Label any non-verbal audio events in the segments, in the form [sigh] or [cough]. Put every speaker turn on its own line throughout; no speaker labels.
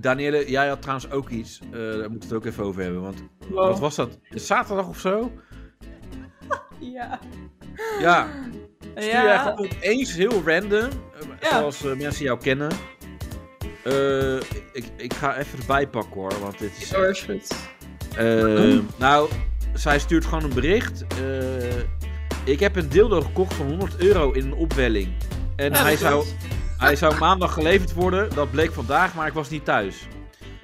Danielle, jij had trouwens ook iets. Eh, daar moeten we het ook even over hebben. Want
Wow.
wat was dat? Zaterdag of zo?
Ja.
Ja. Stuur jij
ja.
gewoon opeens heel random, eh,
Ja.
zoals eh, mensen jou kennen. Eh, ik, ik ga even erbij pakken hoor, want dit is...
Hoor, is goed. Hm?
Eh, nou, zij stuurt gewoon een bericht. Eh, ik heb een dildo gekocht van 100 euro in een opwelling. En
Ja,
hij,
dat
zou,
klopt.
hij zou maandag geleverd worden. Dat bleek vandaag, maar ik was niet thuis.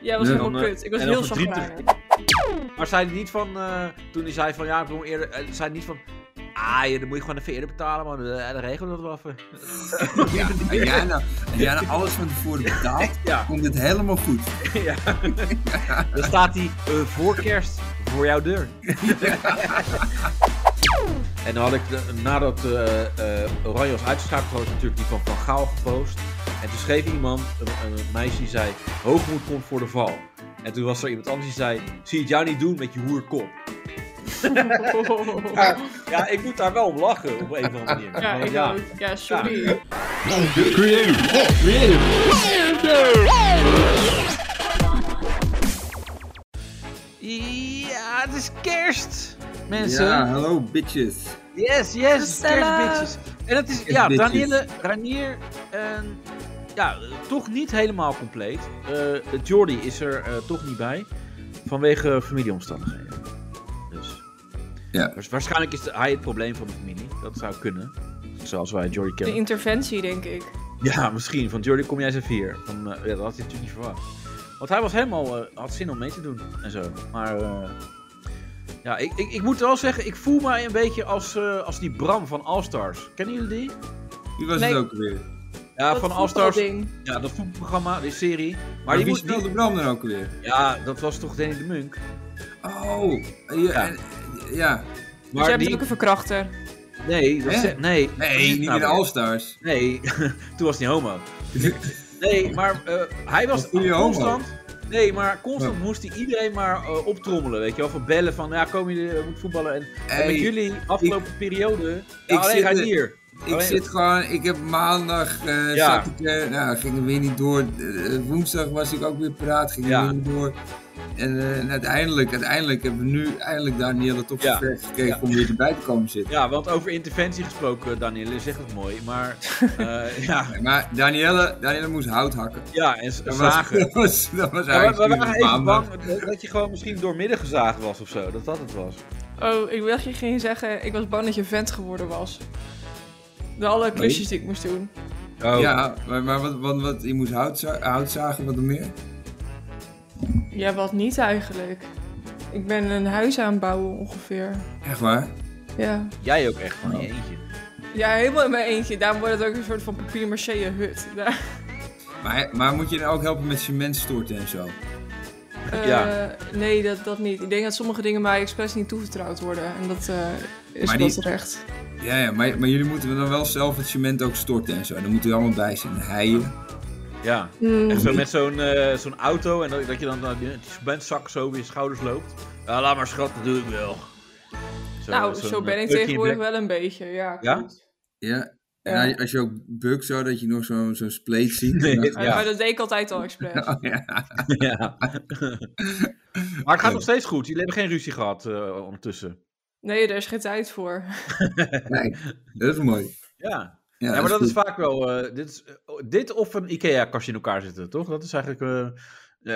Ja, was
En
helemaal
dan, eh,
kut. Ik was
en
heel
dan verdrietig.
[laughs] chagrijnig.
Maar zei hij niet van, eh, toen hij zei van ja, ik wil eerder, eh, zei hij niet van, ah ja, dan moet je gewoon even eerder betalen man, Eh, dan regelen we dat wel even.
Ja, en jij nou, en jij nou alles van tevoren [laughs] betaald,
Ja.
komt het helemaal goed.
Ja. Dan staat hij eh, voor kerst voor jouw deur. En dan had ik, de- nadat eh, eh, Oranje was uitgeschakeld, had ik natuurlijk die van Van Gaal gepost. En toen schreef iemand, een, een meisje, die zei, hoogmoed komt voor de val. En toen was er iemand anders die zei, zie het jou niet doen met je hoerkop.
Oh.
Ja, ik moet daar wel om lachen, op een of
[laughs]
andere manier.
Ja,
Want
ik
ja,
ook. Ja, sorry.
Ja, het is kerst, mensen.
Ja, hallo bitches.
Yes, yes,
Gezellig.
kerstbitjes. En dat is, ja,
Kerstbitjes.
Danielle, Ranier, en, ja, eh, toch niet helemaal compleet. Eh Jordi is er eh, toch niet bij, vanwege eh, familieomstandigheden. Dus,
Ja.
waars- waarschijnlijk is hij het probleem van de familie, dat zou kunnen. Zoals wij Jordi
De
kennen.
interventie, denk ik.
Ja, misschien, van Jordi kom jij eens even hier. Van, eh, ja, dat had hij natuurlijk niet verwacht. Want hij was helemaal, eh, had zin om mee te doen en zo. Maar eh, ja, ik, ik, ik moet wel zeggen, ik voel mij een beetje als, eh, als die Bram van Allstars. Kennen jullie die?
Wie was
Nee.
het ook weer?
Ja,
Dat
van Allstars.
voetbalding.
Ja, dat voetbalprogramma, die serie. Maar,
Maar
die
wie
moest
speelde
niet...
Bram dan ook weer?
Ja, dat was toch Danny de Munk.
Oh, eh, ja.
Ja.
en- ja.
Dus jij
Maar
bent
die...
ook een verkrachter.
Nee, dat
Hè?
ze- nee. dat is
Nee, niet
nou
in de
weer.
All-Stars.
Nee, [laughs] toen was hij homo. Nee, maar eh, hij was
Wat doe je homo?
constant. Nee, maar constant moest hij iedereen maar eh, optrommelen, weet je wel. Van bellen van, ja, komen jullie, eh, moet voetballen. En, en
[laughs] Hey,
met jullie, afgelopen periode, ja,
ik
alleen
zit
hij
er-
hier.
Ik zit gewoon, ik heb maandag, eh,
Ja.
zat ik, eh, nou, ging er weer niet door. Eh, woensdag was ik ook weer paraat, ging
Ja.
er weer niet door. En, eh, en uiteindelijk, uiteindelijk hebben we nu eindelijk Danielle toch
Ja.
ja. gekregen
Ja.
om weer erbij te komen zitten.
Ja, want over interventie gesproken, Danielle, zegt het mooi. Maar
[laughs]
eh, ja,
Maar Danielle, Danielle moest hout hakken.
ja, en s-
Dat [laughs]
zagen.
was, dat was, dat was
Ja, we, we
eigenlijk
waren even bang dat- dat je gewoon misschien doormidden gezaagd was of zo. Dat dat het was.
Oh, ik dacht je ging zeggen, ik was bang dat je vent geworden was. De alle klusjes die ik moest doen.
Oh.
Ja, maar, maar wat, wat, wat, je moest hout, za- hout zagen, wat dan meer?
Ja, wat niet eigenlijk. Ik ben een huis aanbouwen ongeveer.
Echt waar?
Ja.
Jij ook echt van je eentje.
Ja, helemaal in mijn eentje. Daarom wordt het ook een soort van papier maché hut. Daar,
Maar, maar moet je dan ook helpen met cement storten en zo?
Ja.
Eh, nee, dat, dat niet. Ik denk dat sommige dingen mij expres niet toevertrouwd worden. En dat eh, is
Maar
wel
die-
terecht.
Ja, ja maar, maar jullie moeten dan wel zelf het cement ook storten en zo. Dan moeten we allemaal bij zijn. Heien.
Ja.
Hmm.
En zo met zo'n eh, zo'n auto en dat, dat je dan eh, die cementzak zo over je schouders loopt. Ja, laat maar schat, dat doe ik wel. Zo,
nou,
zo'n,
zo ben
eh,
ik
pukje in
tegenwoordig
bek.
wel een beetje. Ja,
Ja?
klopt.
Ja.
Ja.
En als je- als je ook bukt zo, dat je nog zo'n zo'n spleet ziet.
Nee,
dan-
Eh,
[laughs] Ja.
Maar dat deed ik altijd al expres.
Oh, [laughs] ja.
Ja. maar het gaat nog steeds goed. Jullie hebben geen ruzie gehad eh, ondertussen.
Nee, daar is geen tijd voor.
Kijk, dat is mooi.
Ja.
Ja,
Ja, maar dat is
goed.
vaak wel. eh, dit, is, eh, dit of een IKEA-kastje in elkaar zitten, toch? Dat is eigenlijk eh,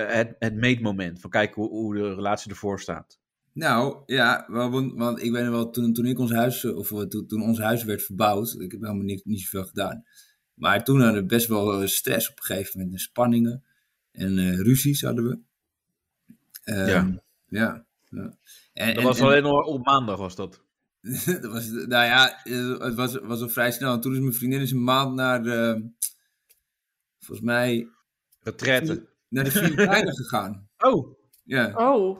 eh, het, het meetmoment. Van kijken hoe, hoe de relatie ervoor staat.
Nou, ja, wel, want, want ik weet nog wel, toen, toen ik ons huis, eh, of eh, toen, toen ons huis werd verbouwd, ik heb helemaal niet, niet zoveel gedaan. Maar toen hadden we best wel eh, stress op een gegeven moment en spanningen en eh, ruzies hadden we. Ehm,
Ja.
Ja. ja. En,
Dat
en-
was
[laughs] en-
alleen al op maandag, was dat.
dat was, nou ja, eh, het was, was al vrij snel. En toen is mijn vriendin eens een maand naar, eh, volgens mij,
Retretten.
naar
[laughs]
de Filipijnen gegaan.
Oh,
Ja, [laughs]
Oh,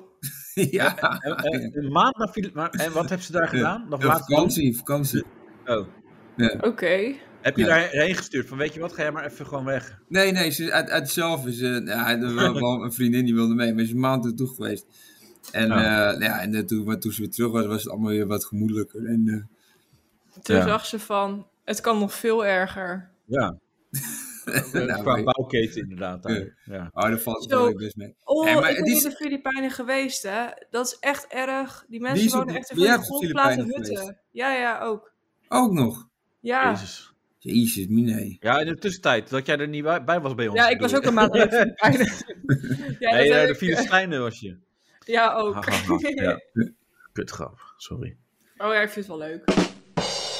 ja.
en, eh, en- een maand naar Fili- maar- En wat hebben ze daar gedaan? Nog
Ja,
laten doen?
vakantie, vakantie.
Oh.
Ja.
oké.
Heb je
Ja.
daarheen gestuurd? Van weet je wat, ga jij maar even gewoon weg.
Nee, nee, ze, uit, uit zelf is eh, ja,
[laughs]
er wel, wel een vriendin die wilde mee, maar ze is een maand naartoe geweest. En,
Oh.
eh, ja, en eh, toen, maar toen ze weer terug was, was het allemaal weer wat gemoedelijker. En, eh, [laughs]
Toen
Ja.
zag ze van, het kan nog veel erger.
Ja. Eh, Qua
Nou, nee.
bouwketen inderdaad. daar. Ja.
Oh, daar valt het
Zo.
wel weer best mee.
Oh,
Nee, maar
ik ben
het is-
in de Filipijnen geweest, hè. Dat is echt erg. Die
Die
mensen
is op
wonen
de-
echt in
ben jij
van die
op de
grondplaten
Filipijnen
hutten.
geweest?
Ja, ja, ook.
Ook nog.
Ja,
Jezus.
Jezus, mine.
Ja, in de tussentijd, dat jij er niet wa- bij was bij ons.
ja ik was
bedoel
ook een maand in de Filipijnen. ja,
nee,
dat
eh, de
heb ik, eh,
Filistijnen was je.
ja, ook. [laughs]
ja. Kutgrap, sorry.
Oh ja, ik vind het wel leuk.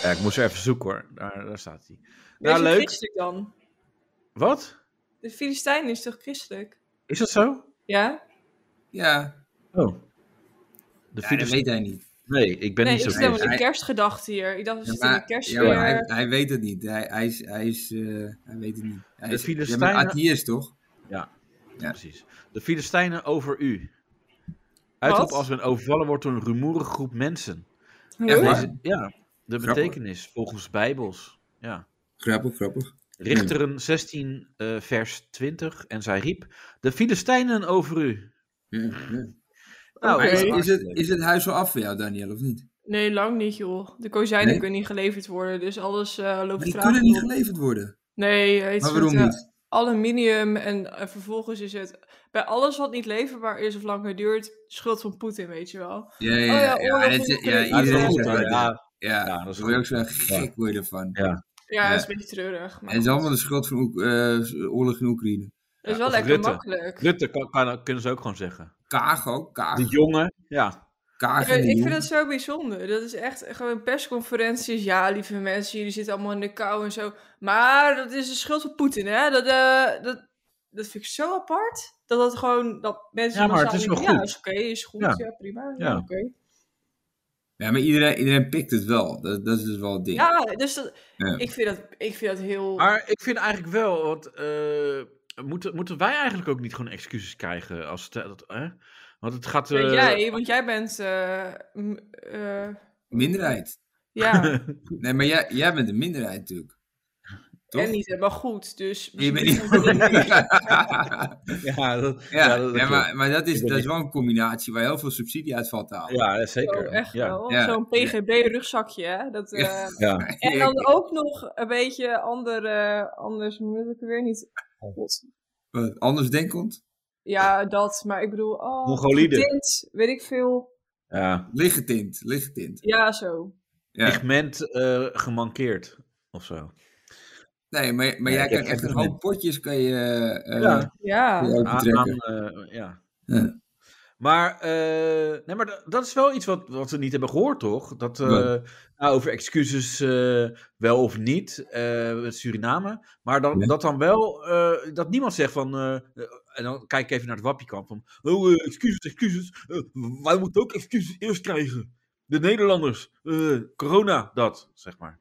Ja, ik moest er even zoeken hoor. Daar, daar staat hij.
Wees
Nou,
een
leuk.
christelijk dan.
Wat?
De Filistijnen is toch christelijk?
Is dat zo?
Ja?
Ja,
Oh. De
ja dat
Filist-
weet hij niet.
Nee, ik ben
nee,
niet
ik
zo christelijk.
zit helemaal in
Hij-
kerstgedachten hier. Ik dacht, we
Ja,
zitten in de
maar, ja,
kerstsfeer.
maar hij, hij weet het niet. Hij, hij, is, hij, is, eh, hij weet het niet. Hij
De
is,
Filistijnen-
Ja, maar een atheïst, toch? Ja.
Precies. De Filistijnen over u. Uitroep als men overvallen wordt door een rumoerige groep mensen.
Echt waar?
Deze, ja, de
Grappig.
betekenis volgens Bijbels. Ja.
Grappig, grappig. Hmm.
Richteren 16, eh, vers 20. En zij riep: De Filistijnen over u.
Ja, ja.
Nou,
Oké.
dat is
Is, is, het,
hartstikke leuk.
is het huis al af voor jou, Daniel, of niet?
Nee, lang niet, joh. De kozijnen
Nee?
kunnen niet geleverd worden, dus alles eh, loopt
Maar die
traag
kunnen niet
op.
geleverd worden.
Nee, het
Maar
is
waarom
met, eh,
niet?
aluminium en eh, vervolgens is het bij alles wat niet leverbaar is of langer duurt, schuld van Poetin, weet je wel.
Ja, ja,
oh ja,
ja. ja,
oorlog
dit is-
moet
ja,
kunnen-
Ja, dat is wel
iedereen
goed,
zegt
hoor.
dat. Ja,
Ja,
ja.
ja, dat is
Daar word je ook
goed.
zo gek word je ervan.
Ja.
Ja,
Ja.
dat is een beetje treurig. Maar
En het is
goed.
allemaal de schuld van Oek- eh, oorlog in Oekraïne.
dat is
Ja,
wel
of
lekker
Rutte.
makkelijk.
Rutte kan, kan- kunnen ze ook gewoon zeggen.
Kaag ook, Kaag.
De jongen, ja.
Kaag
Ja,
en de
ik
jongen.
vind dat zo bijzonder. Dat is echt gewoon persconferenties. Ja, lieve mensen, jullie zitten allemaal in de kou en zo. Maar dat is de schuld van Poetin, hè? Dat, eh, dat, dat vind ik zo apart. Dat dat gewoon, dat mensen.
Ja, maar
massaal
het is
denken,
wel
Ja,
goed.
is oké, is goed. Ja,
Ja.
prima. Ja,
Ja.
oké.
Ja, maar iedereen, iedereen pikt het wel. Dat, dat is dus wel het ding.
Ja, dus dat,
Ja.
Ik, vind dat, ik vind dat heel.
Maar ik vind eigenlijk wel, want eh, moeten, moeten wij eigenlijk ook niet gewoon excuses krijgen? Als het, dat, hè? Want het gaat.
Ja,
eh,
jij, want jij bent. eh, m- eh,
Minderheid.
[laughs]
ja,
Nee, maar jij, jij bent de minderheid natuurlijk. [laughs] Toch?
en niet helemaal goed. Dus.
Je bent
misschien-
niet...
ja, dat,
Ja,
dat-
ja,
dat
maar, maar dat, is,
Ik ben
dat is
niet-
wel een combinatie waar heel veel subsidie uit valt te halen.
klopt. ja,
Zo,
zeker.
Oh, echt
ja.
wel.
Ja.
Zo'n PGB-rugzakje, hè? Dat, eh,
[laughs] Ja.
Ja.
En dan ook nog een beetje ander, eh, anders moet ik er weer niet. God.
Wat, Anders denkend?
Ja, dat, maar ik bedoel, oh,
Mongolide.
getint, weet ik veel.
ja.
Lichtgetint, lichtgetint.
Ja, zo.
Ja.
Pigment eh, gemankeerd of zo.
Nee, maar, maar
Ja,
jij
ik
kan
heb
echt een
geen
hoop
moment.
potjes kan je, eh,
Ja.
eh, kan je
Ja,
overtrekken.
Aan, eh, ja.
Ja.
Maar, eh, nee, maar da- dat is wel iets wat, wat we niet hebben gehoord, toch? Dat, eh,
Nee.
nou, over excuses eh, wel of niet, eh, met Suriname. Maar dan,
Nee.
dat dan wel, eh, dat niemand zegt van... eh, eh, en dan kijk ik even naar het wappiekamp van... Oh, eh, excuses, excuses. eh, wij moeten ook excuses eerst krijgen. De Nederlanders. eh, corona, dat, zeg maar.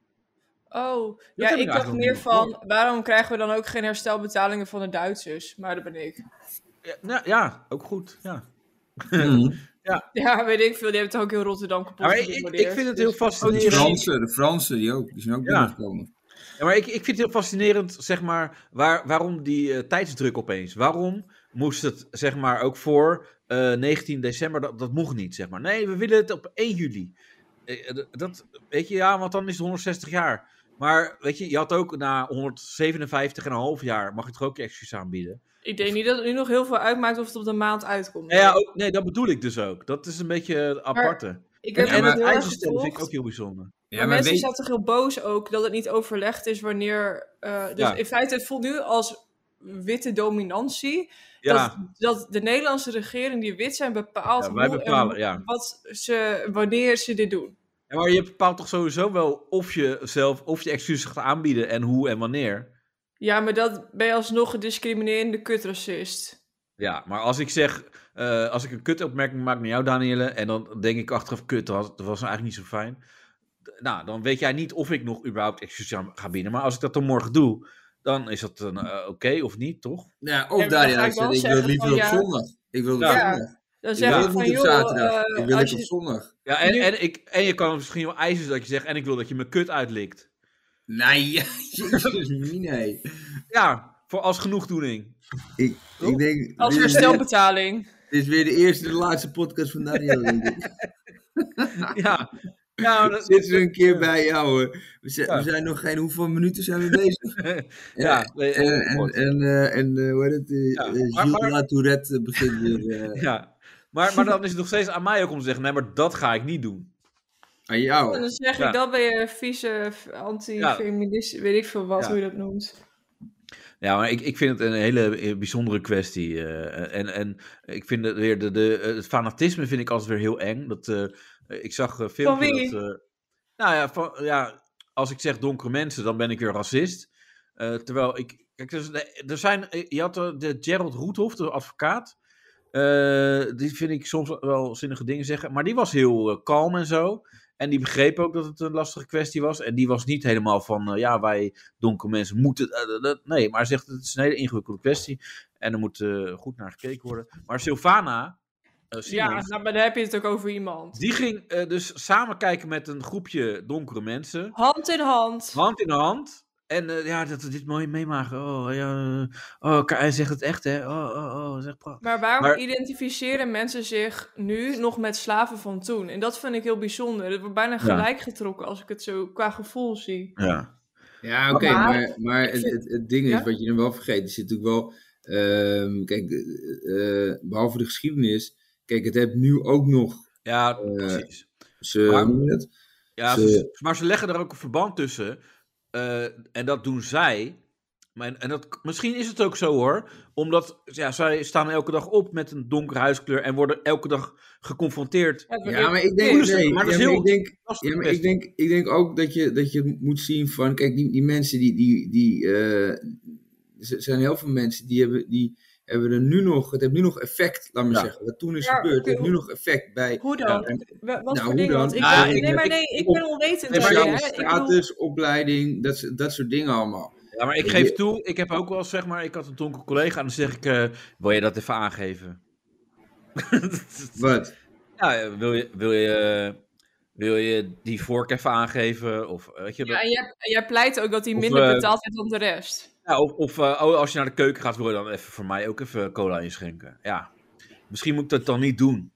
oh. Ja,
heb ik
ik dacht
eigenlijk
meer
nog niet
van, waarom krijgen we dan ook geen herstelbetalingen van de Duitsers? Maar dat ben ik. [laughs]
Ja, nou, ja ook goed, ja. Mm.
Mhm.
Ja, weet ik veel, die hebben het ook in Rotterdam kapot Dus
Maar Nou, ik, ik, ik vind het heel
De
fascinerend.
Fransen, de Fransen die ook. Die zijn ook
Ja.
binnengekomen.
Ja, maar ik, ik vind het heel fascinerend, zeg maar, waar, waarom die eh, tijdsdruk opeens? Waarom moest het, zeg maar, ook voor eh, 19 december, dat, dat mocht niet, zeg maar. Nee, we willen het op 1 juli. Eh, eh, dat, weet je, ja, want dan is het 160 jaar. Maar, weet je, je had ook na 157,5 jaar, mag je toch ook je excuus aanbieden?
Ik denk niet dat het nu nog heel veel uitmaakt of het op de maand uitkomt.
Nou ja, ook, nee, dat bedoel ik dus ook. Dat is een beetje het aparte.
ik
en
heb
Ja,
en
het
het
heel erg
ijzerstellen vind
gevolgd.
ik ook heel bijzonder.
Ja,
maar
maar,
mensen
weet,
zijn toch heel boos ook dat het niet overlegd is wanneer. eh, dus
Ja.
in feite, het voelt nu als witte dominantie.
Ja,
Dat, dat de Nederlandse regering, die wit zijn, bepaalt
Ja, wij
hoe en
bepalen, ja.
wat ze, wanneer ze dit doen.
Ja, maar je bepaalt toch sowieso wel of je zelf, of je excuses gaat aanbieden en hoe en wanneer.
Ja, maar dat ben je alsnog een discriminerende kutracist.
Ja, maar als ik zeg, eh, als ik een kutopmerking maak naar jou, Danielle, en dan denk ik achteraf, kut, dat was, dat was nou eigenlijk niet zo fijn. D- Nou, dan weet jij niet of ik nog überhaupt excuses aan ga bieden. Maar als ik dat dan morgen doe, dan is dat dan, eh, oké of niet, toch?
ja,
Ja,
of
maar
nou, daar
dan ga
ja,
ik
ik
wel
zeg, ik wil
zeggen
het liever
van,
op
ja.
zondag. Ik wil het op
Ja.
zondag.
Dan
Ik
zeg
wil
ik
het
van
niet op
joh,
zaterdag.
eh,
Ik wil
als
het op
je,
zondag.
Ja, en,
Nu-
en, ik, en je kan misschien wel eisen dat je zegt, en ik wil dat je me kut uitlikt.
Nee, [laughs] jezus, nee.
Ja, voor als genoegdoening.
Ik, ik denk,
als
dit is weer-
herstelbetaling. [laughs]
Dit is weer de eerste en de laatste podcast van Daniel, denk ik.
Ja,
Nou,
Ja, dat,
Zitten we een keer bij jou. eh. We zijn,
Ja.
we zijn nog geen... Hoeveel minuten zijn we bezig?
[laughs]
ja, nee,
En,
heel
en,
kort.
en, eh, en eh, hoe heet het? eh,
Ja,
eh,
maar-
Gilles
maar-
La Tourette begint weer eh,
ja. Maar, maar dan is het nog steeds aan mij ook om te zeggen: nee, maar dat ga ik niet doen.
aan
En
jou.
dan zeg
Ja.
ik, dat ben je vieze f- anti-feminist, weet ik veel wat,
Ja.
hoe je dat noemt.
Ja, maar ik, ik vind het een hele eh, bijzondere kwestie. eh, en, en ik vind het weer de, de, eh, het fanatisme vind ik altijd weer heel eng. Dat, eh, eh, ik zag eh filmpjes.
wie?
Dat, eh, nou ja, van, ja, als ik zeg donkere mensen, dan ben ik weer racist. Eh, terwijl ik. Kijk, er, is- er zijn. eh, Je had eh, de Gerald Roethoff, de advocaat. Eh, die vind ik soms wel zinnige dingen zeggen. Maar die was heel eh, kalm en zo. En die begreep ook dat het een lastige kwestie was. En die was niet helemaal van, eh, ja, wij donkere mensen moeten. eh, dat- dat- nee, maar hij zegt het is een hele ingewikkelde kwestie. En er moet eh, goed naar gekeken worden. Maar Sylvana, eh
Ja,
Simons,
nou, maar dan heb je het ook over iemand.
die ging eh, dus samen kijken met een groepje donkere mensen.
Hand in hand.
Hand in hand. En eh, ja, dat we dit mooi meemaken. Oh, ja. eh, Oh, Ka- hij zegt het echt, hè? Oh, oh, oh, zeg prachtig.
Maar waarom
Maar-
identificeren mensen zich nu nog met slaven van toen? En dat vind ik heel bijzonder. Het wordt bijna gelijk getrokken als ik het zo qua gevoel zie.
Ja.
Ja, oké,
Maar-
maar, maar het, het, het ding is,
Ja?
wat je dan wel vergeet, er zit natuurlijk wel... ehm, kijk, eh, eh, behalve de geschiedenis... Kijk, het heeft nu ook nog...
Ja, precies.
Ze,
Maar-
hoe noem je dat?
Ja,
Ze-
ze- maar ze leggen er ook een verband tussen. eh, en dat doen zij. Maar, en dat, misschien is het ook zo hoor. Omdat ja, zij staan elke dag op met een donkere huidskleur. En worden elke dag geconfronteerd.
Het wordt
Ja, maar ik denk...
Voelen ze-
Nee,
maar dat
ja,
is
maar
heel-
ik denk...
Dat is
Ja,
de
maar ik
kwestie.
denk, ik denk ook dat je, dat je moet zien van, kijk, die, die mensen die, die, die eh, er zijn heel veel mensen die hebben, die hebben er nu nog, het heeft nu nog effect, laat maar
Ja.
zeggen, wat toen is
Ja,
gebeurd,
oké,
heeft nu
hoe-
nog effect bij,
Hoe dan? Wa- Wat
Nou, hoe
voor dingen?
dan?
Want ik
Nou,
ben-
ik-
nee, maar
ik-
nee, ik,
op-
ben onwetend.
Nee, maar dus-
daarin,
ja,
hè.
sociale
Ik bedoel-
status, opleiding, dat, soort- dat soort dingen allemaal.
Ja, maar ik geef toe. Ik heb ook wel eens, zeg maar. Ik had een donkere collega. En dan zeg ik: eh, Wil je dat even aangeven? [laughs]
Wat?
ja, eh, wil je, wil, je, eh, wil je die vork even aangeven? Of, eh, weet je,
Ja,
dat,
en jij, en jij pleit ook dat hij
Of,
minder
eh,
betaald wordt dan de rest.
[laughs] Ja, of, of eh, oh, als je naar de keuken gaat, wil je dan even voor mij ook even cola inschenken. Ja. Misschien moet ik dat dan niet doen.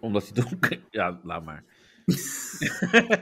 Omdat hij donker... Ja, laat maar.
Nee,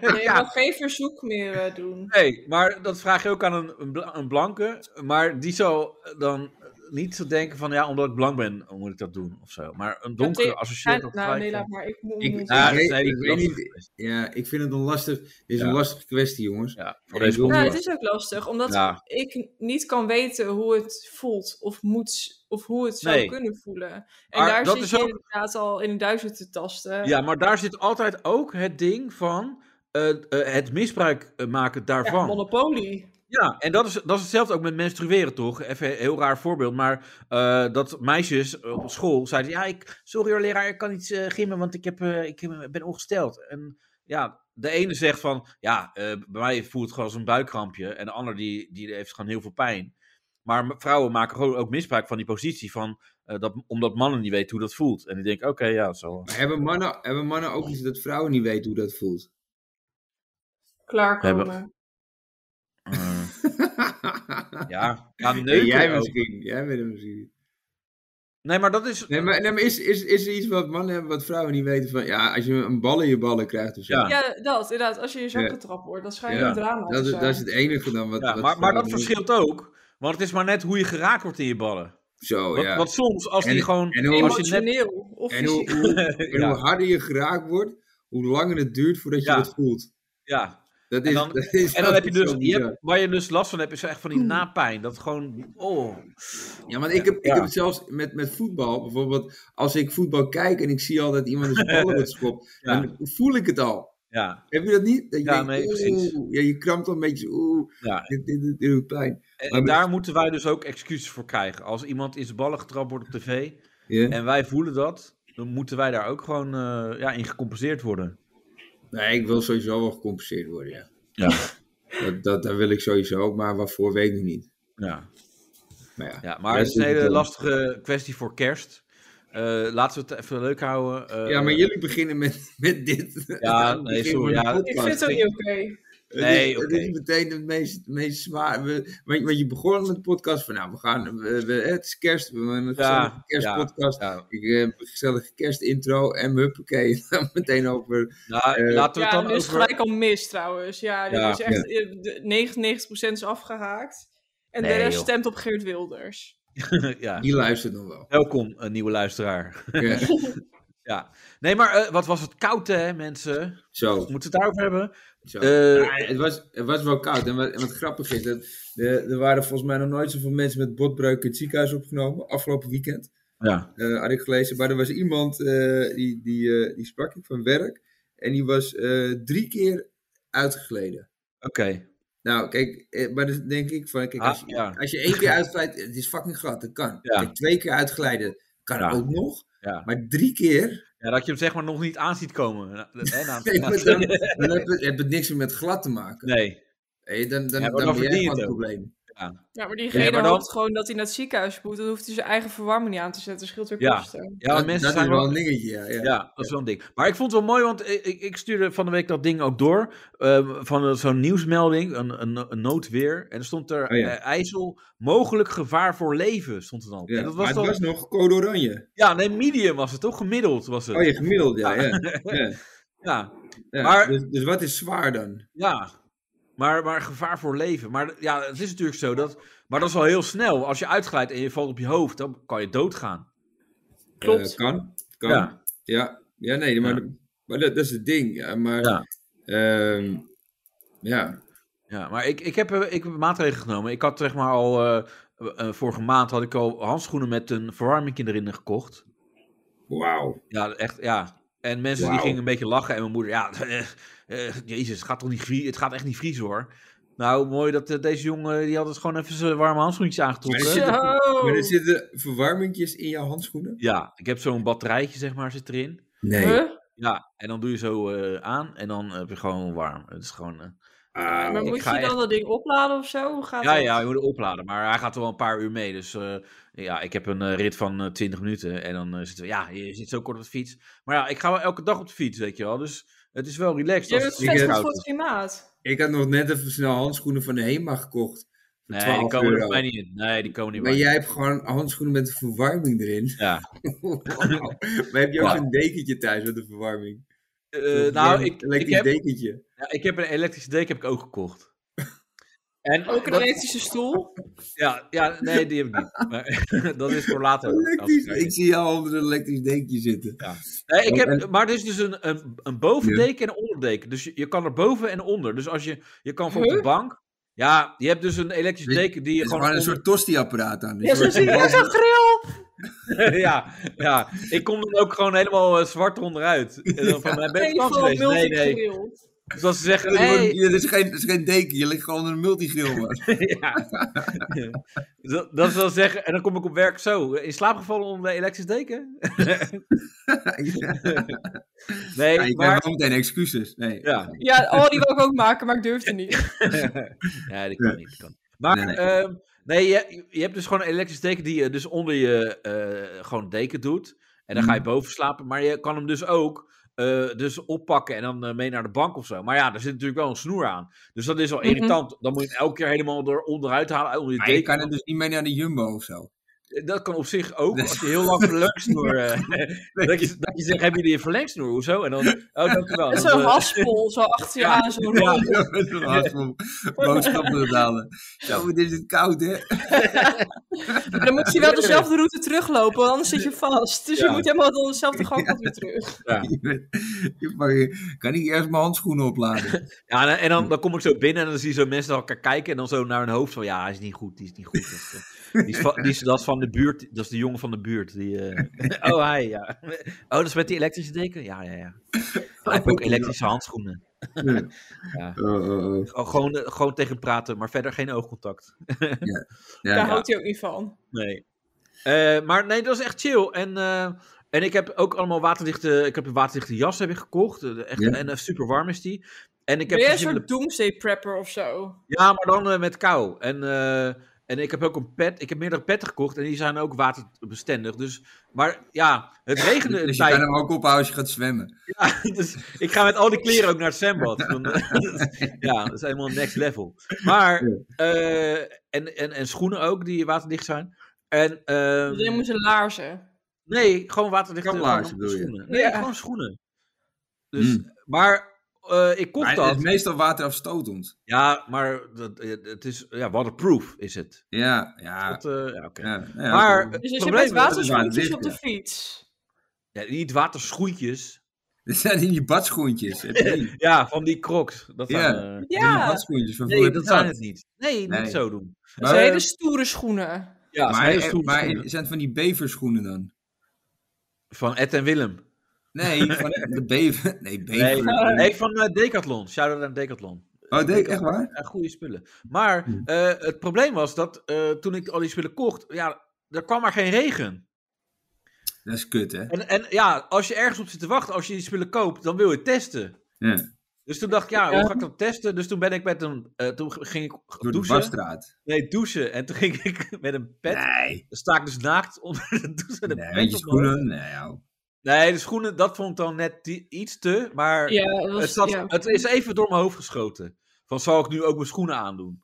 ja.
je mag geen verzoek meer eh, doen.
Nee, maar dat vraag je ook aan een, een, bla- een blanke. Maar die zou dan niet zo denken van... Ja, omdat ik blank ben, moet ik dat doen of zo. Maar een donkere
Ja,
associeert
nou,
dat
nee,
gelijk.
laat maar. Ik moet
Ik-
moet-
Ja, Ah,
Ik
dat is een
weet-
hele
ik weet
lastige
niet-
kwestie.
Ja, ik vind het een lastig, dit is
Ja.
een lastige kwestie, jongens.
Ja, voor
Ik
deze
wil-
Ja,
podcast.
het is ook lastig, omdat
Ja.
ik niet kan weten hoe het voelt of moet of hoe het zou
Nee.
kunnen voelen. En
Maar
daar
dat
zit
is
je
ook-
inderdaad al in de duizend te tasten.
Ja, maar daar zit altijd ook het ding van... eh, eh, het misbruik eh, maken
Ja,
daarvan.
monopolie.
Ja, en dat is, dat is hetzelfde ook met menstrueren, toch? Even een heel raar voorbeeld, maar eh, dat meisjes op school zeiden... Ja, ik, sorry hoor leraar, ik kan niet eh, gimmen, want ik, heb, eh, ik eh, ben ongesteld. En ja, de ene zegt van... Ja, eh, bij mij voelt het gewoon als een buikkrampje. En de ander die, die heeft gewoon heel veel pijn. Maar m- vrouwen maken gewoon ook misbruik van die positie van... eh, dat, omdat mannen niet weten hoe dat voelt. En die denken, oké, ja, zo.
Maar hebben mannen, hebben mannen ook iets dat vrouwen niet weten hoe dat voelt?
[laughs]
Klaarkomen.
We eh, ja, ja
nee,
neuken
jij
ook.
misschien, jij weet het misschien niet.
Nee, maar dat is...
Nee, maar, nee, maar is, is, is er iets wat mannen hebben wat vrouwen niet weten van... Ja, als je een bal in je ballen krijgt of zo.
Ja.
Ja, dat inderdaad. Als je in je zak
Ja.
getrapt wordt, dan schijnt
Ja,
een drama
Dat,
te
is,
zijn.
dat is het enige dan wat...
Ja, maar,
wat
maar
vrouwen
dat
niet-
verschilt ook. Want het is maar net hoe je geraakt wordt in je ballen.
Zo,
Want,
Oh, ja.
want soms, als
En-
die gewoon...
en hoe-
als je net,
Emotioneel of
en hoe,
fysiek.
hoe,
[laughs]
en
Ja.
hoe harder je geraakt wordt, hoe langer het duurt voordat
Ja.
je het voelt.
ja.
Dat is,
En dan-
[laughs] dat is
En dan heb je
altijd
dus...
zo
Je
bizar.
hebt, waar je dus last van hebt, is echt van die
Hmm.
napijn. Dat gewoon... Oh.
Ja, want ik heb, ik
Ja.
heb het zelfs met, met voetbal. Bijvoorbeeld, als ik voetbal kijk en ik zie al dat iemand een bal
[laughs]
wordt geschopt,
Ja.
dan voel ik het al.
Ja,
Heb je dat niet? Dat je
Ja, nee, precies.
oeh, ja, je krampt al een beetje, oeh,
ja.
dit, dit, dit doet pijn.
En,
Maar-
daar moeten wij dus ook excuses voor krijgen. Als iemand in zijn ballen getrapt wordt op tv...
Ja.
en wij voelen dat... dan moeten wij daar ook gewoon eh, ja, in gecompenseerd worden.
Nee, ik wil sowieso wel gecompenseerd worden, ja.
Ja.
Dat, dat, dat wil ik sowieso, maar waarvoor weet ik niet.
[laughs] Ja,
Maar ja,
ja. maar
dat
het is een
het
hele
dan.
lastige kwestie voor kerst. Eh, laten we het even leuk houden. Eh,
Ja, maar [laughs] jullie beginnen met, [laughs] met dit.
Ja,
We
nee,
beginnen
sorry,
met een
ja.
Ik vind
podcast.
het ook niet oké.
Nee,
het, is, het
oké.
is niet meteen het meest, het meest zwaar. We, want, want je begon met de podcast van, nou, we gaan, we, we- het is kerst, we hebben
Ja,
een gezellige kerstpodcast.
Ja,
Ik eh, een gezellige kerstintro en huppakee, [laughs] dan meteen over.
nou,
Eh,
laten we
Ja,
het
nu
dan
is het
over...
gelijk al mis trouwens. Ja, dit
Ja,
is echt, eh, de- 99% is afgehaakt. En de
Nee,
rest
joh.
stemt op Geert Wilders.
[laughs] ja.
Die luistert nog
[laughs]
wel.
Welkom, een nieuwe luisteraar.
Ja,
Ja. Nee, maar eh, wat was het koud, hè, mensen?
zo,
Moeten we het daarover hebben?
zo.
Eh,
Maar het, was, het was wel koud. En wat, en wat grappig is, dat, de, er waren volgens mij nog nooit zoveel mensen met botbreuken in het ziekenhuis opgenomen. Afgelopen weekend
ja.
eh had ik gelezen. Maar er was iemand, eh, die, die, eh, die sprak ik van werk. En die was eh, drie keer uitgegleden.
Oké.
Nou, kijk, eh, maar dan denk ik van, kijk, als, je,
Ah, ja.
als je één keer uitglijdt, het is fucking glad, dat kan.
Ja.
Kijk, twee keer uitglijden kan
Ja.
ook nog.
Ja.
Maar drie keer, [laughs]
ja, dat je hem zeg maar nog niet aan ziet komen. Na- hè, na-
nee,
na- [laughs]
maar dan, dan heb, het, heb het niks meer met glad te maken.
nee.
Hey, dan dan,
Ja, maar
dan,
dan
ben jij
verdien je
gewoon
het
het
ook.
probleem.
Ja, maar diegene
Ja, maar dan-
hoopt gewoon dat hij naar het ziekenhuis moet. Dan hoeft hij zijn eigen verwarming niet aan te zetten. Scheelt weer
Ja.
kosten.
Ja,
dat
mensen
dat
zijn
is wel een dingetje, ja. ja.
Ja, dat is wel een ding. Maar ik vond het wel mooi, want ik, ik- ik stuurde van de week dat ding ook door. ehm, van een- zo'n nieuwsmelding, een, een, een noodweer. En er stond er
Oh ja.
eh, IJssel, mogelijk gevaar voor leven, stond er dan.
Ja,
En dat
maar
was
het
dan,
was nog code oranje.
Ja, nee, medium was het toch? Gemiddeld was het.
Oh, je gemiddeld, ja.
[laughs]
ja. ja,
Ja,
ja.
Maar-
dus, dus wat is zwaar dan?
ja. Maar, maar gevaar voor leven. Maar ja, het is natuurlijk zo dat. Maar dat is wel heel snel. Als je uitglijdt en je valt op je hoofd, dan kan je doodgaan.
Klopt.
Eh, kan, kan. Ja,
Ja.
ja, nee, maar, maar dat, dat is het ding. Ja, maar,
Ja.
ehm, ja.
Ja, maar ik, ik, heb, eh, ik heb maatregelen genomen. Ik had zeg maar al. eh, eh, vorige maand had ik al handschoenen met een verwarming erin gekocht.
Wauw.
Ja, echt, ja. En mensen die
Wauw.
gingen een beetje lachen. En mijn moeder, ja, [laughs] eh, eh, jezus, het gaat toch niet vriezen? Het gaat echt niet vriezen, hoor. Nou, mooi dat eh, deze jongen, die had het gewoon even zijn warme handschoentjes aangetrokken.
Maar er zit-
Zo!
Maar er zitten verwarmingjes in jouw handschoenen?
Ja, ik heb zo'n batterijtje, zeg maar, zit erin.
Nee.
Huh?
Ja, en dan doe je zo eh, aan en dan heb je gewoon warm. Het is gewoon... eh,
Ah,
Maar
ik
moet je
ga
dan
echt-
dat ding opladen of zo? Hoe gaat
ja,
dat?
ja, je moet hem opladen, maar hij gaat er wel een paar uur mee. Dus eh, ja, ik heb een eh, rit van eh, 20 minuten en dan eh, zitten we... Ja, je zit zo kort op de fiets. Maar ja, ik ga wel elke dag op de fiets, weet je wel. Dus het is wel relaxed
Je
als
bent
het niet
vet goed
koud
voor
is.
het klimaat.
ik had nog net even snel handschoenen van de HEMA gekocht. Voor
Nee, die
12
komen
euro.
er mij niet in. Nee, die komen niet
Maar
bij.
jij hebt gewoon handschoenen met een verwarming erin.
Ja.
[laughs] Wauw. maar heb je ook
Ja.
een dekentje thuis met een verwarming?
Eh,
Een
nou,
verwarming-
ik, ik,
elektrisch
heb,
dekentje.
ja, ik heb een elektrische dek heb ik ook gekocht. En
Ook een
dat-
elektrische stoel.
ja, ja, nee, die heb ik
[laughs]
niet. Maar, [laughs] dat is voor later.
Elektrisch.
Als-
Ik zie jou onder een elektrisch dekentje zitten.
Nee, ik heb, maar er is dus een, een, een bovendeken en een onderdeken. Dus je, je kan er boven en onder. Dus als je, je kan voor op de
Huh?
bank. Ja, je hebt dus een elektrische
Dus-
deken die je
Er is
gewoon.
gewoon een
onder-
soort tosti-apparaat aan.
[laughs] Ja, zo zie je [laughs] zo'n grill.
[laughs] ja, ja, ik kom dan ook gewoon helemaal eh, zwart onderuit. En dan van, ben je op vakantie
Telefoon,
geweest? Nee, nee.
multigrill.
Dus als ze zeggen,
Dat is gewoon-
hey,
ja, dat is geen, dat is geen deken, je ligt gewoon onder een multigrill. man.
[laughs]
[laughs]
ja. [laughs] dat, dat is wel zeggen, en dan kom ik op werk zo. In slaap gevallen onder de elektrisch deken? Nee,
Ja, je
maar...
krijgt wel meteen excuses. Nee.
Ja,
Ja, oh, die wil ik ook maken, maar ik durfde niet.
[laughs]
ja dat kan niet. dat kan niet. Maar,
Nee.
ehm, nee, je, je hebt dus gewoon een elektrisch deken die je dus onder je eh, gewoon deken doet. En dan ga je
Mhm.
boven slapen, maar je kan hem dus ook eh, dus oppakken en dan eh, mee naar de bank of zo. Maar ja, er zit natuurlijk wel een snoer aan. Dus dat is wel
Mhm.
irritant. Dan moet je hem elke keer helemaal er onderuit halen, onder je
Maar
deken.
je kan het dus niet mee naar de Jumbo of zo.
Dat kan op zich ook,
Nee.
als je heel lang
[laughs]
verlengsnoer... eh [laughs] dat, je, dat je zegt, hebben jullie een verlengsnoer? Hoezo? En dan, oh, dankjewel.
En
En dan,
zo'n
eh,
haspel, zo achter je
Ja.
aan, zo'n
Ja.
rol.
Ja, met een haast om boodschappen te halen. Zo, maar dit is het koud, hè? [laughs]
Maar dan moet je wel dezelfde route teruglopen, want anders zit je vast. Dus je
Ja.
moet helemaal door dezelfde gangpad weer terug.
Je bent- je mag- kan ik eerst mijn handschoenen opladen?
Ja, en- en dan, dan kom ik zo binnen en dan zie je zo mensen naar elkaar kijken en dan zo naar hun hoofd van, ja, hij is niet goed, die is niet goed. Dat is, eh, die is van, die is, dat is van de buurt, dat is de jongen van de buurt. Die, eh, [laughs] oh, hij, ja. Oh, dat is met die elektrische deken? Ja, ja, ja. Hij heeft ook elektrische handschoenen.
Ja. Oh, oh, oh.
Oh, gewoon, eh, gewoon tegen praten, maar verder geen oogcontact.
Ja,
Daar
ja.
houdt hij ook niet van.
Nee. Eh, maar nee, dat is echt chill. En, eh, en ik heb ook allemaal waterdichte... Ik heb een waterdichte jas heb ik gekocht. Eh, Echt,
Ja.
En eh, super warm is die. En ik heb
Ben jij een
verschillende-
soort doomsday prepper of zo?
Ja, maar dan eh, met kou. En, eh, En ik heb ook een pet. Ik heb meerdere petten gekocht en die zijn ook waterbestendig. Dus, maar ja, het regende een
Dus je kan
[laughs] tijd.
hem ook ophouden als je gaat zwemmen.
Dus ik ga met al die kleren ook naar het zwembad.
[laughs]
Dan, [laughs] ja, dat is helemaal next level. Maar, eh, en, en, en schoenen ook die waterdicht zijn. En, ehm,
Iedereen Dus moet zijn laarzen.
nee, gewoon waterdichte
Kaplaarzen
gewoon
bedoel je?
schoenen. Nee,
Ja.
gewoon schoenen. Dus,
Hmm.
Maar eh, ik kocht
Maar
dat.
het is meestal waterafstotend.
Ja, maar dat, eh, het is ja, waterproof is het.
Ja, ja.
Dat, eh, ja, oké.
ja, ja,
Maar
dat-
het
Dus als je
probleem
met
is-
dat is
waterschoentjes
waterdicht,
op de
ja.
fiets.
Ja, niet waterschoentjes.
Dat zijn in die badschoentjes. Heb je die?
Ja, van die crocs. Dat
Ja.
zijn, eh,
Die
Ja,
badschoentjes van
nee,
vroeger.
dat zijn het niet. Nee,
Nee.
niet zo doen. e-
dat
Maar,
zijn hele
eh,
stoere schoenen.
Ja,
maar,
zijn hele stoere
maar
schoenen.
zijn het van die beverschoenen dan?
e- Van Ed en Willem.
Nee, van de bever. Nee,
Nee,
bever.
nee, van eh, Decathlon. Shout-out aan Decathlon.
Oh, denk echt waar?
Ja, goede spullen. Maar eh, het probleem was dat eh, toen ik al die spullen kocht, ja, er kwam maar geen regen.
Dat is kut, hè?
En, en ja, als je ergens op zit te wachten, als je die spullen koopt, dan wil je het testen.
Ja,
Dus toen dacht ik, ja,
Ja.
hoe ga ik dat testen? Dus toen ben ik met een, eh, toen ging ik
door de
douchen.
wasstraat.
Nee, douchen. En toen ging ik [laughs] met een pet,
Nee,
dan sta ik dus naakt [laughs] onder de douche. en een
nee
pet
weet je
op mijn hoofd.
schoenen? Nee, joh.
Nee, de schoenen, dat vond ik dan net i- iets te. Maar
Ja, dat was,
het, zat,
ja.
het is even door mijn hoofd geschoten. Van, zal ik nu ook mijn schoenen aandoen?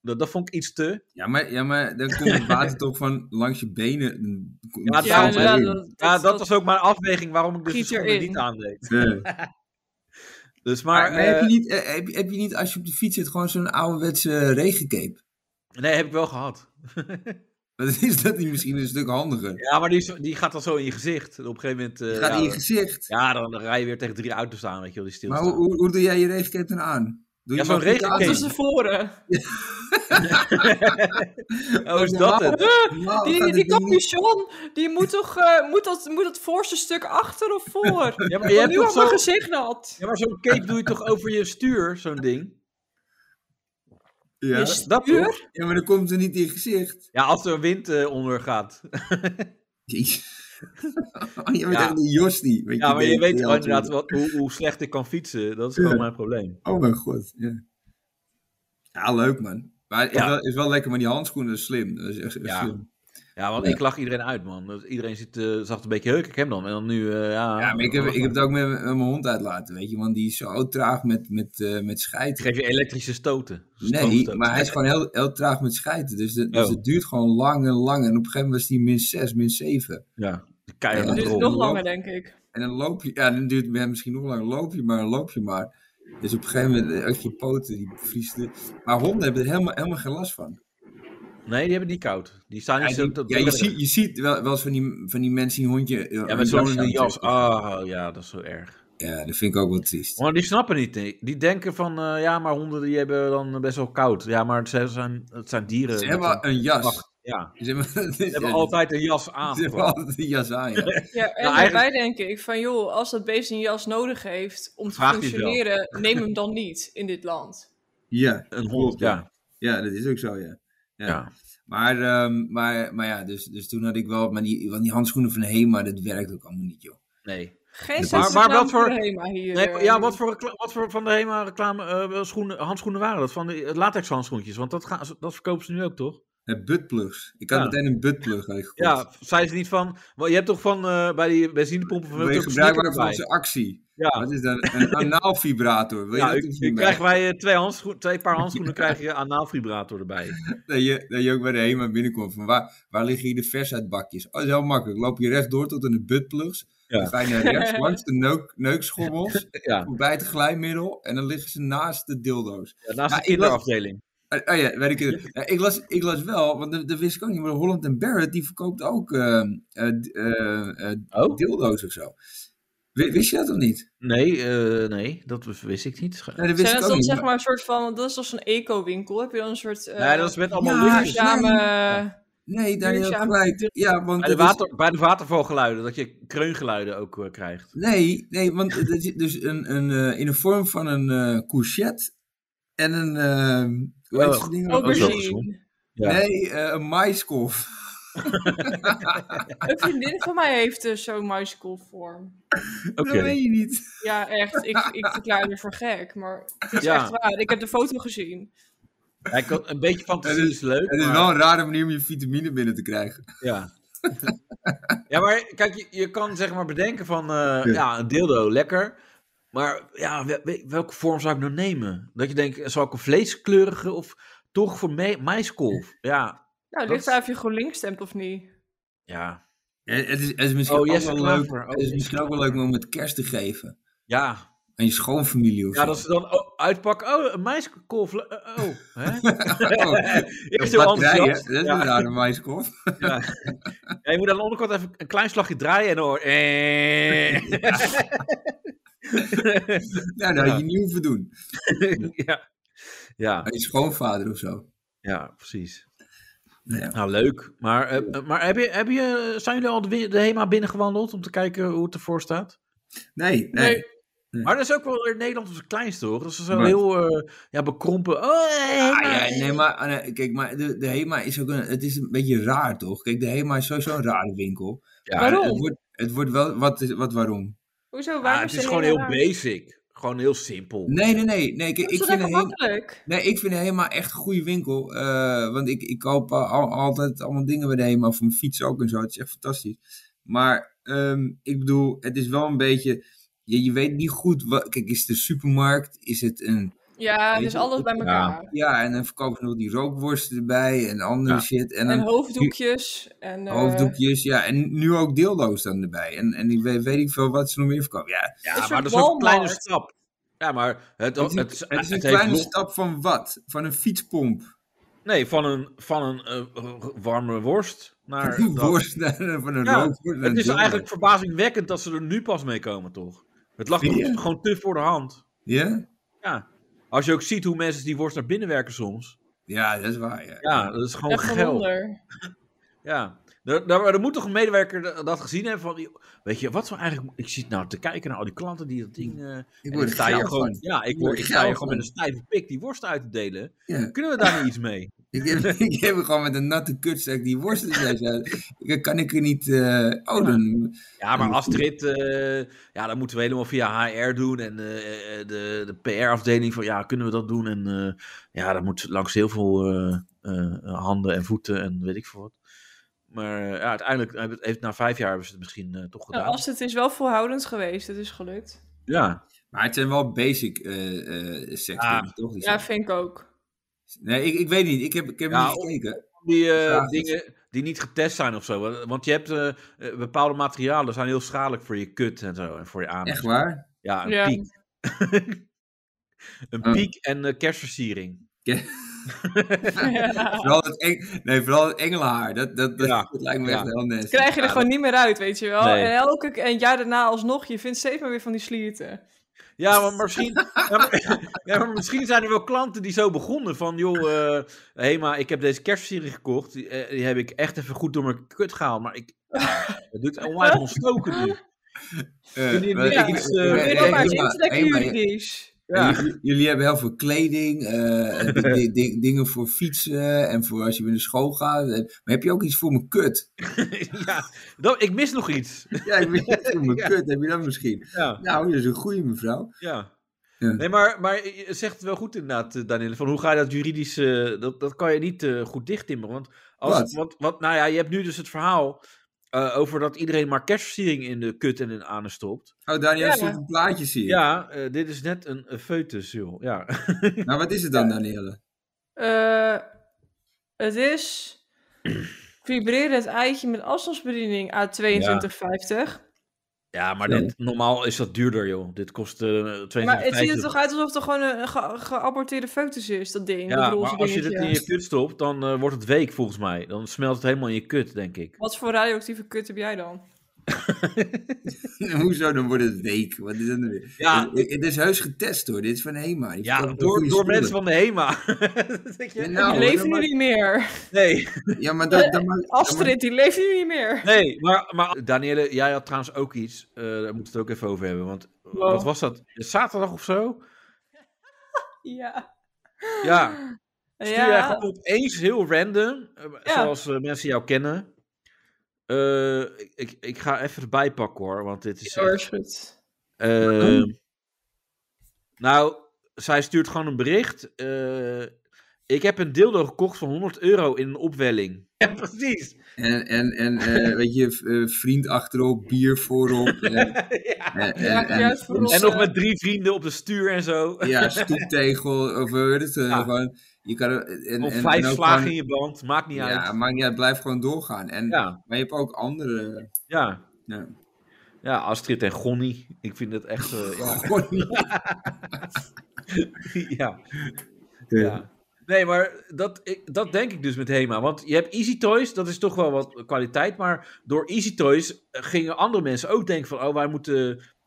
Dat, dat vond ik iets te.
Ja, maar, ja, maar dan
[laughs]
komt het water toch van langs je benen.
Ja,
dat
ja,
valt
inderdaad,
erin.
dat,
Ja, dat, was ook mijn afweging waarom ik dus de
Giet
schoenen
erin.
niet aandeed.
Ja.
Dus [laughs]
Maar,
maar,
maar heb,
eh,
je niet, eh, heb, je- heb je niet, als je op de fiets zit, gewoon zo'n ouderwetse regencape? [laughs]
nee, heb ik wel gehad.
Wat is dat niet misschien een stuk handiger?
Ja, maar die, is- die gaat dan zo in je gezicht. Op een gegeven moment... eh,
Het gaat
ja,
in je
dan-
gezicht.
Ja, dan, dan rij je weer tegen drie auto's aan, weet je wel, die
maar
stilstaan.
hoe, hoe, hoe doe jij je regencape dan aan? Doe
Ja,
je
zo'n
maar goed
regencape.
was
aan?
tevoren.
oh, is dat het?
Normaal gaat
Die,
het
die
ding niet-
capuchon, die moet toch, eh, moet, dat, moet dat voorste stuk achter of voor?
Ja, maar [laughs]
Je
je
hebt
hebt
nu
toch
al mijn
zo...
gezicht nat.
Ja, maar zo'n cape doe je toch over je stuur, zo'n ding?
Ja.
Is-
Dat
Stuur?
toch?
ja, maar dan komt er niet in je gezicht. [laughs]
Ja, als er wind eh, onder gaat.
Jezus. [laughs] Oh, je bent
Ja.
echt een Jostie. Weet
Ja, maar je
die-
weet
die
wel
altijd-
inderdaad wat, hoe, hoe slecht ik kan fietsen. Dat is gewoon
Ja.
mijn probleem.
Oh mijn god, ja. Ja, leuk man. Maar het is,
Ja.
wel, is wel lekker, maar die handschoenen dat is slim. Dat is echt, echt
Ja.
slim.
Ja, want
Ja.
ik lach iedereen uit, man. Dus Iedereen zit, eh, zag het een beetje heuk, ik hem dan. En dan nu, eh, ja...
Ja, maar ik heb, ik heb het ook met, met mijn hond uitlaten, weet je. Want die is zo traag met, met, eh, met
Ik
schijten.
geef je elektrische stoten.
Nee,
Stroomstoten.
maar hij is gewoon heel, heel traag met schijten. Dus, de, dus
Oh.
het duurt gewoon lang en lang. En op een gegeven moment was die min 6, min 7.
Ja, de keihard
Ja,
aan het
Dat duurt
rol.
rollen.
nog langer, denk ik.
En dan loop je, ja, dan duurt het ja, misschien nog lang. Loop je maar, loop je maar. Dus op een gegeven moment, eh, ook je poten, die vriesten. Maar honden hebben er helemaal, helemaal geen last van.
Nee, die hebben die koud. Die staan
Ja,
niet zo...
die-
dat-
ja, je, ziet, je ziet wel, wel eens van die, van die mensen die een hondje.
Ja, met zo'n jas. Ah, ja, dat is zo erg.
Ja, dat vind ik ook wel triest.
Maar die snappen niet. nee. Die denken van, eh, ja, maar honden die hebben dan best wel koud. Ja, maar het zijn, het zijn dieren.
Ze
met een-
hebben een jas.
Wacht, ja.
[laughs] Ze hebben,
Ze hebben altijd een jas aan.
Ze hebben
gewoon.
altijd een jas aan,
[laughs]
Ja,
ja.
en
Nou, eigenlijk-
daarbij denk ik van, joh, als dat beest een jas nodig heeft om te
Vraagt hij het
functioneren, neem hem dan niet in dit land.
Ja,
Een hond, ja.
ja, dat is ook zo, ja. ja.
ja.
Maar, ehm, maar, maar ja, dus, dus toen had ik wel... Maar die, want die handschoenen van Hema, dat werkt ook allemaal niet, joh.
Nee.
Geen
Maar- maar
sensatie
wat voor-
voor Hema hier.
nee
eh.
ja, wat voor, recla- wat voor van de HEMA reclame eh, schoenen, handschoenen waren dat? Van de latex handschoentjes, want dat, gaan, ze- dat verkopen ze nu ook toch?
Het buttplugs. Ik had
Ja.
meteen een buttplug had ik gekocht.
Ja, zei ze niet van, wel, je hebt toch van eh, bij die benzinepompen van
Wil je
Wilco
gebruik
snickers
maken van
bij?
onze actie?
Ja,
Wat is dat?
[laughs]
Een anaalvibrator. Wil je
ja
dat dus
u,
ook
u
doen?
krijgt bij eh, twee, handschoen, twee
[laughs]
paar handschoenen krijg je anaalvibrator erbij.
Dat je, dat je ook bij de HEMA binnenkomt. Van waar, waar liggen hier de versuitbakjes? Oh, dat is heel makkelijk. Loop je rechtdoor tot aan de buttplugs.
Ja.
Dan ga je naar
[laughs]
rechts langs de neuk, neukschommels.
Ja,
Voorbij het glijmiddel. En dan liggen ze naast de dildo's.
naast
Ja,
de
ik
kinderafdeling.
Eh, Oh ja, weet ik het. Ja, ik, las, ik las wel, want dat, dat wist ik ook niet. Maar Holland Barrett die verkoopt ook eh, eh, d- eh, eh,
Oh?
dildo's of zo. Wi- Wist je dat of niet?
Nee, eh, nee, dat wist ik niet.
Nee, dat wist
Zijn
ik
dat
ook
dan
niet.
zeg maar een soort van, dat is toch zo'n eco-winkel? Heb je dan een soort eh,
nee, dat is met allemaal
ja,
Ah, ja,
duurzame... eh,
Nee, Daniel, je
duurzaam-
gelijk. Ja, want
Bij de,
dat is-
water, bij de watervalgeluiden, dat je kreungeluiden ook eh, krijgt.
Nee, nee, want het is dus een, een, eh, in de vorm van een eh couchette en een. eh, hoe heet
Oh,
zo'n ding?
ook zo
Aubergine.
gezond. Ja.
Nee, eh, een maiskolf.
Een vriendin van mij heeft eh, zo'n muiskolvorm.
Oké.
[laughs] Dat weet je niet.
Ja, echt. Ik, ik verklaar me voor gek, maar het is
Ja.
echt waar. Ik heb de foto gezien.
Ja, ik had- een beetje fantasie
Het
is leuk.
Het is
maar-
wel een rare manier om je vitamine binnen te krijgen.
Ja. [laughs] ja, maar kijk, je, je kan zeg maar bedenken van, eh, ja.
Ja.
een dildo, lekker. Maar ja, we- we- welke vorm zou ik nou nemen? Dat je denkt, zal ik een vleeskleurige of toch voor me- maiskolf? Ja,
Nou, het
Dat-
ligt daar of je gewoon links stemt of niet.
ja,
Ja, het, is, het is misschien,
Oh,
ook,
Jesse
wel leuk,
Klaver. Oh,
het is
Jesse
misschien ook wel leuk om met kerst te geven.
ja.
Aan je schoonfamilie of
Ja,
zo.
dat ze dan oh, uitpakken, oh, een maiskolf, le- eh, oh.
[laughs]
Hè? [laughs]
Oh,
Eerst
een
heel
batterij, hè?
enthousiast.
Dat is
Ja.
een rare maïskorf.
Ja, je moet aan de onderkant even een klein slagje draaien en dan
[laughs]
hoor eh. [laughs]
Nou, dat had je niet hoeven doen.
ja. ja,
Aan je schoonvader of zo.
ja, precies.
Nou ja.
Nou, leuk. Maar, eh, maar heb je, heb je, eh, zijn jullie al de, wi- de HEMA binnengewandeld om te kijken hoe het ervoor staat?
Nee, nee.
Nee.
Maar dat is ook wel in Nederland op zijn kleinste, hoor. Dat is zo
Maar-
heel eh, ja, bekrompen. Oh, HEMA.
Ah, ja, nee, maar ah, nee, kijk, maar de, de HEMA is ook een, het is een beetje raar, toch? Kijk, de HEMA is sowieso een rare winkel.
Ja,
Maar
Waarom?
Het wordt, het wordt wel, wat, is- wat waarom?
Hoezo?
ah,
Waarom
het
de
is gewoon
hele
heel
raar?
basic. Gewoon heel simpel.
Nee, nee, nee. nee
Dat
kijk,
is
ik,
toch
vind de
even
HEMA,
makkelijk?
nee, ik vind de HEMA echt een goede winkel. eh, want ik, ik koop eh, al- altijd allemaal dingen bij de HEMA, voor mijn fiets ook en zo. Het is echt fantastisch. Maar ehm, ik bedoel, het is wel een beetje... Je, je weet niet goed, wat, kijk, is het een supermarkt? Is het een
Ja,
Weet
dus
je,
alles bij
ja.
elkaar.
Ja, en dan verkopen ze nog die rookworsten erbij en andere
Ja.
shit. En
En
dan
hoofddoekjes. En, eh,
hoofddoekjes, ja. En nu ook dildo's dan erbij. En, en ik weet, weet ik veel wat ze nog meer verkopen. Ja,
ja,
een soort
maar dat is ook een kleine
Walmart.
stap. Ja, maar het,
het
het,
is,
het,
het is een
heeft
kleine
nog-
stap van wat? Van een fietspomp.
Nee, van een, van een eh, warme worst [laughs] naar...
Van een
dat.
worst naar- [laughs] van een
Ja,
rookworst naar
Het
een
is
dildo.
eigenlijk verbazingwekkend dat ze er nu pas mee komen, toch? Het lag
Vind je?
nog gewoon te voor de hand.
Ja?
Ja. Als je ook ziet hoe mensen die worst naar binnen werken soms.
Ja, dat is waar, ja.
Ja, dat is gewoon
echt een
geld.
wonder.
Ja. Er, er, er moet toch een medewerker da- dat gezien hebben van... joh, Weet je, wat we eigenlijk... Ik zit nou te kijken naar al die klanten die dat ding... eh, en
Ik word er
sta je
geil
gewoon,
van.
Ja, ik,
word
word,
er
ik sta je
geil
gewoon
van.
met een stijve pik die worst uit te delen.
Ja.
Kunnen we daar niet iets mee?
Ik heb, [laughs] ik heb gewoon met een natte kutzak die worst erbij zijn. Kan ik er niet... eh oh, dan...
Ja, maar
Ja.
Astrid... eh, ja, dat moeten we helemaal via HR doen. En eh, eh, de, de PR-afdeling van... Ja, kunnen we dat doen? En eh, ja, dat moet langs heel veel eh, eh, handen en voeten en weet ik veel wat. Maar eh, ja, uiteindelijk hebben het- heeft na vijf jaar hebben ze het misschien eh, toch
Nou,
gedaan.
als het is wel volhoudend geweest, het is gelukt.
Ja.
Maar het zijn wel basic eh eh seks,
Ja.
toch? Die
Ja,
zijn-
vind ik
[laughs]
ook. Nee,
Nee, ik, ik weet niet. Ik heb, ik heb
Ja,
niet
of-
gekeken.
Die eh,
Vraag is-
dingen die niet getest zijn of zo. Want je hebt eh, eh, bepaalde materialen zijn heel schadelijk voor je kut en zo. En voor je aan.
Echt waar?
Ja, een
Ja.
piek. [laughs] een
Oh.
piek en eh, kerstversiering.
Ja.
Vooral het, eng- nee, vooral het engelenhaar. Dat, dat, dat,
Ja.
dat lijkt me
Ja.
echt heel nasty.
Krijg je er
Ja,
gewoon niet meer uit, weet je wel.
Nee.
En elke k- en jaar daarna alsnog, je vindt steeds maar weer van die slierten.
Ja, maar misschien, ja, maar, [laughs] ja, maar misschien zijn er wel klanten die zo begonnen. Van joh, eh, hé, maar ik heb deze kerstversiering gekocht. Die, eh, die heb ik echt even goed door mijn kut gehaald. Maar [laughs] ik, dat doet onwijs ontstoken nu.
Eh,
Kun je
maar
niks,
ik-
eh, kun
ik-
Probeer
nee,
dat
nee,
maar eens
nee,
in te trekken,
nee, maar-
juridisch.
Ja.
jullie, jullie hebben heel veel kleding, eh, di- di- di- dingen voor fietsen en voor als je weer naar school gaat. Eh, Maar heb je ook iets voor mijn kut?
[laughs] ja, dat, ik mis nog iets.
Ja, ik weet niet, [laughs] voor mijn
Ja.
kut heb je dat misschien.
Ja,
Nou, dat is een goeie mevrouw.
[laughs] ja.
Ja.
Nee, maar, maar je zegt het wel goed inderdaad, eh, Danielle. Van hoe ga je dat juridisch... eh, dat, dat kan je niet eh, goed dichttimmeren. Want als,
Wat?
Want, want, nou ja, je hebt nu dus het verhaal... eh, over dat iedereen maar kerstversiering in de kut en in de anus stopt.
Oh, Daniel,
Ja.
stuurt een plaatje zie ik.
Ja, eh, dit is net een eh, foetus, joh. Ja. [laughs]
Nou, wat is het dan, Danielle? [laughs]
Eh, het is vibreren het eitje met afstandsbediening A22,50.
ja, maar
Ja.
dit, normaal is dat duurder, joh. Dit kost eh 22,50.
Maar het ziet er toch uit alsof het gewoon een ge- geaborteerde foetus is, dat ding.
Ja,
dat
maar
roze
als je dit
dingetje.
in je kut stopt, dan eh, wordt het week volgens mij. Dan smelt het helemaal in je kut, denk ik.
Wat voor radioactieve kut heb jij dan?
Hoezo, dan wordt het week. Wat is dat nou weer?
Ja.
Het, het is heus getest hoor, dit is van HEMA. Die
Ja,
verkopen
door,
goede
door
spullen.
mensen van de HEMA. [laughs] Dat denk je-
Nou,
die
maar
leven
dan
nu
maak-
niet meer.
nee,
Ja, maar
[laughs]
dat, dat maakt- dat maakt-
Astrid, die leven nu niet meer.
nee, maar, maar Danielle, jij had trouwens ook iets. eh daar moeten we het ook even over hebben. Want
Wow.
wat was dat? Zaterdag of zo?
Ja.
Ja, stuur jij
Ja.
gewoon opeens heel random, eh,
Ja.
zoals eh, mensen jou kennen. Eh, ik- ik, ik ga even erbij pakken hoor, want dit is... ehm,
Ja, hoor, is goed.
Eh, nou, zij stuurt gewoon een bericht. eh, Ik heb een dildo gekocht van 100 euro in een
[laughs]
opwelling. Ja, precies.
En, en,
[laughs]
en eh, weet je, v- eh, vriend achterop, bier voorop. En, en, en, en-
juist voorop.
En nog met drie vrienden op de stuur en zo.
Ja, stoeptegel, of hoe heet het? eh,
Ja.
Gewoon, je kan, er- eh, en,
[laughs] Of
en-
vijf
en ook
slagen in je
gewoon-
band, maakt niet
Ja,
uit.
maar ja, het blijft gewoon doorgaan. En,
Ja,
Maar je hebt ook andere...
ja.
Ja.
Ja, Astrid en Gonny. Ik vind het echt... eh, ja.
[laughs] Gewoon niet.
[laughs] ja. Ja. Nee, maar dat, ik- dat denk ik dus met HEMA. Want je hebt Easy Toys, dat is toch wel wat kwaliteit. Maar door Easy Toys eh, gingen andere mensen ook denken van... Oh, wij moeten...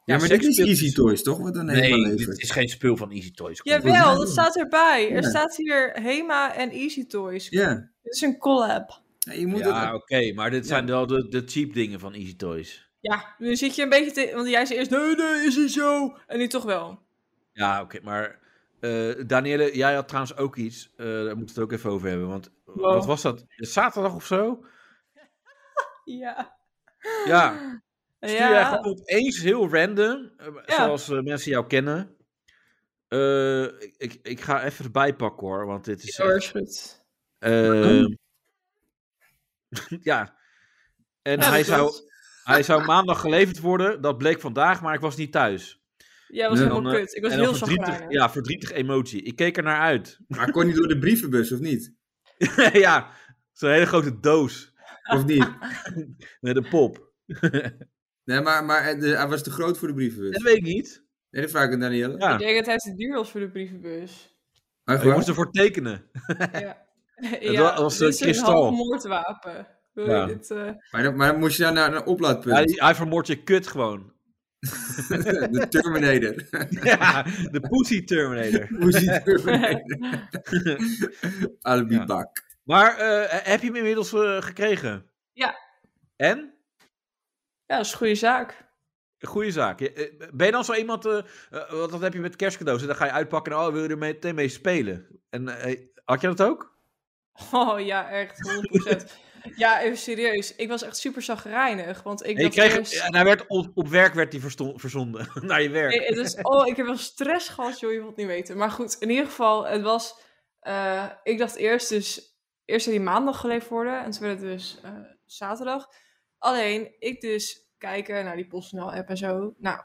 Ja, maar dit is
sekspeeltjes-
Easy Toys, toch? Wat dan helemaal
dus- Nee,
levert.
dit is geen spul van Easy Toys. Kom op.
Jawel, dat staat erbij. Er
Ja.
staat hier Hema en Easy Toys.
Ja.
Dit is een collab.
Ja, je moet
Ja,
het...
[laughs] oké, maar dit zijn wel de, de cheap dingen van Easy Toys.
Ja, nu zit je een beetje te... Want jij zei eerst, nee, nee, is niet zo. En nu toch wel.
Ja, oké, maar... eh Danielle, jij had trouwens ook iets. eh daar moeten we het ook even over hebben. Want
Wow.
wat was dat? Zaterdag of zo?
Ja.
Ja, Stuur jij
ja.
gewoon opeens heel random, eh,
Ja.
zoals eh, mensen jou kennen. Eh, ik- ik, ik ga even erbij pakken hoor, want dit is.
Ja, hoor, is goed.
eh, [laughs] ja. En
Ja,
hij,
dat
zou,
klopt.
hij zou maandag geleverd worden, dat bleek vandaag, maar ik was niet thuis.
Ja, was
Ja,
helemaal
dan, eh,
kut. Ik was
En dan
heel
verdrietig,
chagrijnig.
ja, verdrietig emotie. Ik keek er naar uit. [laughs]
Maar kon niet door de brievenbus, of niet?
ja, zo'n hele grote doos [laughs]
Of niet?
met een pop.
Nee, maar, maar eh, de, hij was te groot voor de
Dat
brievenbus.
weet ik niet.
Nee, dat vraag ik aan Danielle.
Ja,
Ik denk dat hij te duur was voor de brievenbus.
[laughs]
Maar
je
gewoon,
moest ervoor tekenen.
[laughs] Ja.
wa- was
dit
een
is
kristal.
half moordwapen. Wil
Ja.
je dit, eh,
maar, dan- maar dan moest je dan naar een oplaadpunt?
Hij, hij vermoordt je kut gewoon. [laughs]
de Terminator.
Ja, de Pussy Terminator.
Hoe ziet de [laughs] Terminator? Alibi
Ja.
bak.
Maar eh, heb je hem inmiddels eh, gekregen?
Ja.
En?
ja, dat is een goede zaak. [laughs]
Goeie zaak. Je- eh, Ben je dan zo iemand, eh, eh, want dat heb je met kerstcadeaus, en dan ga je uitpakken en oh, wil je er meteen mee spelen? En eh, had je dat ook?
Oh ja, echt,
[laughs]
100%. ja, even serieus. Ik was echt super chagrijnig. Want ik
En, je
dacht
kreeg,
eerst-
en hij werd op, op werk werd hij versto- verzonden, [laughs] naar je werk.
Nee, het is, oh, ik heb wel stress gehad, joh, je wilt niet weten. Maar goed, in ieder geval, het was... eh, ik dacht eerst dus... Eerst zou die maandag geleverd worden. En toen werd het dus eh, zaterdag. Alleen, ik dus kijken naar die PostNL-app en zo. Nou,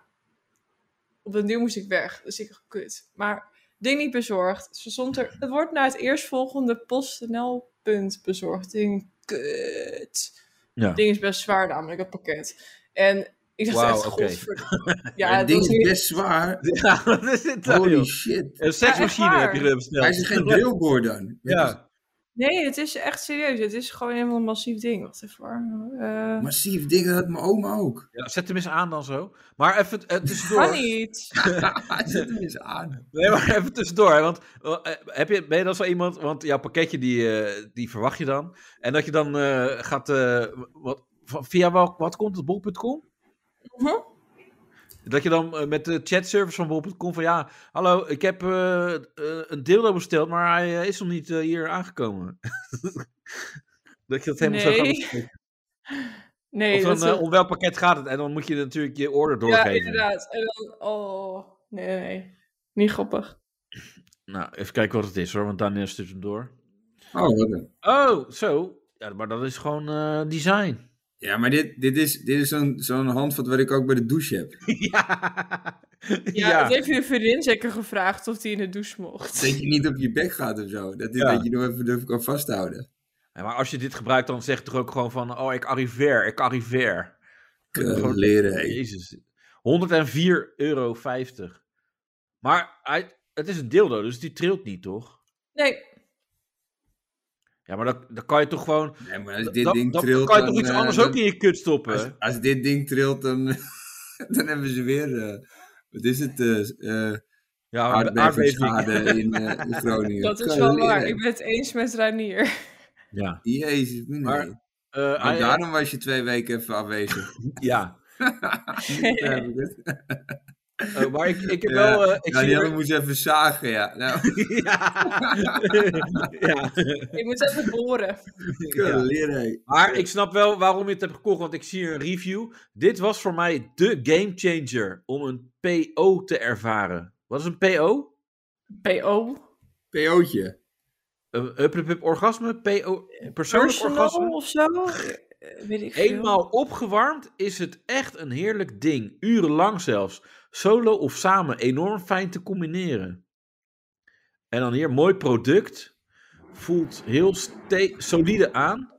op den duur moest ik weg. Dus ik dacht, kut. Maar ding niet bezorgd. Ze stond er... Het wordt naar het eerstvolgende PostNL-punt bezorgd. Ding, kut.
Ja.
Ding is best zwaar namelijk, het pakket. En... Ik dacht
Wauw,
echt,
oké.
godverdomme.
[laughs]
Ja,
Ja,
het
het ding
was
is
niet-
best zwaar.
Ja, wat is dit nou,
Holy
joh?
shit.
Een seksmachine
Ja, echt
heb je er besteld.
Hij is geen drillboor dan.
Ja.
Nee, het is echt serieus. Het is gewoon helemaal een massief ding. Wacht even hoor. Eh,
Massief ding, dat had mijn
[laughs]
oma ook.
Ja, zet hem eens aan dan zo. Maar even eh, tussendoor.
kan niet.
Hij zet hem eens aan.
Nee, maar [laughs] even tussendoor. hè, Want eh, heb je, ben je dan zo iemand, want jouw pakketje die, eh, die verwacht je dan. En dat je dan eh, gaat, eh, wat, van- via wel, wat komt het, bol.com?
Mhm.
Dat je dan eh, met de chatservice van bol.com van ja, hallo, ik heb eh, eh, een dildo besteld, maar hij eh, is nog niet eh, hier aangekomen. [laughs] dat je dat helemaal zo gaat
Nee.
bespreken.
Nee,
Of
dat
dan,
is-
eh, om welk pakket gaat het? En dan moet je natuurlijk je order
Ja,
doorgeven.
inderdaad. En dan, oh, nee, nee, nee. Niet grappig.
Nou, even kijken wat het is hoor, want Daniel stuurt hem door.
Oh, wat een-
Oh, zo. Ja, maar dat is gewoon eh,
[laughs]
design.
Ja, maar dit, dit is, dit is zo'n zo'n handvat wat ik ook bij de douche heb.
ja.
Ja, dat heeft je vriendin zeker gevraagd of die in de douche mocht.
Dat je niet op je bek gaat of zo. Dat, is,
Ja.
dat je nog even durf kan vasthouden.
Ja, maar als je dit gebruikt, dan zeg je toch ook gewoon van... Oh, ik arriveer, ik arriveer.
Keurig leren, hé.
Jezus. 104,50 euro. Maar hij, het is een dildo, dus die trilt niet, toch?
Nee,
Ja, maar dat, dan kan je toch gewoon...
Nee, maar als
dat-
dit
dat-
ding
dat
trilt,
kan je
dan,
toch iets
eh,
anders
dan-
ook in je kut stoppen?
Als, als dit ding trilt, dan, [laughs] dan hebben ze weer... eh, wat is het? eh eh
ja, maar de aardbeving.
aardbevingsschade in, eh,
[laughs]
in Groningen.
dat is
Keurig
wel
leren.
waar. Ik ben het eens
[laughs]
met Ranier.
Ja.
Jezus, nee.
Maar-
Maar, ah,
Eh, hij-
daarom was je twee weken even afwezig.
ja.
[laughs] Ja, heb ik het.
Eh, maar ik, ik heb
Ja.
wel... eh, ik zie
Nou, die
er- [laughs]
hadden moest even zagen, [laughs] ja. Nou,
ja. ja.
[laughs] Ik moet even boren.
keurig leren, hé.
Maar ik snap wel waarom je het hebt gekocht, want ik zie hier een review. Dit was voor mij de game changer om een PO te ervaren. Wat is een PO?
PO.
PO'tje.
eh, hup, hup, hup, orgasme, PO, persoonlijk
Personal
orgasme.
of zo? Eh, Weet ik veel.
Eenmaal opgewarmd is het echt een heerlijk ding. Urenlang zelfs. Solo of samen. Enorm fijn te combineren. En dan hier, mooi product. Voelt heel ste- solide aan.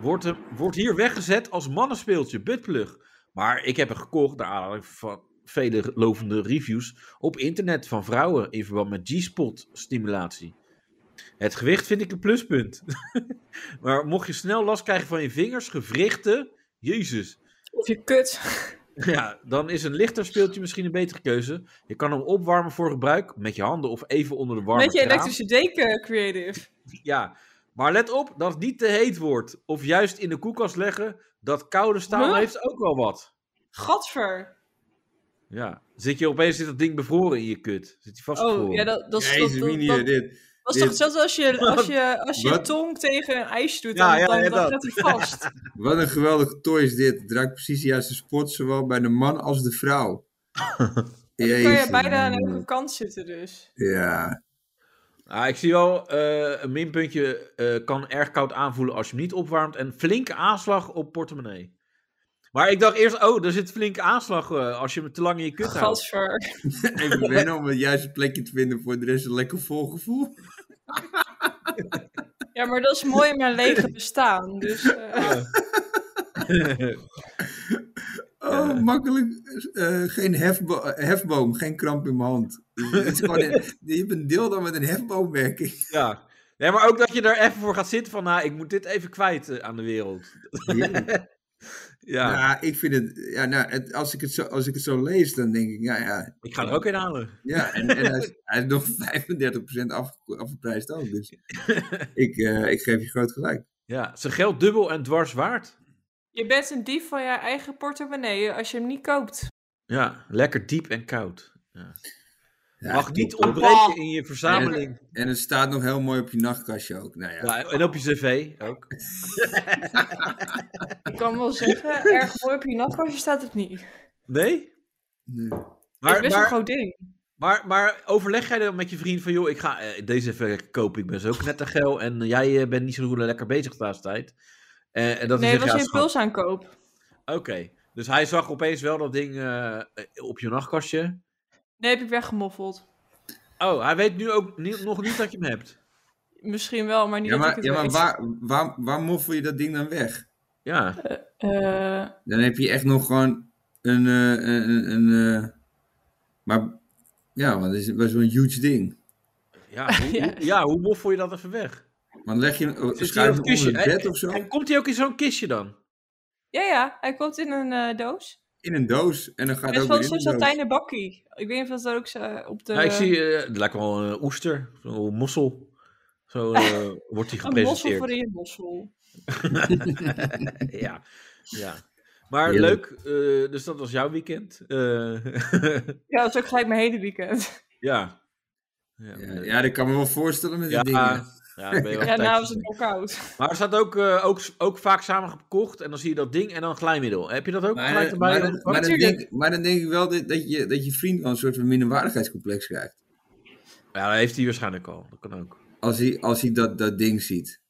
Wordt, hem- wordt hier weggezet als mannenspeeltje, buttplug. Maar ik heb hem gekocht naar aanleiding van vele lovende reviews op internet van vrouwen in verband met G-spot stimulatie. Het gewicht vind ik een pluspunt. maar mocht je snel last krijgen van je vingers, gewrichten, jezus.
[laughs] Of je kut.
Ja, dan is een lichter speeltje misschien een betere keuze. Je kan hem opwarmen voor gebruik met je handen of even onder de warme
Met je
kraan.
elektrische deken, creative.
Ja, maar let op dat het niet te heet wordt. Of juist in de koelkast leggen, dat koude staal
Huh?
heeft ook wel wat.
Gadver.
Ja, zit je opeens zit dat ding bevroren in je kut. Zit hij vastgevroren.
Oh, ja, dat, dat, is- dat,
Jezus,
dat,
Minie,
dat-
dit.
was
dit-
toch hetzelfde als je als je, als je, je
Wat?
tong tegen een ijsje doet,
Ja,
dan,
ja,
dan,
ja,
dan
dat.
gaat hij vast.
Wat een geweldige toy is dit. Het draait precies de juiste sport, zowel bij de man als de [laughs] vrouw.
Dan kan je bijna aan
Minie.
elke kant zitten dus.
[laughs] Ja.
Ah, ik zie wel, eh, een minpuntje eh, kan erg koud aanvoelen als je hem niet opwarmt. En flinke aanslag op portemonnee. Maar ik dacht eerst, oh, er zit flinke aanslag eh, als je hem te lang in je kut houdt.
Gadver.
Even wennen om het juiste plekje te vinden voor de rest een lekker vol gevoel.
Ja, maar dat is mooi in mijn lege bestaan. Dus eh,
Oh, makkelijk. Eh, geen hefbo- eh, hefboom, geen kramp in mijn hand. Het is gewoon
[laughs]
een- je hebt een deel dan met een hefboomwerking.
[laughs] ja. Nee, maar ook dat je er even voor gaat zitten van, nou, ik moet dit even kwijt eh, aan de wereld. Ja,
Ja, ik vind het. Ja, nou, het, als, ik het zo, als ik het zo lees, dan denk ik, ja, ja.
ik ga er ook in halen.
ja en, en hij,
[laughs]
is, hij is nog 35% afge- afgeprijsd ook. Dus ik, eh, ik geef je groot gelijk.
Ja, zijn geld dubbel en dwars waard.
je bent een dief van je eigen portemonnee als je hem niet koopt.
Ja, lekker diep en koud.
Ja,
Mag niet
top, hoor.
ontbreken in je verzameling.
En het staat nog heel mooi op je nachtkastje ook. Nou ja.
Ja, en op je cv ook.
Ik kan wel zeggen, erg mooi op je nachtkastje staat het niet.
Nee?
Nee.
Maar,
Maar,
best een
maar,
groot ding.
maar, maar overleg jij dan met je vriend van, joh, ik ga eh, deze even kopen, ik ben zo knettergeil en jij eh, bent niet zo goed lekker bezig de laatste tijd. Eh, en dat
nee,
hij
dat
zegt,
was
ja,
een
schat,
impulsaankoop.
Oké, dus hij zag opeens wel dat ding eh, op je nachtkastje.
Nee, heb ik weggemoffeld.
Oh, hij weet nu ook niet, nog niet dat je hem hebt.
Misschien wel, maar niet
Ja,
dat ik
maar,
het
ja, maar
weet.
waar, waar, waar moffel je dat ding dan weg?
Ja.
Eh,
Dan heb je echt nog gewoon een. eh, een, een, een, eh, maar ja, want het is- was wel een huge
[laughs]
ding.
Ja, hoe,
Ja.
Hoe, ja, hoe moffel je dat even weg?
Want leg je hem
Zit hij
schuif
in
hem
een
onder
kistje?
het bed of zo?
En komt hij ook in zo'n kistje dan?
ja, ja, hij komt in een eh, doos.
In een doos en dan gaat
Met
het ook
van
weer in
zo'n
een doos.
satijnen bakkie. Ik weet niet of dat daar ook zo op de...
Ja, ik zie, eh, het lijkt wel een oester, zo'n mossel. Zo eh, wordt hij
een mossel voor
gepresenteerd.
in je mossel.
ja, ja. Maar
Heerlijk.
leuk, eh, dus dat was jouw weekend. Eh, [laughs]
Ja, dat is ook gelijk mijn hele weekend.
ja. Ja,
Ja,
ja,
ja, dat kan me wel voorstellen met
Ja.
die dingen. [laughs]
dan ben je wel
Ja,
een
nou is
tijdje-
het nog koud.
Maar er staat ook, eh, ook, ook vaak samengekocht en dan zie je dat ding en dan glijmiddel. Heb je dat ook
Maar,
gelijk
maar,
erbij?
maar, maar dan
Natuurlijk.
denk, maar dan denk ik wel dat, dat, je, dat je vriend wel een soort van minderwaardigheidscomplex krijgt.
ja, dat heeft hij waarschijnlijk al. Dat kan ook.
Als hij, als hij dat, dat ding ziet.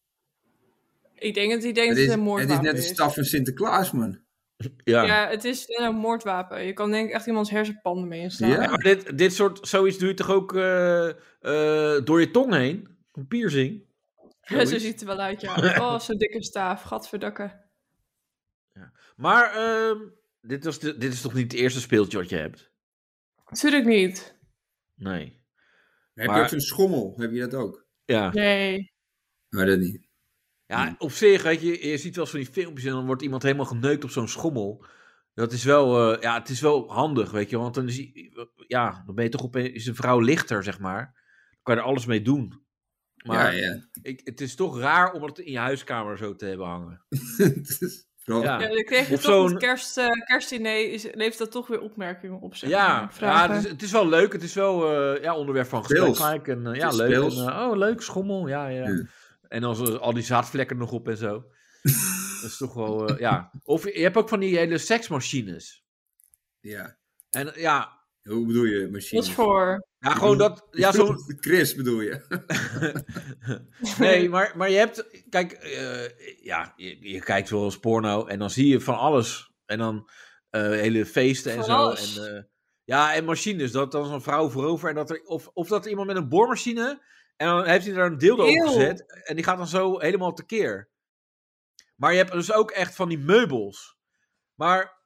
Ik denk dat hij denkt dat
Het is,
het een
het is
moordwapen
net de
is.
staf van Sinterklaas, man.
Ja.
Ja, het is een moordwapen. Je kan denk ik echt iemands hersenpanden mee inslaan.
Ja.
Ja, maar dit, dit soort, zoiets doe je toch ook eh, eh, door je tong heen? Een piercing?
[laughs] Ja, [laughs] zo ziet het er wel uit, ja. Oh, zo'n dikke staaf. Gadverdakke.
Maar ehm, dit, was de- dit is toch niet het eerste speeltje wat je hebt?
Natuurlijk niet.
Nee.
Heb
Maar-
je ook zo'n schommel? Heb je dat ook?
Ja.
Nee.
Maar dat niet. Hmm.
ja, op zich, weet je, je ziet wel eens van die filmpjes en dan wordt iemand helemaal geneukt op zo'n schommel. Dat is wel, eh, ja, het is wel handig, weet je, want dan is, i- ja, dan ben je toch opeens is een vrouw lichter, zeg maar. Dan kan je er alles mee doen. Maar
Ja, [laughs] ja.
Ik, het is toch raar om het in je huiskamer zo te hebben hangen.
Het is vooral-
Ja.
Ja, dan kreeg je
Of
toch
zo'n-
met kerst, eh, kerstdiner is, levert dat toch weer opmerkingen op, zeg
Ja,
maar.
ja
Vragen.
het, is, het is wel leuk. Het is wel eh, ja, onderwerp van gesprek.
Speels.
gelijk En, eh, ja,
Het is
leuk. En,
speels.
eh, oh, leuk, schommel. Ja, ja.
Ja.
En dan zo- al die zaadvlekken nog op en
[laughs]
zo. dat is toch wel, eh, ja. Of je je hebt ook van die hele seksmachines.
ja.
En eh, ja,
Hoe bedoel je machines?
Wat
[laughs]
voor?
Ja, gewoon dat. Ja, zo,
Chris bedoel je?
[laughs]
nee, maar, maar je hebt. Kijk, eh, ja, je, je kijkt wel eens porno en dan zie je van alles. En dan eh, hele feesten en
Van
zo.
alles.
En, eh, ja, en machines. Dat dan zo'n vrouw voorover. En dat er, of, of dat iemand met een boormachine. En dan heeft hij daar een dildo op
Eeuw.
gezet. En die gaat dan zo helemaal tekeer. Maar je hebt dus ook echt van die meubels. Maar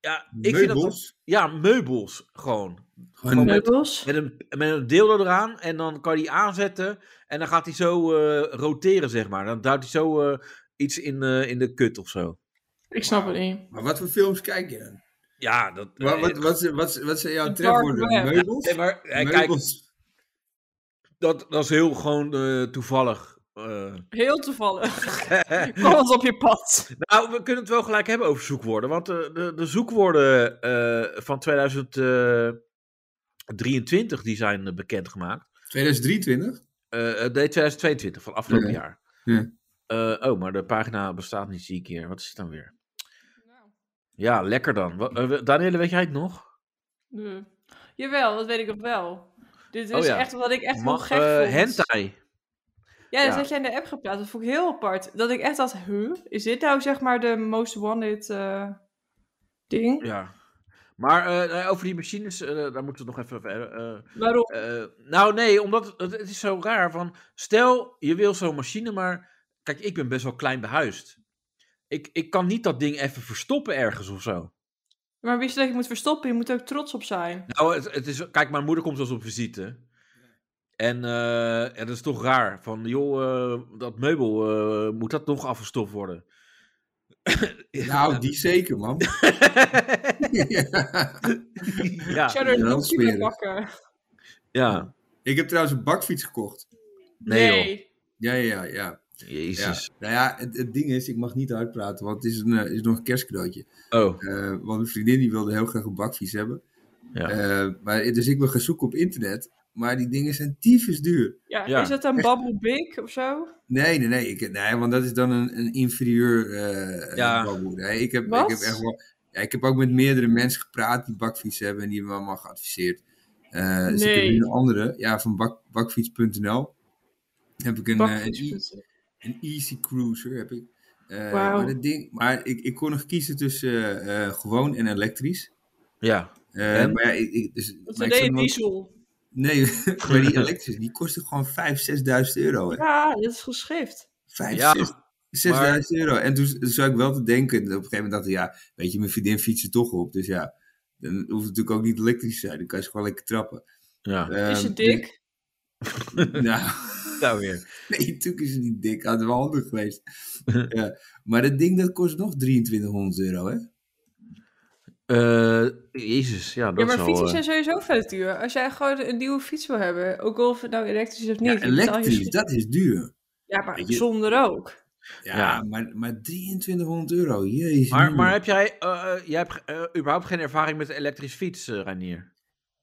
ja, ik vind dat.
Meubels?
Ja, meubels gewoon.
Gewoon
Met-
Meubels?
Met een, met een dildo eraan en dan kan je die aanzetten en dan gaat hij zo eh, roteren, zeg maar. Dan duwt hij zo eh, iets in, eh, in de kut of zo.
Ik snap het niet.
Maar wat voor films kijk je dan?
Ja, dat...
Wat,
eh,
wat, wat, wat, wat zijn jouw
Dark
trefwoorden?
web.
Meubels?
nee, maar, eh, kijk,
Meubels.
dat, dat is heel gewoon eh, toevallig. eh.
Heel toevallig. [laughs] Kom eens op je pad.
[laughs] nou, we kunnen het wel gelijk hebben over zoekwoorden, want eh, de, de zoekwoorden eh, van 2023 die zijn eh, bekendgemaakt.
2023?
eh eh, nee, 2022, van afgelopen
Oké.
jaar.
Ja.
Eh, oh, maar de pagina bestaat niet, zie ik hier. Wat is het dan weer?
Nou.
Ja, lekker dan. Wa- eh, we- Danielle, weet jij het nog?
Nee. Hm. Jawel, dat weet ik nog wel. Dit is
Oh ja.
echt wat ik echt
Ma-
nog gek
eh,
vond.
hentai.
Ja, dus dat
Ja.
had jij in de app geplaatst. Dat vond ik heel apart. Dat ik echt dacht, huh? Is dit nou zeg maar de most wanted eh, ding?
Ja. Maar eh, eh, over die machines, eh, daar moeten we het nog even verder. eh,
Waarom?
Eh, nou, nee, omdat het, het is zo raar. Van, stel, je wil zo'n machine, maar kijk, ik ben best wel klein behuisd. Ik, ik kan niet dat ding even verstoppen ergens of zo.
Maar wist je dat je moet verstoppen? Je moet er ook trots op zijn.
Nou, het, het is, kijk, mijn moeder komt zelfs op visite. En eh, ja, dat is toch raar. Van, joh, eh, dat meubel, eh, moet dat nog afgestopt worden? [laughs]
Nou, die zeker, man. [laughs]
Ik
ja,
zou er
Ja,
een
dat
doekje
is
bij
smerig.
pakken.
ja.
ik heb trouwens een bakfiets gekocht.
Nee,
Ja, ja, ja. ja.
Jezus.
Nou ja, het, het ding is, ik mag niet uitpraten, want het is, een, eh, is nog een kerstcadeautje.
Oh,
Eh, want mijn vriendin die wilde heel graag een bakfiets hebben.
Ja.
Eh, maar, dus ik ben gaan zoeken op internet. Maar die dingen zijn tyfus duur.
Ja,
Ja.
is dat een Babbel Big of zo?
Nee, nee, nee. Ik, nee want dat is dan een, een inferieur eh
Ja.
baboe. Nee, ik, heb, ik,
Wat?
heb echt wel, ja, ik heb ook met meerdere mensen gepraat die bakfiets hebben en die hebben me allemaal geadviseerd. Eh, Dus ik heb
Nee.
nu een andere, ja, van bak, bakfiets.nl. Heb ik een, eh, een,
Bakfiets.
e- een Easy Cruiser heb ik. Eh,
Wauw.
Maar, dat ding, maar ik, ik kon nog kiezen tussen eh, eh, gewoon en elektrisch.
ja.
Eh,
En?
Maar ja, ik, ik, dus,
Dat
maar
is
ik zat
een
nog-
diesel.
Nee, [laughs] maar die elektrisch, die kostte gewoon 5.000, 6.000 euro. Hè.
Ja, dat is geschift.
Vijf,
Ja,
zes- 6000 euro. En toen, toen zat ik wel te denken, op een gegeven moment dacht ik, ja, weet je, mijn vriendin fietst er toch op. Dus ja, dan hoeft het natuurlijk ook niet elektrisch te zijn. Dan kan je ze gewoon lekker trappen.
Ja,
is
Ehm,
het dik?
dus- [laughs] nou,
nou weer.
nee, natuurlijk is het niet dik. Had wel handig [laughs] geweest. Ja, maar dat ding, dat kost nog 2300 euro, hè?
Eh, jezus, ja, dat
Ja,
is
maar
wel,
fietsen
eh,
zijn sowieso vet duur. Als jij gewoon een nieuwe fiets wil hebben, ook of het nou elektrisch is of niet.
Ja,
je betaalt je
elektrisch,
schuld.
dat is duur.
Ja, maar
weet je-
zonder ook.
Ja,
Ja.
Maar, maar 2300 euro, jezus.
Maar, maar
mina.
heb jij, eh, eh, jij hebt eh, überhaupt geen ervaring met een elektrisch fiets, eh Reinier?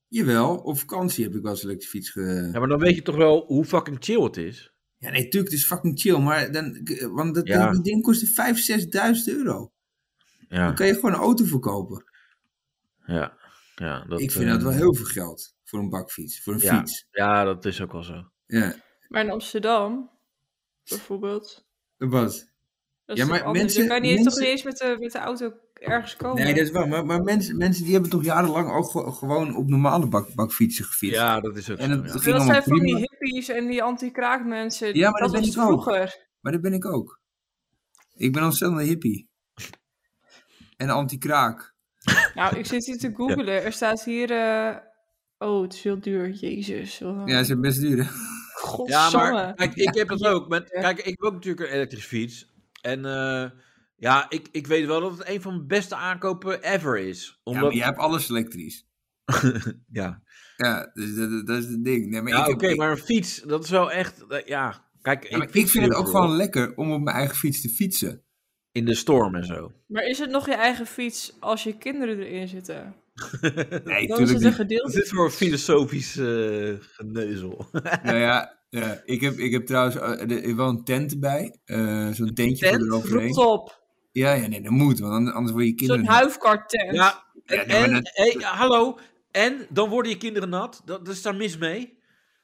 Jawel, op vakantie heb ik wel eens elektrische fiets ge...
Ja, maar dan weet je toch wel hoe fucking chill het is?
Ja, nee, tuurlijk, het is fucking chill. Maar dan, want dat
Ja.
dat ding kostte 5.000, 6.000 euro.
Ja,
Dan kan je gewoon een auto verkopen.
ja, ja. Dat,
ik vind
eh,
dat wel heel veel geld voor een bakfiets, voor een
Ja.
fiets.
Ja, dat is ook wel zo.
Ja,
Maar in Amsterdam, bijvoorbeeld.
wat?
Dat
Ja,
is toch
maar
anders.
mensen-
je kan niet, toch
mensen-
niet eens met de, met de auto ergens komen.
Nee, dat is waar. Maar, maar mensen, mensen die hebben toch jarenlang ook ge- gewoon op normale bak, bakfietsen gefietst.
Ja, dat is ook
En
zo.
het-
ja.
dat
allemaal
zijn van die
prima.
hippies en die anti-kraak mensen.
Ja, maar
dat
dat
was
ben ik ook.
vroeger.
Maar dat ben ik ook. Ik ben ontzettend een hippie. En anti-kraak.
Nou, ik zit hier te googlen. Er staat hier... eh, Oh, het is heel duur. Jezus. wat een-
Ja, ze zijn best duur. hè?
Ja,
Godsamme.
maar kijk, ik heb dat ook. Met,
Ja.
kijk, ik heb ook natuurlijk een elektrische fiets. En eh, ja, ik, ik weet wel dat het een van mijn beste aankopen ever is.
Ja, maar
Omdat,
jij hebt alles elektrisch.
ja.
Ja, dus dat, dat- dat is het ding. Nee, maar
Ja,
ik,
oké,
heb- ik-
maar een fiets, dat is wel echt. eh, ja, kijk,
ja, maar ik,
fiets
vind het
heel
ook
veel
gewoon lekker om op mijn eigen fiets te
[laughs]
fietsen.
In de storm en zo.
Maar is het nog je eigen fiets als je kinderen erin zitten?
Nee,
Dan is
tuurlijk
het een
niet.
Wat is
gedeelte.
dit voor filosofisch eh, geneuzel?
Nou ja, ja, ik, heb, ik heb trouwens eh, de- ik wel een tent erbij. eh, Zo'n tentje voor
Tent?
eroverheen.
Rot op.
Ja, ja, nee, dat moet, want an- anders word je kinderen.
Zo'n huifkartent.
Ja,
Ja,
en,
nee, maar dat-
hey, hallo. En dan worden je kinderen nat. Dat, dat is daar mis mee.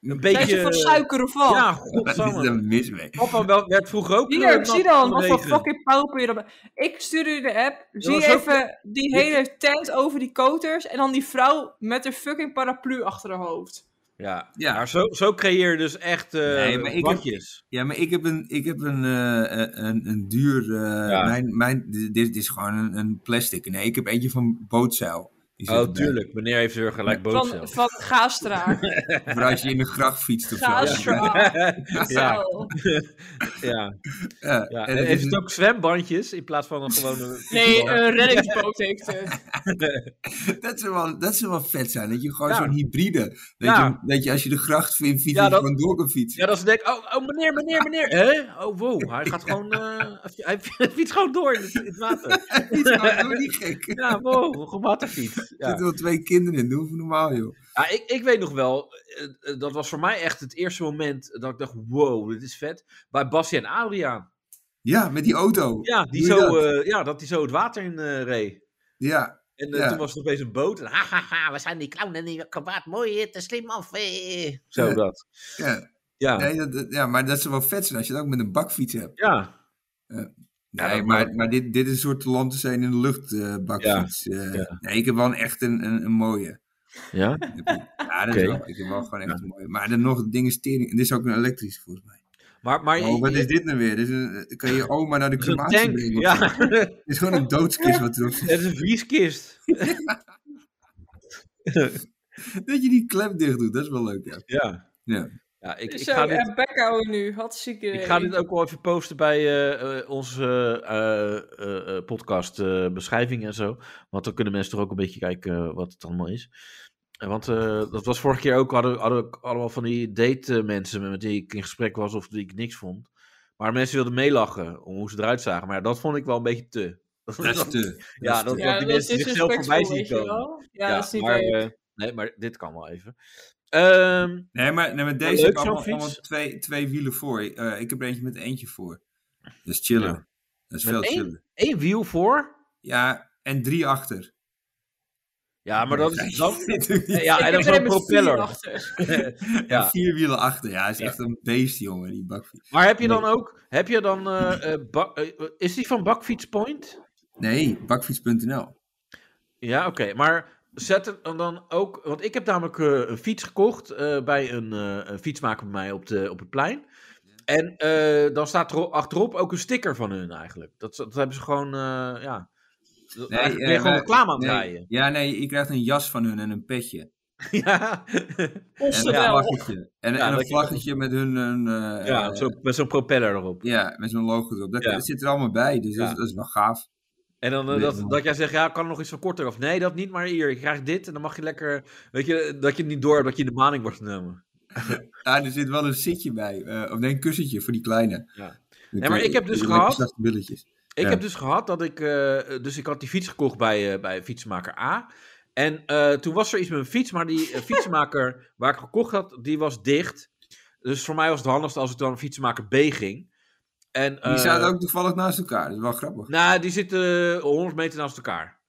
Een
[laughs]
Zijn ze
beetje...
van suiker of wat?
Ja,
Wat is
godsamme.
er mis mee?
Papa wel- werd vroeger ook
Hier,
eh, nat
zie dan
van
wat
de
voor
regen.
fucking pauper je erbij. Ik stuur u de app. Zie
was ook-
even die hele tent over die koters. En dan die vrouw met haar fucking paraplu achter haar hoofd.
Ja,
Ja.
maar zo, zo creëer je dus echt eh
Nee, maar ik heb-
watjes.
Ja, maar ik heb een, ik heb een, eh, een- een, een duur. eh,
Ja.
mijn, mijn, dit, dit is gewoon een, een plastic. Nee, ik heb eentje van bootzeil. Die zit
Oh,
erbij.
tuurlijk. Meneer heeft weer gelijk boos
Van,
zelf.
van Gaastra.
Voor als je in de gracht fietst of zo.
Gaastra.
[laughs] Ja,
Zo.
ja,
Ja,
ja.
en
En
het
heeft
is
het ook zwembandjes in plaats van een gewone...
Nee, eh, een reddingsboot heeft het.
Dat zou, wel, dat zou wel vet zijn. Dat je gewoon
Ja.
zo'n hybride. Dat,
Ja.
je, dat je als je de gracht in fiets,
Ja,
dat je
dat-
gewoon door kan fietsen. [laughs]
Ja, dat ze denken, oh, oh meneer, meneer, meneer. Hè? Oh, wow, hij gaat gewoon, eh, hij fietst gewoon door in het, in het water.
Fiets gewoon door, niet gek. Er
Ja, wow, een waterfiets. Ja.
zitten wel twee kinderen in. Doe even normaal, joh.
Ja, ik, ik weet nog wel, eh, eh, dat was voor mij echt het eerste moment dat ik dacht, wow, dit is vet. Bij Basje en Adriaan.
Ja, met die auto.
Ja, die
Doe je
zo,
dat?
eh, ja dat die zo het water in eh reed.
Ja,
En eh,
Ja.
toen was het opeens een boot. En ha, ha, ha, we zijn die clown en die kwaad mooi, eh, te slim af. eh. Zo
Ja.
dat.
ja.
Ja,
Nee, dat, dat- ja, maar dat zou wel vet zijn als je dat ook met een bakfiets hebt.
ja. Ja,
Nee,
dat-
maar, maar dit, dit is een soort land zijn in de lucht eh, bakfiets. Eh,
ja.
Nee, ik heb wel een- echt een, een, een
[laughs]
mooie.
ja.
Ja, dat is
Oké.
wel, ik heb wel gewoon echt een mooie. Maar dan nog dingen stering. Dit is ook een elektrische volgens mij.
Maar, maar
Oh, wat is dit nou weer? Dit is een,
[laughs]
kan je oma naar de
Zo'n
crematie
tank.
brengen?
Ja,
Het is gewoon een doodskist wat erop
[laughs]
zit.
het is een vrieskist.
Dat je die klep dicht doet, dat is wel leuk. Ja.
Ja.
Ja.
ja ik, ik,
Zo,
ga dit,
en bek houden nu. Hartstikke
ik ga dit ook wel even posten bij eh, eh, onze eh, eh, eh, podcast eh, beschrijving en zo. Want dan kunnen mensen toch ook een beetje kijken eh, wat het allemaal is. Eh, Want eh, dat was vorige keer ook, hadden, hadden ook allemaal van die date eh, mensen met die ik in gesprek was of die ik niks vond. Maar mensen wilden meelachen om hoe ze eruit zagen. Maar ja, dat vond ik wel een beetje te. [laughs]
Dat is te. dat
Ja,
is
dat-
te.
Want die mensen
is
zichzelf voorbij
respectvol,
zien
weet je
komen.
wel. Ja, dat is niet
maar,
leuk.
eh, nee, maar dit kan wel even. Ehm,
Nee, maar, nee, maar
Leuk,
deze
zo'n
heb allemaal,
fiets.
allemaal twee, twee wielen voor. Eh, ik heb er eentje met eentje voor. Dat is chiller.
Ja.
Dat is
Met
veel
één?
chiller.
één wiel voor.
Ja, en drie achter.
Ja, maar dat is dan.
[laughs] en
Ja, en
[laughs]
dan
Ik heb er
zo'n
een propeller.
propeller.
achter.
Ja.
[laughs] vier wielen achter. Ja, hij is
Ja.
echt een beest, jongen, die bakfiets.
Maar heb je dan ook. Heb je dan. eh, eh, bak- eh, eh, is die van Bakfiets Point?
Nee, bakfiets.nl.
Ja, oké. Maar zet er dan- dan ook. Want ik heb namelijk eh, een fiets gekocht. eh, bij een, eh, een fietsmaker bij mij op, de, op het plein. En eh, dan staat er achterop ook een sticker van hun eigenlijk. Dat, dat hebben ze gewoon. eh, ja. Nee, ben je
eh,
gewoon
wij-
reclame aan het
Nee,
draaien. [laughs]
ja, nee, je krijgt een jas van hun en een petje.
Ja,
En
Kosten
een
wel.
vlaggetje. En,
Ja,
en
dat
een
je-
vlaggetje met hun... hun eh,
ja
eh,
zo, met zo'n propeller erop.
ja, met zo'n logo erop. Dat
Ja.
dat zit er allemaal bij, dus dat,
Ja.
is, dat is wel gaaf.
En dan eh,
Nee,
dat,
man.
dat jij zegt, ja, kan er nog iets van korter of nee, dat niet, maar hier, je krijgt dit en dan mag je lekker, weet je, dat je niet door hebt dat je in de maning wordt genomen.
Ja, er zit wel een zitje bij. eh, of nee, een kussentje voor die kleine.
Ja.
Dan
maar
kun je-
ik heb dus
kun je lekker
gehad-
zachte billetjes.
Ik
Ja.
heb dus gehad dat ik, eh, dus ik had die fiets gekocht bij, eh, bij fietsmaker A. En eh, toen was er iets met mijn fiets, maar
[laughs]
die eh, fietsmaker waar ik gekocht had, die was dicht. Dus voor mij was het handigst als ik dan fietsmaker B ging. En,
Die
eh,
zaten ook toevallig naast elkaar. Dat is wel grappig.
Nou, die zitten eh, 100 meter naast elkaar.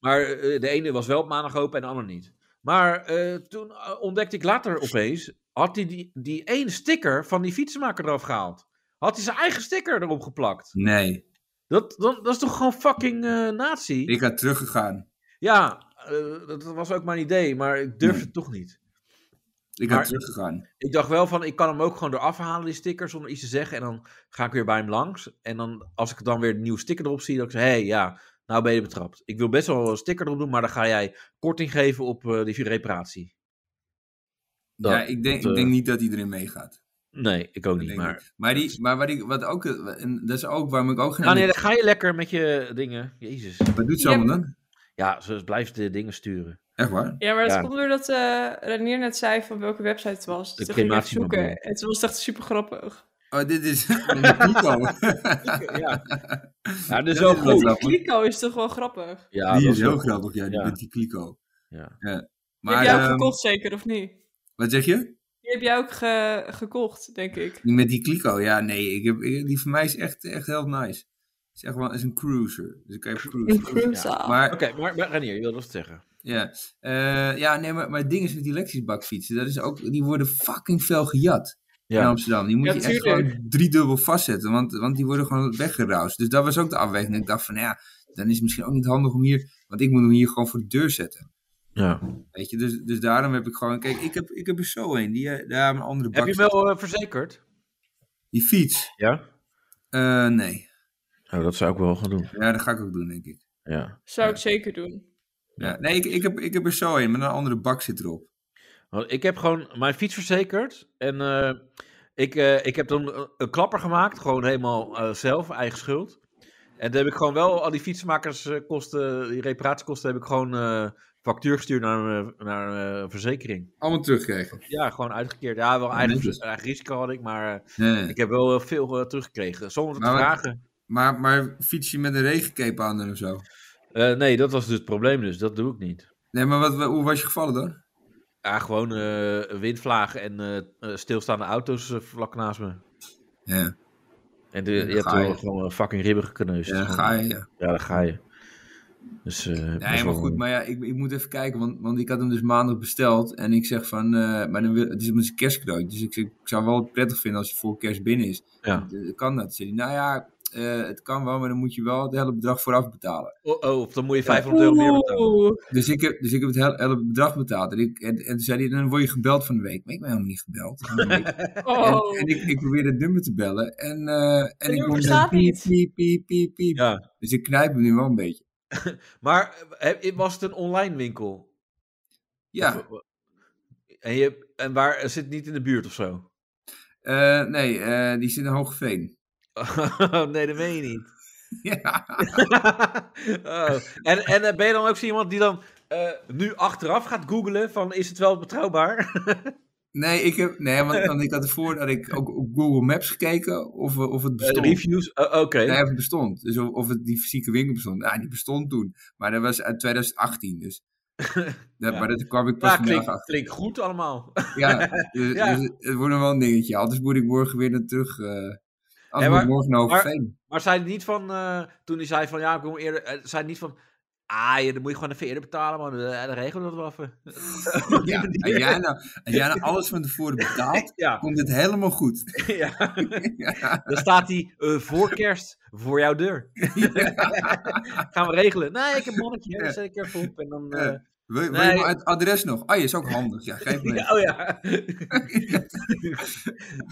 Maar eh, de ene was wel op maandag open en de ander niet. Maar eh, toen eh, ontdekte ik later opeens, had hij die, die ene sticker van die fietsenmaker eraf gehaald. Had hij zijn eigen sticker erop geplakt.
Nee,
Dat, dat, dat is toch gewoon fucking eh nazi?
ik had teruggegaan.
Ja, eh, dat was ook mijn idee, maar ik durfde
Nee.
het toch niet.
Ik
Maar-
had teruggegaan.
Ik dacht wel van, ik kan hem ook gewoon eraf halen, die sticker, zonder iets te zeggen. En dan ga ik weer bij hem langs. En dan, als ik dan weer een nieuwe sticker erop zie, dan zeg ik, hé, hey, ja, nou ben je betrapt. Ik wil best wel een sticker erop doen, maar dan ga jij korting geven op eh, die reparatie. Dat-
ja, ik
dat,
denk, ik
eh,
denk niet dat iedereen meegaat.
Nee, ik ook
Dat
niet,
denk ik
maar...
niet. maar, die, maar wat, ik, wat ook, eh, en dat is ook waarom ik ook geen.
Ah nee, dan ga je lekker met je dingen. Jezus.
Wat doet ze
Ja.
allemaal dan?
Ja, ze blijft de dingen sturen.
Echt waar?
Ja, maar dat
Ja.
komt doordat eh Renier net zei van welke website het was. Dus
De
Toen ging ik even
crematiemobile.
zoeken. En toen was het echt super grappig.
Oh, dit
[laughs]
is. [laughs] met Nico.
[laughs] Ja, ja
[laughs]
dat is
Dat
wel
is wel
goed.
grappig.
Kliko is toch wel grappig?
Ja, dat
die is
is
heel
wel-
grappig, ja, die
Ja.
met die kliko.
Ja.
Die
Maar,
heb jij ook
ehm,
gekocht zeker, of niet?
wat zeg je?
Die heb jij ook ge- gekocht, denk ik.
Die met die kliko, ja, nee, ik heb, ik- die voor mij is echt, echt heel nice. Het is echt wel is een cruiser. Dus ik heb cruiser.
Cruza.
Maar
Oké, maar, maar Renier, je wilde wat zeggen.
Ja, Eh, ja nee, maar, maar het ding is met die Lexusbakfietsen, dat is ook, die worden fucking veel gejat in
Ja.
Amsterdam. Die moet
Ja,
je echt
tuurlijk.
gewoon driedubbel vastzetten, want, want die worden gewoon weggeroust. Dus dat was ook de afweging. Ik dacht van, nou ja, dan is het misschien ook niet handig om hier, want ik moet hem hier gewoon voor de deur zetten.
ja.
Weet je, dus, dus daarom heb ik gewoon, kijk, ik heb, ik heb er zo een, die, eh, daar hebben een andere
Heb je
bak.
hem wel eh, verzekerd?
Die fiets,
Ja.
Eh, nee.
Oh, dat zou ik wel gaan doen.
Ja, dat ga ik ook doen, denk ik.
Ja.
Zou
Ja.
ik zeker doen.
Ja. Nee, ik, ik, heb, ik heb er zo een, maar een andere bak zit erop.
Want Ik heb gewoon mijn fiets verzekerd. En eh, ik, eh, ik heb dan een- een klapper gemaakt. Gewoon helemaal eh, zelf, eigen schuld. En toen heb ik gewoon wel al die fietsenmakerskosten, die reparatiekosten, heb ik gewoon eh, factuur gestuurd naar, een, eh, naar een eh, verzekering.
Allemaal teruggekregen.
Ja, gewoon uitgekeerd. Ja, wel eigen,
netjes.
eigen risico had ik, maar eh,
Nee.
ik heb wel eh, veel eh, teruggekregen. Zonder te
Maar wat-
vragen.
Maar, maar fiets je met een regencape aan dan of zo?
Eh, nee, dat was dus het probleem, dus dat doe ik niet.
Nee, maar wat, hoe was je gevallen dan?
Ja, gewoon eh, windvlagen en eh, eh, stilstaande auto's eh, vlak naast me.
Ja,
En de,
Ja,
je
dan
hebt
ga
wel
je.
gewoon een fucking ribben gekneusd.
ja
Gewoon-
ga je. Ja.
Ja, daar ga je. Dus, eh, best
Nee, maar
wel-
goed, maar ja, ik, ik moet even kijken, want, want ik had hem dus maandag besteld. En ik zeg van, eh, maar dan wil, het is met zijn kerstcadeautje, dus ik, zeg, ik zou wel prettig vinden als je voor kerst binnen is.
Ja.
Eh, Kan dat? Zei hij, nou ja, eh, het kan wel, maar dan moet je wel het hele bedrag vooraf betalen.
Oh, oh, of dan moet je 500 euro meer betalen.
Oeh.
Dus ik heb, dus ik heb het hele, hele bedrag betaald. En, ik, en, en toen zei hij, dan word je gebeld van de week. Maar ik ben helemaal niet gebeld. en
Oh.
en ik, ik probeerde het nummer te bellen. En, eh en ik
nummer
hoorde
bestaat
piep,
niet.
piep, piep, piep, piep.
Ja.
Dus ik knijp hem nu wel een beetje.
Maar eh, heb- was het een online winkel?
Ja,
Of- eh, en, je, en waar het zit niet in de buurt of zo?
eh, nee, eh, die zit in Hoogveen.
[laughs] nee, dat meen je niet.
[laughs] ja.
[laughs] Oh. En, en eh, ben je dan ook zo iemand die dan eh, nu achteraf gaat googlen van is het wel betrouwbaar?
Nee, ik heb, nee want, want ik had ervoor dat ik ook op Google Maps gekeken of, eh, of het
Eh,
bestond.
reviews? Oh, Oké.
Nee, of het bestond. Dus of, of het die fysieke winkel bestond. Ja, die bestond toen. Maar dat was uit
[laughs]
2018, dus... Dat,
Ja.
Maar dat kwam ik pas
Ja,
vandaag
klinkt,
achter.
klinkt goed allemaal. [laughs]
Ja, dus,
Ja.
dus het wordt nog wel een dingetje. Anders moet ik morgen weer naar terug. eh anders
Ja,
moet
maar-
ik morgen naar
maar-
Hoogveen.
Maar zei hij niet van, eh, toen hij zei van, ja, ik kom eerder, eh, zei hij niet van, ah, je, dan moet je gewoon even eerder betalen, man, Eh, dan regelen we dat wel even.
Ja, als, jij nou, als jij nou alles van tevoren betaalt, [laughs]
Ja,
komt het helemaal goed. [laughs]
ja.
ja,
dan staat hij eh, voor kerst voor jouw
[laughs]
deur. [laughs] Gaan we regelen. Nee, ik heb een mannetje, hè,
Ja.
dan zet ik er even op en dan...
Ja.
eh,
wil, wil
Nee.
je maar het adres nog? Oh, je is ook handig. Ja, geef
[laughs]
me.
ja, oh
[laughs]
ja.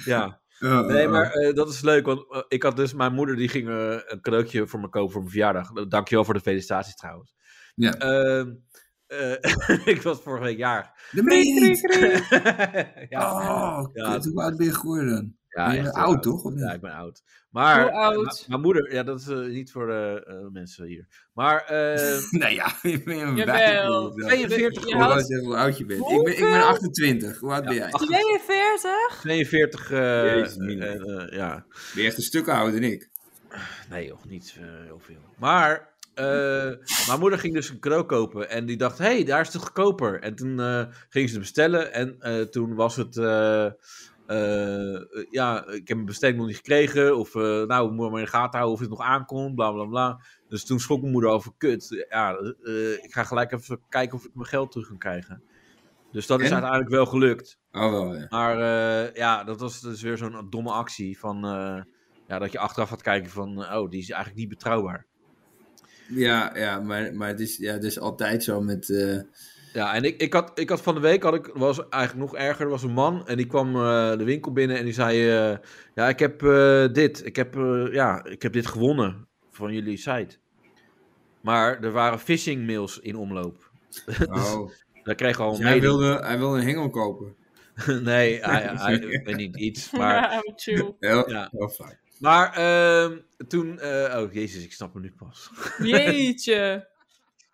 ja,
Eh,
nee,
eh,
maar eh, dat is leuk, want eh, ik had dus, mijn moeder die ging eh, een cadeautje voor me kopen voor mijn verjaardag. Eh, Dankjewel voor de felicitaties trouwens.
Ja.
Ehm, eh, [laughs] ik was vorige week jarig. [laughs]
dat meen je niet.
ja.
Oh,
Ja.
kut, hoe oud ben je geworden dan?
Ja,
je bent
echt heel
oud, toch? Of niet?
Ja, ik ben oud. Maar
Hoe oud?
eh, ma- mijn moeder, ja, dat is eh, niet voor de eh, mensen hier. Maar
[laughs]
eh,
[laughs] Nou ja, je bent een
Jawel.
wijf. hoor. Ik
42
Je
wil wel
houdt
zeggen hoe oud je bent. Ik ben, ik ben
Hoeveel?
28. Hoe oud ben jij?
42?
42, eh,
Jezus, mina.
eh, eh, ja.
Ben je echt een stuk ouder dan ik?
Nee joh, niet eh, heel veel. Maar eh, mijn moeder ging dus een cadeau kopen en die dacht, hé, hey, daar is het goedkoper. En toen eh, ging ze het bestellen en eh, toen was het, eh, eh, ja, ik heb mijn bestelling nog niet gekregen. Of eh, nou, we moeten maar in de gaten houden of het nog aankomt, bla bla bla. Dus toen schrok mijn moeder over, kut, ja, eh, ik ga gelijk even kijken of ik mijn geld terug kan krijgen. Dus dat is
En?
uiteindelijk wel gelukt.
Oh, wel, ja.
Maar eh, ja, dat was dus weer zo'n domme actie van... eh, ja, dat je achteraf gaat kijken van... eh, Oh, die is eigenlijk niet betrouwbaar.
Ja, ja maar, maar het, is, ja, het is altijd zo
[laughs]
met... eh,
Ja, en ik, ik, had, ik had van de week... Had ik, was eigenlijk nog erger. Er was een man en die kwam eh, de winkel binnen en die zei... eh, ja, ik heb eh, dit. Ik heb, eh, ja, ik heb dit gewonnen van jullie site. Maar er waren phishing mails in omloop.
oh.
Daar kreeg al
Dus
een
hij,
melding.
wilde, hij wilde een hengel kopen.
[laughs] Nee, hij, hij, ik weet niet iets. Maar
Ja, wat Nou, chill.
Heel,
Ja.
heel vaak.
Maar ehm, toen. eh, oh, jezus, ik snap hem nu pas.
Jeetje.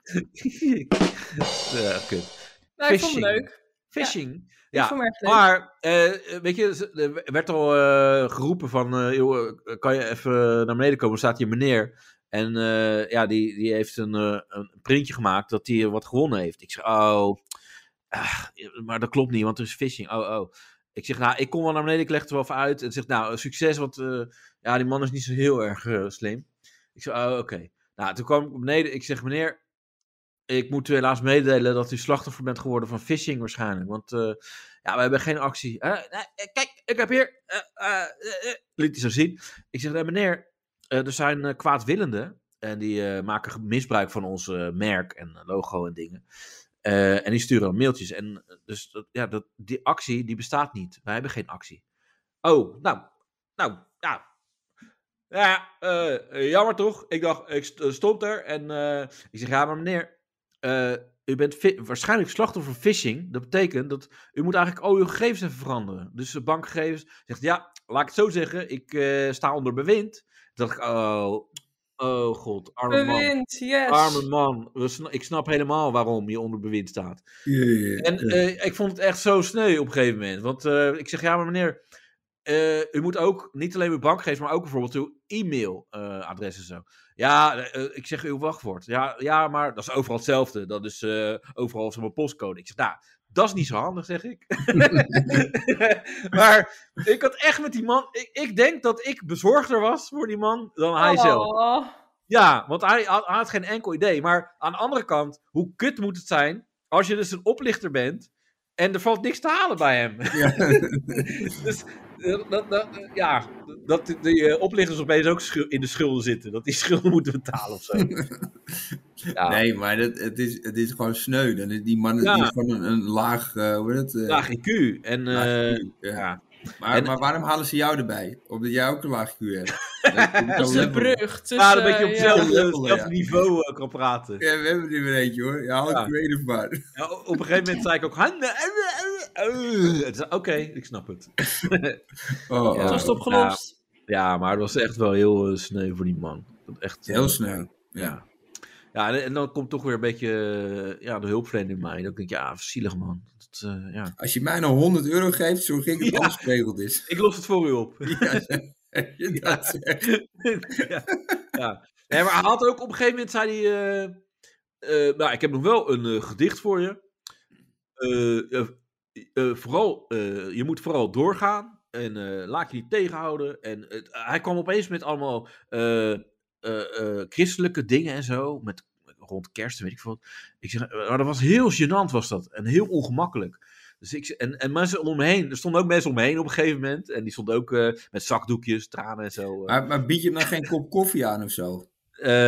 [laughs] ja, kut.
Nou, ik vond het
Phishing.
leuk.
Phishing.
Ja,
Ja,
ik vond het echt leuk.
maar. eh, weet je, ze- er werd al eh, geroepen van. eh, joh, eh, kan je even naar beneden komen? Er staat hier meneer. En eh, ja, die, die heeft een, eh, een printje gemaakt dat hij wat gewonnen heeft. Ik zeg, oh. ah, maar dat klopt niet, want er is phishing. Oh, oh. Ik zeg, nou, ik kom wel naar beneden, ik leg het er wel even uit. En zegt, nou, succes, want eh, ja, die man is niet zo heel erg eh, slim. Ik zeg, oh, oké. Nou, toen kwam ik beneden, ik zeg, meneer, ik moet u helaas meedelen dat u slachtoffer bent geworden van phishing waarschijnlijk. Want eh, ja, we hebben geen actie. Eh, nee, eh, kijk, ik heb hier... eh, eh, eh, eh, liet hij zo zien. Ik zeg, nee, meneer, eh, er zijn eh, kwaadwillenden. En die eh, maken ge- misbruik van ons eh, merk en logo en dingen. Eh, en die sturen dan mailtjes. En eh, dus dat, ja, dat, die actie die bestaat niet. Wij hebben geen actie. Oh, nou, nou, ja. Ja, eh, jammer toch? Ik dacht, ik st- stond er en eh, ik zeg, ja, maar meneer, eh, u bent fi- waarschijnlijk slachtoffer van phishing. Dat betekent dat u moet eigenlijk al uw gegevens even veranderen. Dus de bankgegevens zegt, ja, laat ik het zo zeggen, ik eh, sta onder bewind. Toen dacht ik, oh, oh god, arme man.
Bewind, yes.
Arme man, We sna- ik snap helemaal waarom je onder bewind staat. En eh, ik vond het echt zo sneu op een gegeven moment. Want eh, ik zeg, ja, maar meneer, eh, u moet ook niet alleen uw bankgegevens, maar ook bijvoorbeeld uw e-mailadres en zo. Ja, eh, eh, ik zeg uw wachtwoord. Ja, ja, maar dat is overal hetzelfde. Dat is eh, overal zo'n postcode. Ik zeg, nou, dat is niet zo handig, zeg [laughs] ik. maar ik had echt met die man, ik, ik denk dat ik bezorgder was voor die man dan hij zelf.
Oh.
Ja, want hij had, hij had geen enkel idee. Maar aan de andere kant, hoe kut moet het zijn als je dus een oplichter bent en er valt niks te halen bij hem? [laughs] dus eh, dat, dat, eh, ja, dat die eh, oplichters opeens ook schu- in de schulden zitten. Dat die [laughs] schulden moeten betalen of zo. ja,
Nee, maar dat, het, is, het is gewoon sneu. Dan is die man
Ja.
die is gewoon een, een laag, eh, hoe heet het? eh,
laag IQ. En,
laag
eh,
IQ, ja.
ja.
Maar,
En-
maar waarom halen ze jou erbij? Omdat jij ook een laag Q
[laughs]
hebt.
Dat is de brug tussen...
ja, een beetje op
Dus, eh, ja.
hetzelfde
Ja.
hetzelfde niveau eh, kan praten.
Ja, we hebben er weer eentje hoor. Ja, haal
Ja.
een creative maar.
Ja, op een gegeven moment zei ik ook... "Handen, eh, eh, eh." Het is- Oké, ik snap het.
Oh,
Ja.
Het
oh,
was het opgelost.
Ja, maar het was echt wel heel eh, sneu voor die man. Dat Echt, eh,
Heel snel. Ja.
Ja. Ja, en, en dan komt toch weer een beetje eh, ja, de hulpverlening in mij. Dan denk ik, ja, zielig man. Dat, eh, ja.
Als je mij nou 100 euro geeft, zorg ik dat
Ja.
alles geregeld is. [laughs]
Ik los het voor u op.
Ja, zeg je dat zegt.
ja. ja. Nee, maar hij had ook op een gegeven moment, zei hij... eh, eh, nou, ik heb nog wel een eh, gedicht voor je. Eh, eh, eh, vooral, eh, je moet vooral doorgaan. En eh, laat je niet tegenhouden. En het- hij kwam opeens met allemaal eh, eh, eh, christelijke dingen en zo. Met, rond kerst, en weet ik veel. wat. Ik zeg, eh, maar dat was heel gênant was dat. En heel ongemakkelijk. Dus ik, zeg- en, en mensen om me heen. Er stonden ook mensen om me heen op een gegeven moment. En die stonden ook eh, met zakdoekjes, tranen en zo. eh.
Maar, maar bied je hem dan geen kop koffie aan of
[laughs]
zo?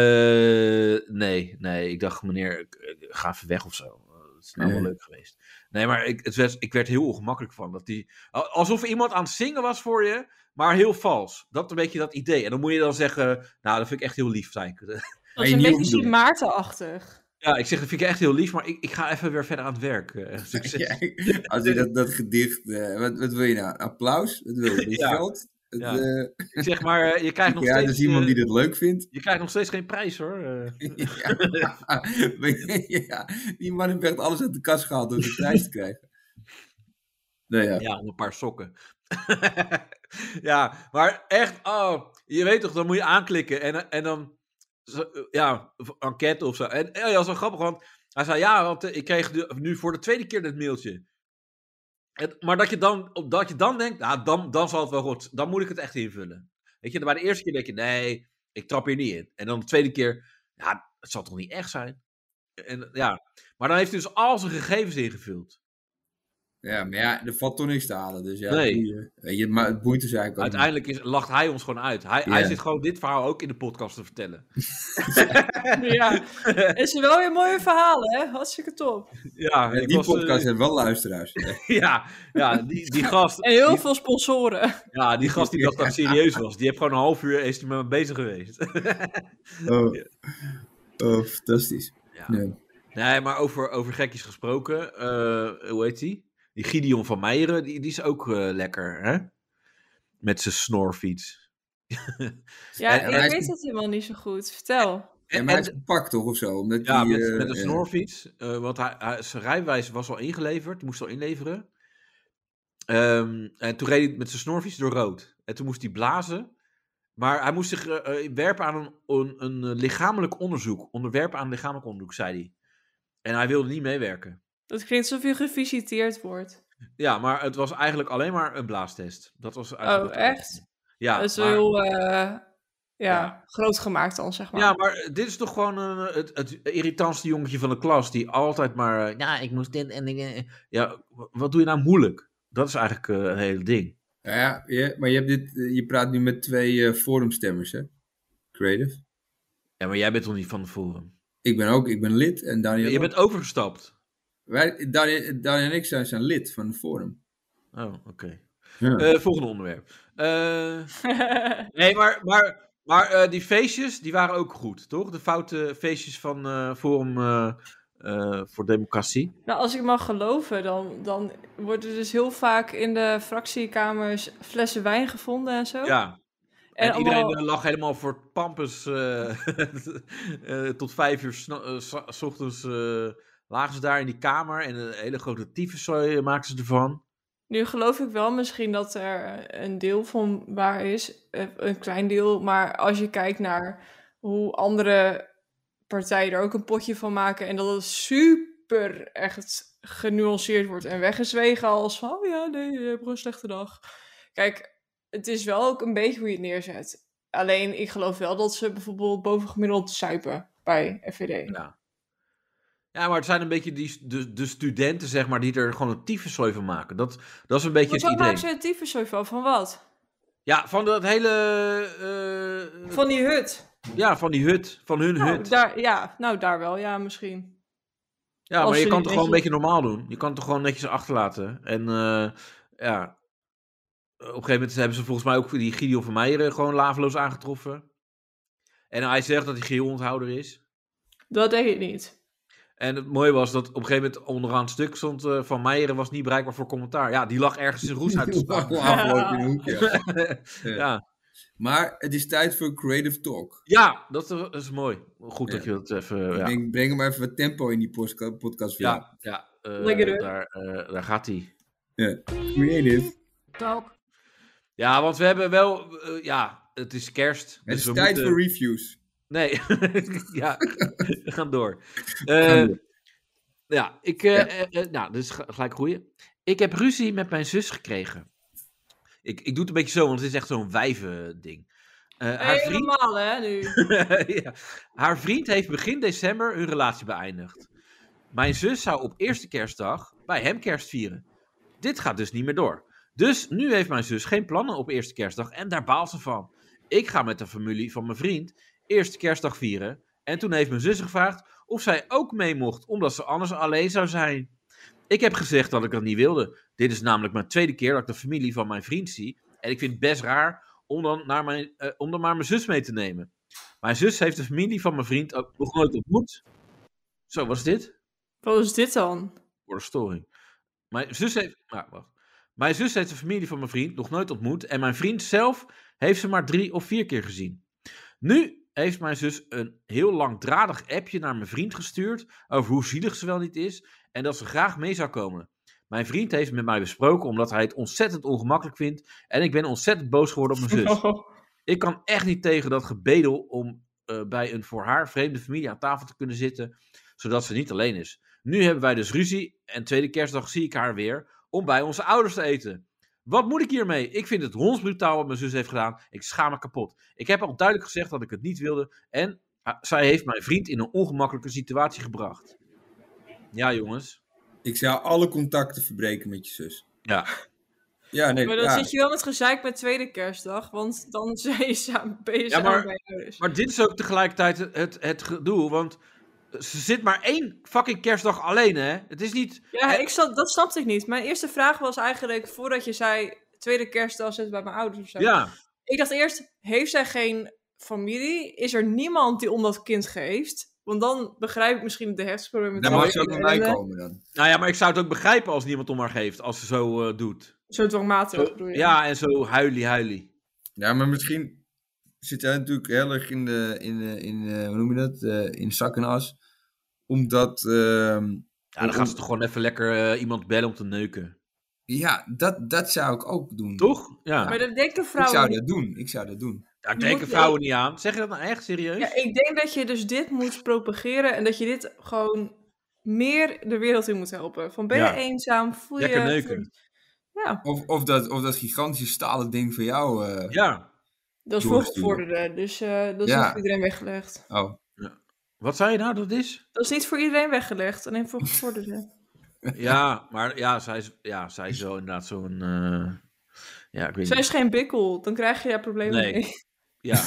Eh, nee, nee. Ik dacht, meneer, ik- ik ga even weg of zo. Eh, Het is nou wel
Nee.
leuk geweest. Nee, maar ik, het werd, ik werd heel ongemakkelijk van. Dat die, al- alsof iemand aan het zingen was voor je, maar heel vals. Dat een beetje dat idee. En dan moet je dan zeggen, nou, dat vind ik echt heel lief, zei ik. [laughs]
Dat
je
is een
niet
beetje
hoeft te doen.
Sint Maarten-achtig.
ja, ik zeg, dat vind ik echt heel lief, maar ik, ik ga even weer verder aan het werk.
[laughs]
eh, succes.
Ja, als je dat, dat gedicht... eh, wat, wat wil je nou? Applaus? Wat wil je? Een
Ja.
geld? Het,
Ja.
eh,
Ik zeg maar, eh, je krijgt nog
ja,
steeds...
dat is iemand
eh,
die dit leuk vindt.
Je krijgt nog steeds geen prijs, hoor. eh.
[laughs] ja. [laughs] Maar ja, die man heeft echt alles uit de kast gehaald om zijn prijs te krijgen. Nou ja.
Ja, een paar sokken. [laughs] ja, maar echt, oh, je weet toch, dan moet je aanklikken en, en dan, zo- ja, of enquête of zo. En, en ja, dat is wel grappig, want hij zei, ja, want eh, ik kreeg nu- nu voor de tweede keer dit mailtje. En, maar dat je, dan, op- dat je dan denkt, nou, dan, dan zal het wel goed, dan moet ik het echt invullen. Weet je, bij de eerste keer denk je, nee, ik trap hier niet in. En dan de tweede keer, ja, het zal toch niet echt zijn? En, ja, maar dan heeft hij dus al zijn gegevens ingevuld.
ja, maar ja, er valt toch niks te halen. Dus ja,
Nee.
boeien. Weet je, maar het boeit dus eigenlijk ook niet.
Uiteindelijk is, lacht hij ons gewoon uit. Hij,
Ja.
hij zit gewoon dit verhaal ook in de podcast te vertellen.
Ja. Is er wel weer mooie verhalen, hè? Hartstikke top.
[laughs] Ja,
Ja,
ik
die
was, eh,
podcast heeft wel luisteraars. Ja.
[laughs] ja, ja die,
[laughs]
die, gast,
En heel veel sponsoren.
ja, die gast die dacht dat het serieus was. Die heeft gewoon een half uur is die met me bezig geweest. [laughs]
Oh. Oh, fantastisch.
Ja.
Ja.
Nee, maar over, over gekjes gesproken. eh, hoe heet die? Die Gideon van Meijeren, die, die is ook eh, lekker, hè? Met zijn snorfiets.
Ja,
En-
en hij
ik
is-
weet het helemaal niet zo goed. Vertel.
En maar hij is gepakt toch of zo? Omdat
Ja,
die,
met,
eh,
met een
ja.
snorfiets. eh, want hij, hij- zijn rijwijze was al ingeleverd, moest al inleveren. Ehm, en toen reed hij met zijn snorfiets door rood. En toen moest hij blazen. Maar hij moest zich eh, eh, werpen aan een, een, een eh, lichamelijk onderzoek. Onderwerpen aan lichamelijk onderzoek, zei hij. En hij wilde niet meewerken.
Dat klinkt alsof je gevisiteerd wordt.
Ja, maar het was eigenlijk alleen maar een blaastest. Dat was eigenlijk
Oh,
het probleem.
echt?
Ja,
Dat is
maar-
heel eh, Ja,
Ja.
groot gemaakt dan, zeg maar.
Ja, maar dit is toch gewoon een, eh, het, het irritantste jongetje van de klas die altijd maar. eh, Ja, ik moest dit en. ik, eh." Ja, w- wat doe je nou moeilijk? Dat is eigenlijk eh, het hele ding.
Nou ja, je, maar je, hebt dit, eh, je praat nu met twee eh, forumstemmers, hè? Creative.
Ja, maar jij bent toch niet van het forum?
Ik ben ook, ik ben lid en Daniel
Je
ook.
bent overgestapt.
Wij, Daniel, Daniel en ik zijn, zijn lid van het forum.
Oh, oké.
Ja.
Eh, volgende onderwerp. Eh, nee, maar, maar, maar eh, die feestjes, die waren ook goed, toch? De foute feestjes van eh, Forum eh, eh, voor Democratie.
[laughs] nou, als ik mag geloven, dan, dan worden dus heel vaak in de fractiekamers flessen wijn gevonden en zo.
Ja, En, iedereen
allemaal-
eh, lag helemaal voor pampers [laughs] eh, eh, tot vijf uur sna- eh, s- s ochtends eh, lagen ze daar in die kamer en een hele grote tyfuszooi eh, maakten ze ervan.
Nu geloof ik wel misschien dat er een deel van waar is, eh, een klein deel, maar als je kijkt naar hoe andere partijen er ook een potje van maken en dat het super echt genuanceerd wordt en weggezwegen als van, oh ja, nee, je hebt gewoon een slechte dag. Kijk, het is wel ook een beetje hoe je het neerzet. Alleen, ik geloof wel dat ze bijvoorbeeld bovengemiddeld zuipen bij FVD.
Ja. ja, maar het zijn een beetje die, de, de studenten, zeg maar, die er gewoon een tyfuszooi van maken. Dat, dat is een beetje
Hoezo
het idee.
maken ze het tyfus zo van? Van wat?
Ja, van dat hele... eh,
Van die hut.
Ja, van die hut. Van hun
Nou,
hut.
daar, ja, nou daar wel, ja, misschien.
Ja,
Als
maar je
ze
kan
niet
toch gewoon een
netjes-
beetje normaal doen. Je kan het toch gewoon netjes achterlaten. En eh, ja, op een gegeven moment hebben ze volgens mij ook die Gideon van Meijeren gewoon laveloos aangetroffen. En hij zegt dat hij geheel-onthouder is.
Dat deed ik niet.
En het mooie was dat op een gegeven moment onderaan het stuk stond eh, van Meijeren was niet bereikbaar voor commentaar. Ja, die lag ergens in roes
[laughs]
uit te
Afgelopen
staan.
in een hoekje.
ja.
[laughs] Maar het is tijd voor creative talk.
ja, dat is- dat is mooi. Goed dat
Ja.
je dat even...
Ik
Ja,
denk, breng hem even wat tempo in die postka- podcast weer.
ja, ja eh,
Lekker, hè?
daar, eh, daar gaat hij.
Ja. Creative.
Ja, want we hebben wel... eh, ja, het is kerst.
Het
dus
is
we
tijd
moeten-
voor reviews.
Nee, [laughs] ja, we gaan door.
Gaan
Eh,
we.
ja, ik, eh,
Ja.
eh, eh, nou, dus gelijk groeien. Ik heb ruzie met mijn zus gekregen. Ik, ik doe het een beetje zo, want het is echt zo'n wijven ding. haar, vriend,
Helemaal, hè,
[laughs]
nu.
ja. haar vriend heeft begin december hun relatie beëindigd. Mijn zus zou op eerste kerstdag bij hem kerst vieren. Dit gaat dus niet meer door. Dus nu heeft mijn zus geen plannen op eerste kerstdag en daar baalt ze van. Ik ga met de familie van mijn vriend eerste kerstdag vieren. En toen heeft mijn zus gevraagd of zij ook mee mocht, omdat ze anders alleen zou zijn. Ik heb gezegd dat ik dat niet wilde. Dit is namelijk mijn tweede keer dat ik de familie van mijn vriend zie. En ik vind het best raar om dan, naar mijn, eh, om dan maar mijn zus mee te nemen. Mijn zus heeft de familie van mijn vriend ook nog nooit ontmoet. Zo, was dit?
Wat is dit dan?
voor de storing. Mijn zus heeft. Nou, wacht. Mijn zus heeft de familie van mijn vriend nog nooit ontmoet. En mijn vriend zelf heeft ze maar drie of vier keer gezien. Nu heeft mijn zus een heel langdradig appje naar mijn vriend gestuurd. Over hoe zielig ze wel niet is. En dat ze graag mee zou komen. Mijn vriend heeft met mij besproken omdat hij het ontzettend ongemakkelijk vindt. En ik ben ontzettend boos geworden op
[laughs]
mijn zus. Ik kan echt niet tegen dat gebedel om eh, bij een voor haar vreemde familie aan tafel te kunnen zitten, zodat ze niet alleen is. Nu hebben wij dus ruzie en tweede kerstdag zie ik haar weer om bij onze ouders te eten. Wat moet ik hiermee? Ik vind het hondsbrutaal wat mijn zus heeft gedaan. Ik schaam me kapot. Ik heb al duidelijk gezegd dat ik het niet wilde en ah, zij heeft mijn vriend in een ongemakkelijke situatie gebracht. Ja, jongens.
Ik zou alle contacten verbreken met je zus.
Ja.
Ja, nee,
Maar dan
ja.
zit je wel met gezeik met tweede kerstdag, want dan [laughs] zijn je samen, ben je
Ja,
samen
maar-
bij je ouders.
Maar dit is ook tegelijkertijd het, het, het gedoe, want ze zit maar één fucking kerstdag alleen, hè? Het is niet
Ja, ik snap, dat snapte ik niet. Mijn eerste vraag was eigenlijk, voordat je zei tweede kerstdag zit bij mijn ouders of zo.
Ja,
Ik dacht eerst, heeft zij geen familie? Is er niemand die om dat kind geeft? Want dan begrijp ik misschien de heftsproblemen.
Daar mag ze ook bij mij komen dan.
nou ja, maar ik zou het ook begrijpen als niemand om haar geeft, als ze zo eh, doet.
Zo dwangmatig bedoel je?
Ja, en zo huilie huilie.
Ja, maar misschien zit jij natuurlijk heel erg in de, in de, in de- hoe noem je dat, Eh, in zak en as. Omdat, ehm,
Ja,
Mm.
dan gaan ze toch gewoon even lekker eh, iemand bellen om te neuken.
ja, dat, dat zou ik ook doen.
Toch? Ja.
Maar dat denken
Ik
vrouwen
zou dat doen, ik zou dat doen.
ja ik
Je
denk
moet-
vrouwen niet aan. Zeg je dat nou echt serieus?
Ja, ik denk dat je dus dit moet propageren en dat je dit gewoon meer de wereld in moet helpen. Van ben
Ja.
je eenzaam, voel je...
Lekker neuken.
voel- Ja,
Of, of, dat, of dat gigantische stalen ding van jou. eh,
Ja.
Dat is voor
Doorgestuurd.
gevorderden, dus eh, dat is
Ja.
niet voor iedereen weggelegd.
Oh,
Wat zei je nou dat
[laughs]
is?
Dat is niet voor iedereen weggelegd, alleen voor gevorderden.
ja, maar ja, zij is, ja, zij is zo inderdaad zo'n... eh, ja, ik weet
Zij
niet.
is geen bikkel, dan krijg je daar problemen
Nee.
mee. [laughs]
Ja.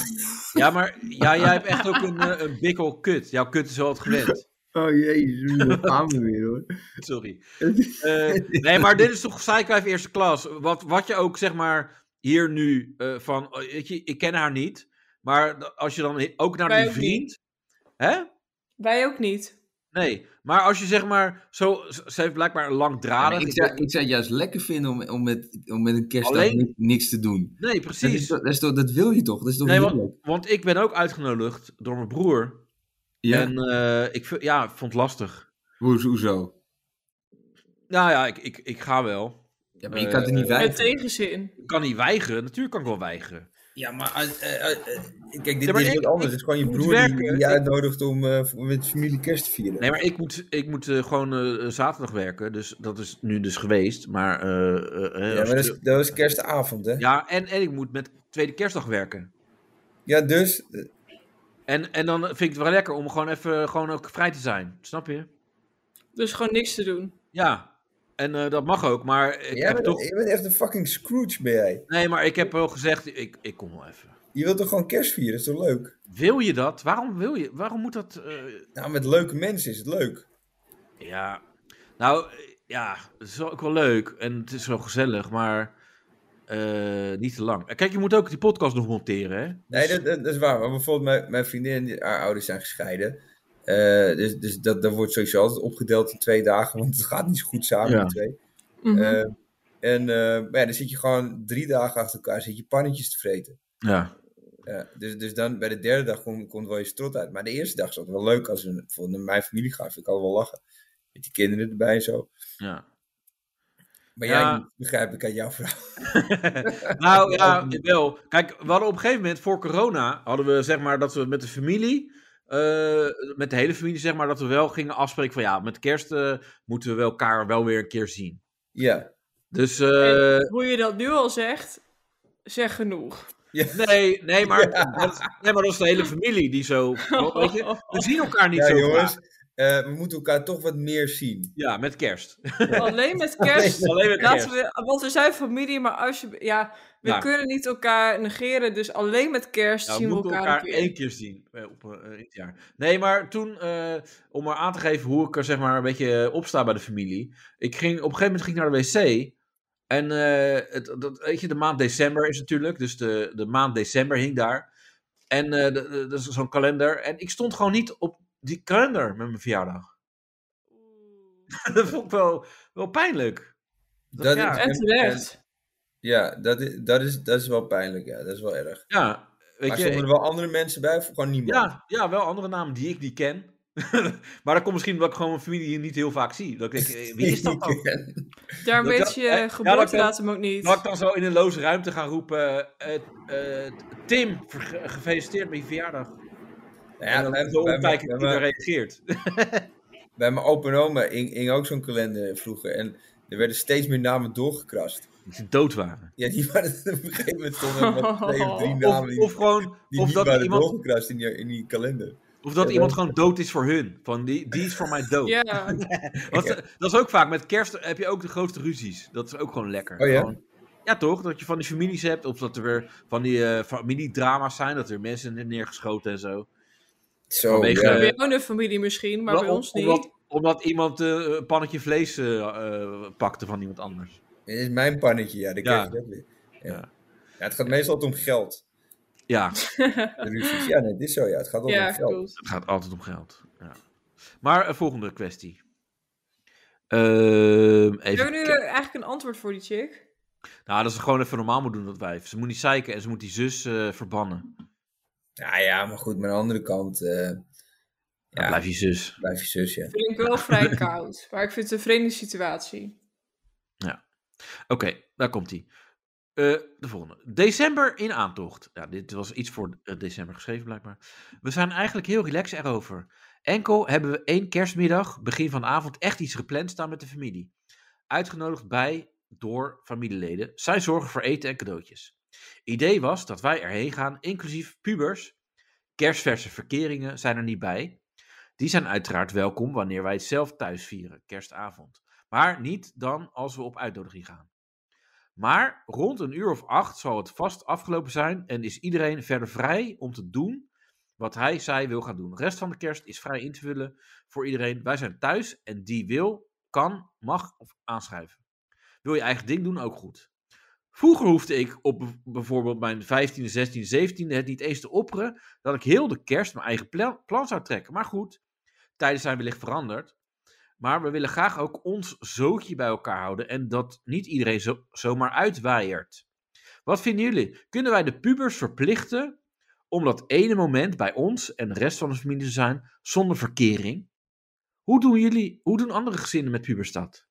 ja, maar ja, jij hebt echt ook een, eh, een bikkel kut. Jouw kut is wel het gewend.
Oh jezus,
[laughs]
daar gaan we weer hoor.
[laughs] Sorry. Eh, nee, maar dit is toch Cyclife eerste klas. Wat, wat je ook zeg maar hier nu eh, van, oh, weet je, ik ken haar niet. Maar da- als je dan he- ook naar
Wij
die
ook niet.
vriend. Hè?
Wij ook niet.
Nee, maar als je zeg maar zo, z- ze heeft blijkbaar een
maar
langdradig.
ik, zou, ik zou het juist lekker vinden om, om, met, om met een kerstdag
Alleen-
ni- niks te doen.
Nee,
Dat, is
precies.
toch- dat, is toch- dat wil je toch? Dat is toch
Nee,
heerlijk?
want, want ik ben ook uitgenodigd door mijn broer.
Ja,
En eh, ik v- ja, ik vond het lastig.
hoezo? hoezo?
Nou ja, ik, ik, ik ga wel.
Ja, maar je kan het
Eh,
er niet bij.
Met tegenzin.
Ik kan niet weigeren. Natuurlijk kan ik wel weigeren.
Ja, maar eh, kijk, dit,
Ja, maar is ik- wat anders. ik
Het is gewoon je
moet broer die- werken. die je Ik-
uitnodigt om met familie kerst te vieren.
Nee, maar ik moet, ik moet eh, gewoon eh, eh, zaterdag werken. Dus dat is nu dus geweest. Maar, eh, eh, eh, als je-
kerstavond, hè?
ja en, en ik moet met tweede kerstdag werken.
Ja, dus.
En, en dan vind ik het wel lekker om gewoon even eh, gewoon ook vrij te zijn. Snap je?
Dus gewoon niks te doen.
Ja. En eh, dat mag ook. Maar ik heb toch...
echt een fucking Scrooge, ben jij.
Nee, maar ik heb wel gezegd, ik, ik kom wel even.
Je wilt toch gewoon kerst vieren? is toch leuk?
Wil je dat? Waarom wil je? Waarom moet dat? eh,
Nou, met leuke mensen is het leuk.
ja. Nou, eh, ja, het is wel- ook wel leuk en het is wel gezellig, maar eh, niet te lang. Eh, Kijk, je moet ook die podcast nog monteren, hè?
Nee, dat, dat, dat is waar. Maar bijvoorbeeld mijn, mijn vriendin, die- haar ouders zijn gescheiden. Eh, dus dus dat, dat wordt sowieso altijd opgedeeld in twee dagen, want het gaat niet zo goed samen,
Ja.
die twee.
Mhm.
Eh, en eh, maar ja, dan zit je gewoon drie dagen achter elkaar, zit je pannetjes te vreten.
Ja.
Ja, dus, dus dan bij de derde dag komt komt wel je strot uit. Maar de eerste dag is altijd wel leuk als we voor mijn familie gaan. Vind ik altijd wel lachen. Met die kinderen erbij en zo.
ja.
Maar
Ja.
jij begrijp ik aan jouw vrouw.
nou ja,
Ehm,
wel. Kijk, we hadden op een gegeven moment voor corona hadden we zeg maar dat we met de familie, eh, met de hele familie zeg maar, dat we wel gingen afspreken van ja, met kerst eh, moeten we wel elkaar wel weer een keer zien.
Ja.
Dus eh,
Hoe je dat nu al zegt, zeg genoeg.
Nee, nee, maar, dat, nee, maar dat is de hele familie die
[laughs]
zo. Weet je, we zien elkaar niet
Ja,
zo
jongens.
vaak.
eh, we moeten elkaar toch wat meer zien.
Ja, met kerst.
Alleen met kerst.
[laughs] Alleen met kerst.
Laten we, want we zijn familie, maar als je, ja, we
Ja.
kunnen niet elkaar negeren. Dus alleen met kerst
Ja, we
zien we
Nou, moeten
elkaar,
elkaar
een keer.
één keer zien eh, op, eh, in het jaar. Nee, maar toen, eh, om maar aan te geven hoe ik er zeg maar een beetje eh, opsta bij de familie. Ik ging, op een gegeven moment ging ik naar de wc. En eh, het, dat, weet je, de maand december is natuurlijk. Dus de, de maand december hing daar. En eh, de- de- dat is zo'n kalender. En ik stond gewoon niet op die kalender met mijn verjaardag. [laughs] dat vond ik wel, wel pijnlijk.
Dat
ja.
is-
En terecht.
Ja, dat is, dat, is, dat is wel pijnlijk. Ja, dat is wel erg.
Ja, weet
maar
je.
stonden
ik-
er wel andere mensen bij of gewoon niemand?
Ja, ja, wel andere namen die ik niet ken. [laughs] maar dat komt misschien omdat ik gewoon mijn familie hier niet heel vaak zie. Dat ik denk, eh, wie is
[laughs]
dat dan?
Daar
Dat-
weet je
eh, ja, dat
geboortedatum ook niet.
Dat ik dan zo in een loze ruimte gaan roepen. eh, eh, Tim, verge- gefeliciteerd met je verjaardag.
Nou
en
ja,
dan
bij,
zo
bij,
omkijken
mijn-
wie
bij
daar
mijn-
reageert.
[laughs] bij mijn opa en oma hing, hing ook zo'n kalender vroeger. En er werden steeds meer namen doorgekrast.
Dat ze dood waren.
Ja, die [laughs] waren op een gegeven moment stonden er maar twee of drie namen
Of,
die,
of gewoon,
die
of
niet
dat,
waren
iemand,
doorgekrast in die, in die kalender.
of dat iemand gewoon dood is voor hun. Van die, die is voor mij
[laughs]
dood. [laughs]
Ja,
Want, eh, dat is ook vaak, met kerst heb je ook de grootste ruzies. Dat is ook gewoon lekker.
Oh ja?
Gewoon- ja, toch? Dat je van die families hebt, of dat er weer van die eh, familiedrama's zijn, dat er mensen zijn neergeschoten en zo.
Zo,
Vanwege-
ja.
Eh,
bij jou een familie misschien, maar bij
Om-
ons niet.
omdat, omdat iemand eh, een pannetje vlees eh, eh, pakte van iemand anders.
Dit is mijn pannetje, ja, dat
Ja.
krijg je dat weer. Ja.
Ja.
Ja. het gaat meestal altijd om geld.
Ja,
De ruzies. Ja, nee, dit is zo, ja. Het gaat altijd
ja,
om geld.
klopt.
het gaat altijd om geld. Ja. Maar een volgende kwestie. Ehm,
Hebben
even
we nu eh,
kijken.
eigenlijk een antwoord voor die chick?
Nou, dat ze gewoon even normaal moet doen, dat wijf. Ze moet niet zeiken en ze moet die zus eh, verbannen.
Nou ja, maar goed, maar aan de andere kant... eh,
Dan
ja,
blijf je zus.
blijf je zus, ja.
Vind ik wel
[laughs]
vrij koud, maar ik vind het een vreemde situatie.
Oké, daar komt hij. de volgende. December in aantocht. Ja, dit was iets voor eh, december geschreven blijkbaar. We zijn eigenlijk heel relaxed erover. Enkel hebben we één kerstmiddag, begin van de avond, echt iets gepland staan met de familie. Uitgenodigd bij, door familieleden. Zij zorgen voor eten en cadeautjes. Idee was dat wij erheen gaan, inclusief pubers. Kerstverse verkeringen zijn er niet bij. Die zijn uiteraard welkom wanneer wij het zelf thuis vieren, kerstavond. Maar niet dan als we op uitnodiging gaan. Maar rond een uur of acht zal het vast afgelopen zijn en is iedereen verder vrij om te doen wat hij, zij wil gaan doen. De rest van de kerst is vrij in te vullen voor iedereen. Wij zijn thuis en die wil, kan, mag of aanschrijven. Wil je eigen ding doen, ook goed. Vroeger hoefde ik op b- bijvoorbeeld mijn 15e, 16e, 17e het niet eens te opperen dat ik heel de kerst mijn eigen pla- plan zou trekken. Maar goed, tijden zijn wellicht veranderd. Maar we willen graag ook ons zootje bij elkaar houden en dat niet iedereen zo, zomaar uitwaaiert. Wat vinden jullie? Kunnen wij de pubers verplichten om dat ene moment bij ons en de rest van de familie te zijn zonder verkering? Hoe doen jullie, hoe doen andere gezinnen met pubers dat?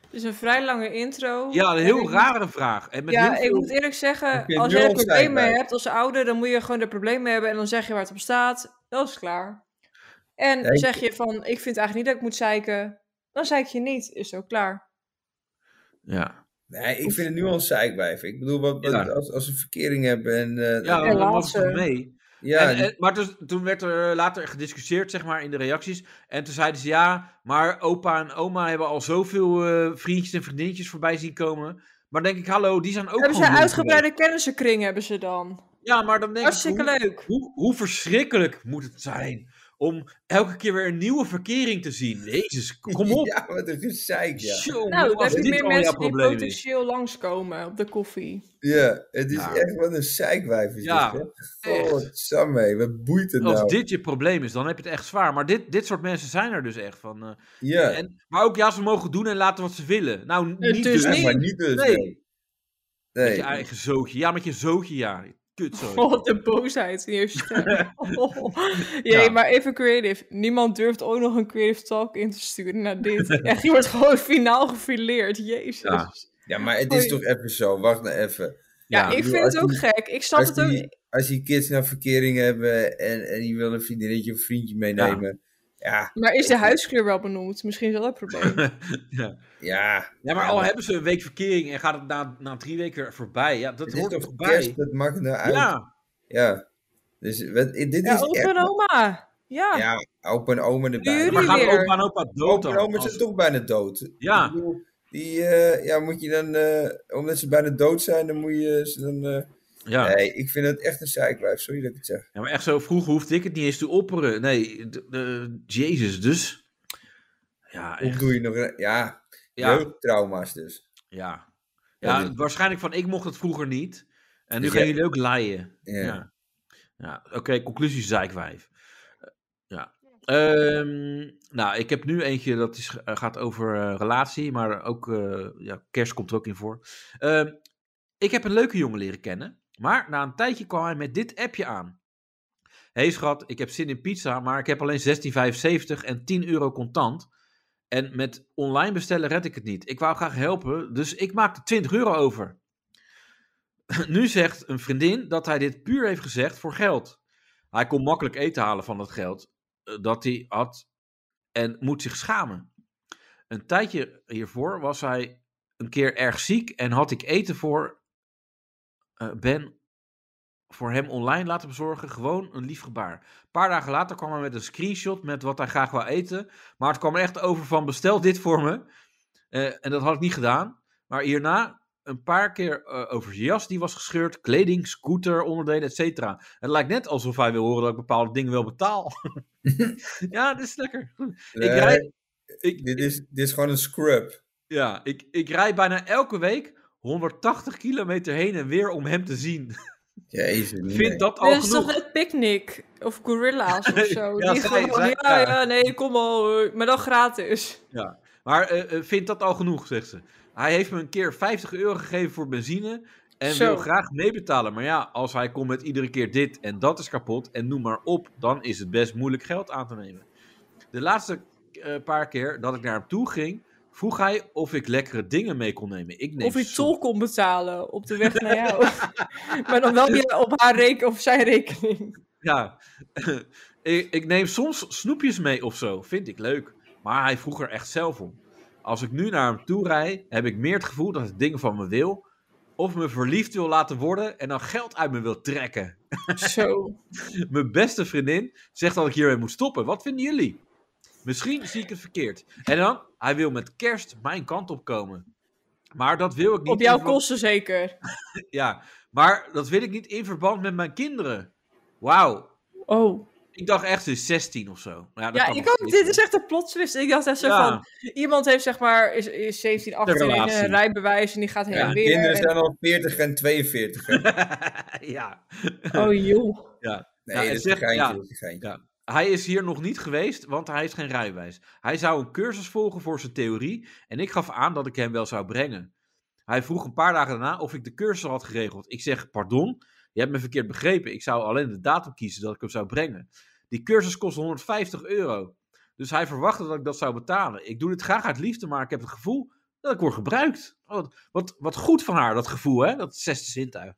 Het is een vrij lange intro.
Ja, een
En ik
heel
moet-
rare vraag. En met
Ja,
heel
ik
veel-
moet eerlijk
Heb je
zeggen,
het
als
nu
jij er
al gezegd,
problemen
Bart?
hebt als ouder, dan moet je gewoon er problemen mee hebben en dan zeg je waar het op staat. Dat is klaar. En
Nee, ik-
zeg je van, ik vind eigenlijk niet dat ik moet zeiken, dan zeik je niet. Is ook klaar.
Ja,
Nee, ik vind het nu al een zeikwijf. Ik bedoel, wat, wat-
Ja.
als, als ze verkering hebben en... eh,
ja
ja,
dan was
laatste.
het mee. En- en- maar dus, toen werd er later gediscussieerd, zeg maar, in de reacties. En toen zeiden ze ja, maar opa en oma hebben al zoveel eh, vriendjes en vriendinnetjes voorbij zien komen. Maar dan denk ik, hallo, die zijn ook
hebben ze
gewoon
een
jong
uitgebreide kennissenkring hebben ze dan.
geweest. Ja, maar dan denk ik,
Hartstikke
hoe,
leuk.
hoe, hoe verschrikkelijk moet het zijn om elke keer weer een nieuwe verkering te zien? Jezus, kom
[laughs]
op.
Ja, wat een gezeik, ja.
Tjonge,
Nou, dan
als
heb je
dit
meer
al jouw
mensen die
probleem is.
potentieel langskomen op de koffie.
Ja, het is
Ja.
echt wat een zeikwijf. Is
Ja,
dit, hè?
echt.
Oh, Samé, wat boeit het
Als
nou?
dit je probleem is, dan heb je het echt zwaar. Maar dit, dit soort mensen zijn er dus echt van. eh,
Ja,
en, maar ook ja, ze mogen doen en laten wat ze willen. Nou, niet
Het is
dus.
Ja,
niet-
maar niet dus.
Nee.
Nee.
Met je
nee.
eigen zootje. Ja, met je zootje, ja. Kutzooi.
Oh, de boosheid in
[laughs]
je stem. Oh. Jee,
Ja.
maar even creative. Niemand durft ook nog een creative talk in te sturen
[laughs]
naar dit. Echt, je wordt gewoon finaal gefileerd. Jezus.
Ja.
Ja,
Ja, maar het is
Oei.
toch even zo. Wacht nou even.
Ja,
ik
bedoel,
vind
als
het ook
die-
gek. Ik snap
Als
het ook.
die, als die kids naar verkering hebben en, en die willen een vriendinnetje of vriendje meenemen. Ja,
Maar is de huidskleur wel benoemd? Misschien is dat het probleem.
ja.
ja, maar al hebben ze een week verkering en gaat het na, na drie weken weer voorbij. Ja, dat
Het is
hoort er
toch
voorbij.
kerst, dat mag er nou uit. Ja.
Ja,
Dus wat, dit
Ja,
is
opa
echt...
en oma. Ja.
Ja, opa en oma erbij.
Jullie
maar gaan
weer.
opa en opa dood
Opa en
dan?
oma zijn
Als-
toch bijna dood. Ik
Ja,
bedoel, Die, eh, ja, moet je dan, eh, omdat ze bijna dood zijn, dan moet je ze dan... eh,
ja.
Nee, ik vind het echt een zeikwijf, sorry dat ik het zeg.
ja, maar echt zo vroeg hoefde ik het niet eens te opperen. Nee, d- eh, Jezus, dus. Ja,
Hoe
echt.
doe je nog... een- Ja,
Ja,
jeugdtrauma's dus.
ja.
Ja,
ja,
dit-
waarschijnlijk van ik mocht het vroeger niet. En nu
Dus
gaan
jij-
jullie ook laaien.
Ja.
Ja. ja. Oké, conclusie zeikwijf. Eh, Ja. Ehm, nou, ik heb nu eentje dat is, eh, gaat over eh, relatie, maar ook eh, ja, kerst komt er ook in voor. Ehm, ik heb een leuke jongen leren kennen, maar na een tijdje kwam hij met dit appje aan. hey schat, ik heb zin in pizza, maar ik heb alleen 16,75 en 10 euro contant. En met online bestellen red ik het niet. Ik wou graag helpen, dus ik maakte 20 euro over. [clears throat] Nu zegt een vriendin dat hij dit puur heeft gezegd voor geld. Hij kon makkelijk eten halen van dat geld eh, dat hij had en moet zich schamen. Een tijdje hiervoor was hij een keer erg ziek en had ik eten voor eh, Ben voor hem online laten bezorgen. Gewoon een lief gebaar. Een paar dagen later kwam hij met een screenshot met wat hij graag wou eten. Maar het kwam er echt over van bestel dit voor me. Eh, en dat had ik niet gedaan. Maar hierna een paar keer eh, over zijn jas die was gescheurd, kleding, scooter, onderdelen, et cetera. Het lijkt net alsof hij wil horen dat ik bepaalde dingen wel betaal. ja, dit is lekker.
Nee,
ik rijd, ik,
Eh, dit, is, dit is gewoon een scrub.
ja, ik, ik rijd bijna elke week 180 kilometer heen en weer om hem te zien.
Jezus.
Ik
nee.
Vind dat al
Dat is
genoeg?
toch het picknick? Of gorilla's of zo.
Ja,
die
zij-
gewoon,
zij-
ja,
ja.
ja, nee, kom al. eh, Maar dan gratis.
Maar eh, eh, vind dat al genoeg, zegt ze. Hij heeft me een keer 50 euro gegeven voor benzine en
Zo.
wil graag meebetalen. Maar ja, als hij komt met iedere keer dit en dat is kapot en noem maar op, dan is het best moeilijk geld aan te nemen. De laatste eh, paar keer dat ik naar hem toe ging, vroeg hij of ik lekkere dingen mee kon nemen. Ik neem
of je
soep.
tol kon betalen op de weg naar jou. [laughs] maar dan wel weer op haar rekening of zijn rekening.
Ja, [laughs] ik, ik neem soms snoepjes mee of zo, vind ik leuk. Maar hij vroeg er echt zelf om. Als ik nu naar hem toe rijd, heb ik meer het gevoel dat hij dingen van me wil. of me verliefd wil laten worden en dan geld uit me wil trekken. [laughs]
Zo.
Mijn beste vriendin zegt dat ik hiermee moet stoppen. Wat vinden jullie? Misschien zie ik het verkeerd. En dan, hij wil met kerst mijn kant op komen. Maar dat wil ik niet.
Op jouw
in verband-
kosten zeker.
Ja, maar dat wil ik niet in verband met mijn kinderen. Wauw.
Oh.
Ik dacht echt, ze is 16 of zo. Maar Ja, dat
Ja,
kan
ik
nog
ook.
steeds,
Dit is
hè.
echt een plot twist. Ik dacht echt zo
Ja.
van... Iemand heeft zeg maar... Is, is 17, 18 en
relatie.
een rijbewijs en die gaat heen
Ja,
en weer. eh,
kinderen
en-
zijn al 40 en 42. hè.
[laughs] ja.
Oh
[laughs]
joh.
Nee,
Ja, en
dat is een
zeg-
geintje.
ja.
dat is een geintje.
Ja. Hij is hier nog niet geweest, want hij heeft geen rijbewijs. Hij zou een cursus volgen voor zijn theorie en ik gaf aan dat ik hem wel zou brengen. Hij vroeg een paar dagen daarna of ik de cursus al had geregeld. Ik zeg, pardon, je hebt me verkeerd begrepen. Ik zou alleen de datum kiezen dat ik hem zou brengen. Die cursus kost 150 euro. Dus hij verwachtte dat ik dat zou betalen. Ik doe dit graag uit liefde, maar ik heb het gevoel dat ik word gebruikt. Oh, Wat, wat, wat goed van haar, dat gevoel, hè? Dat zesde zintuig.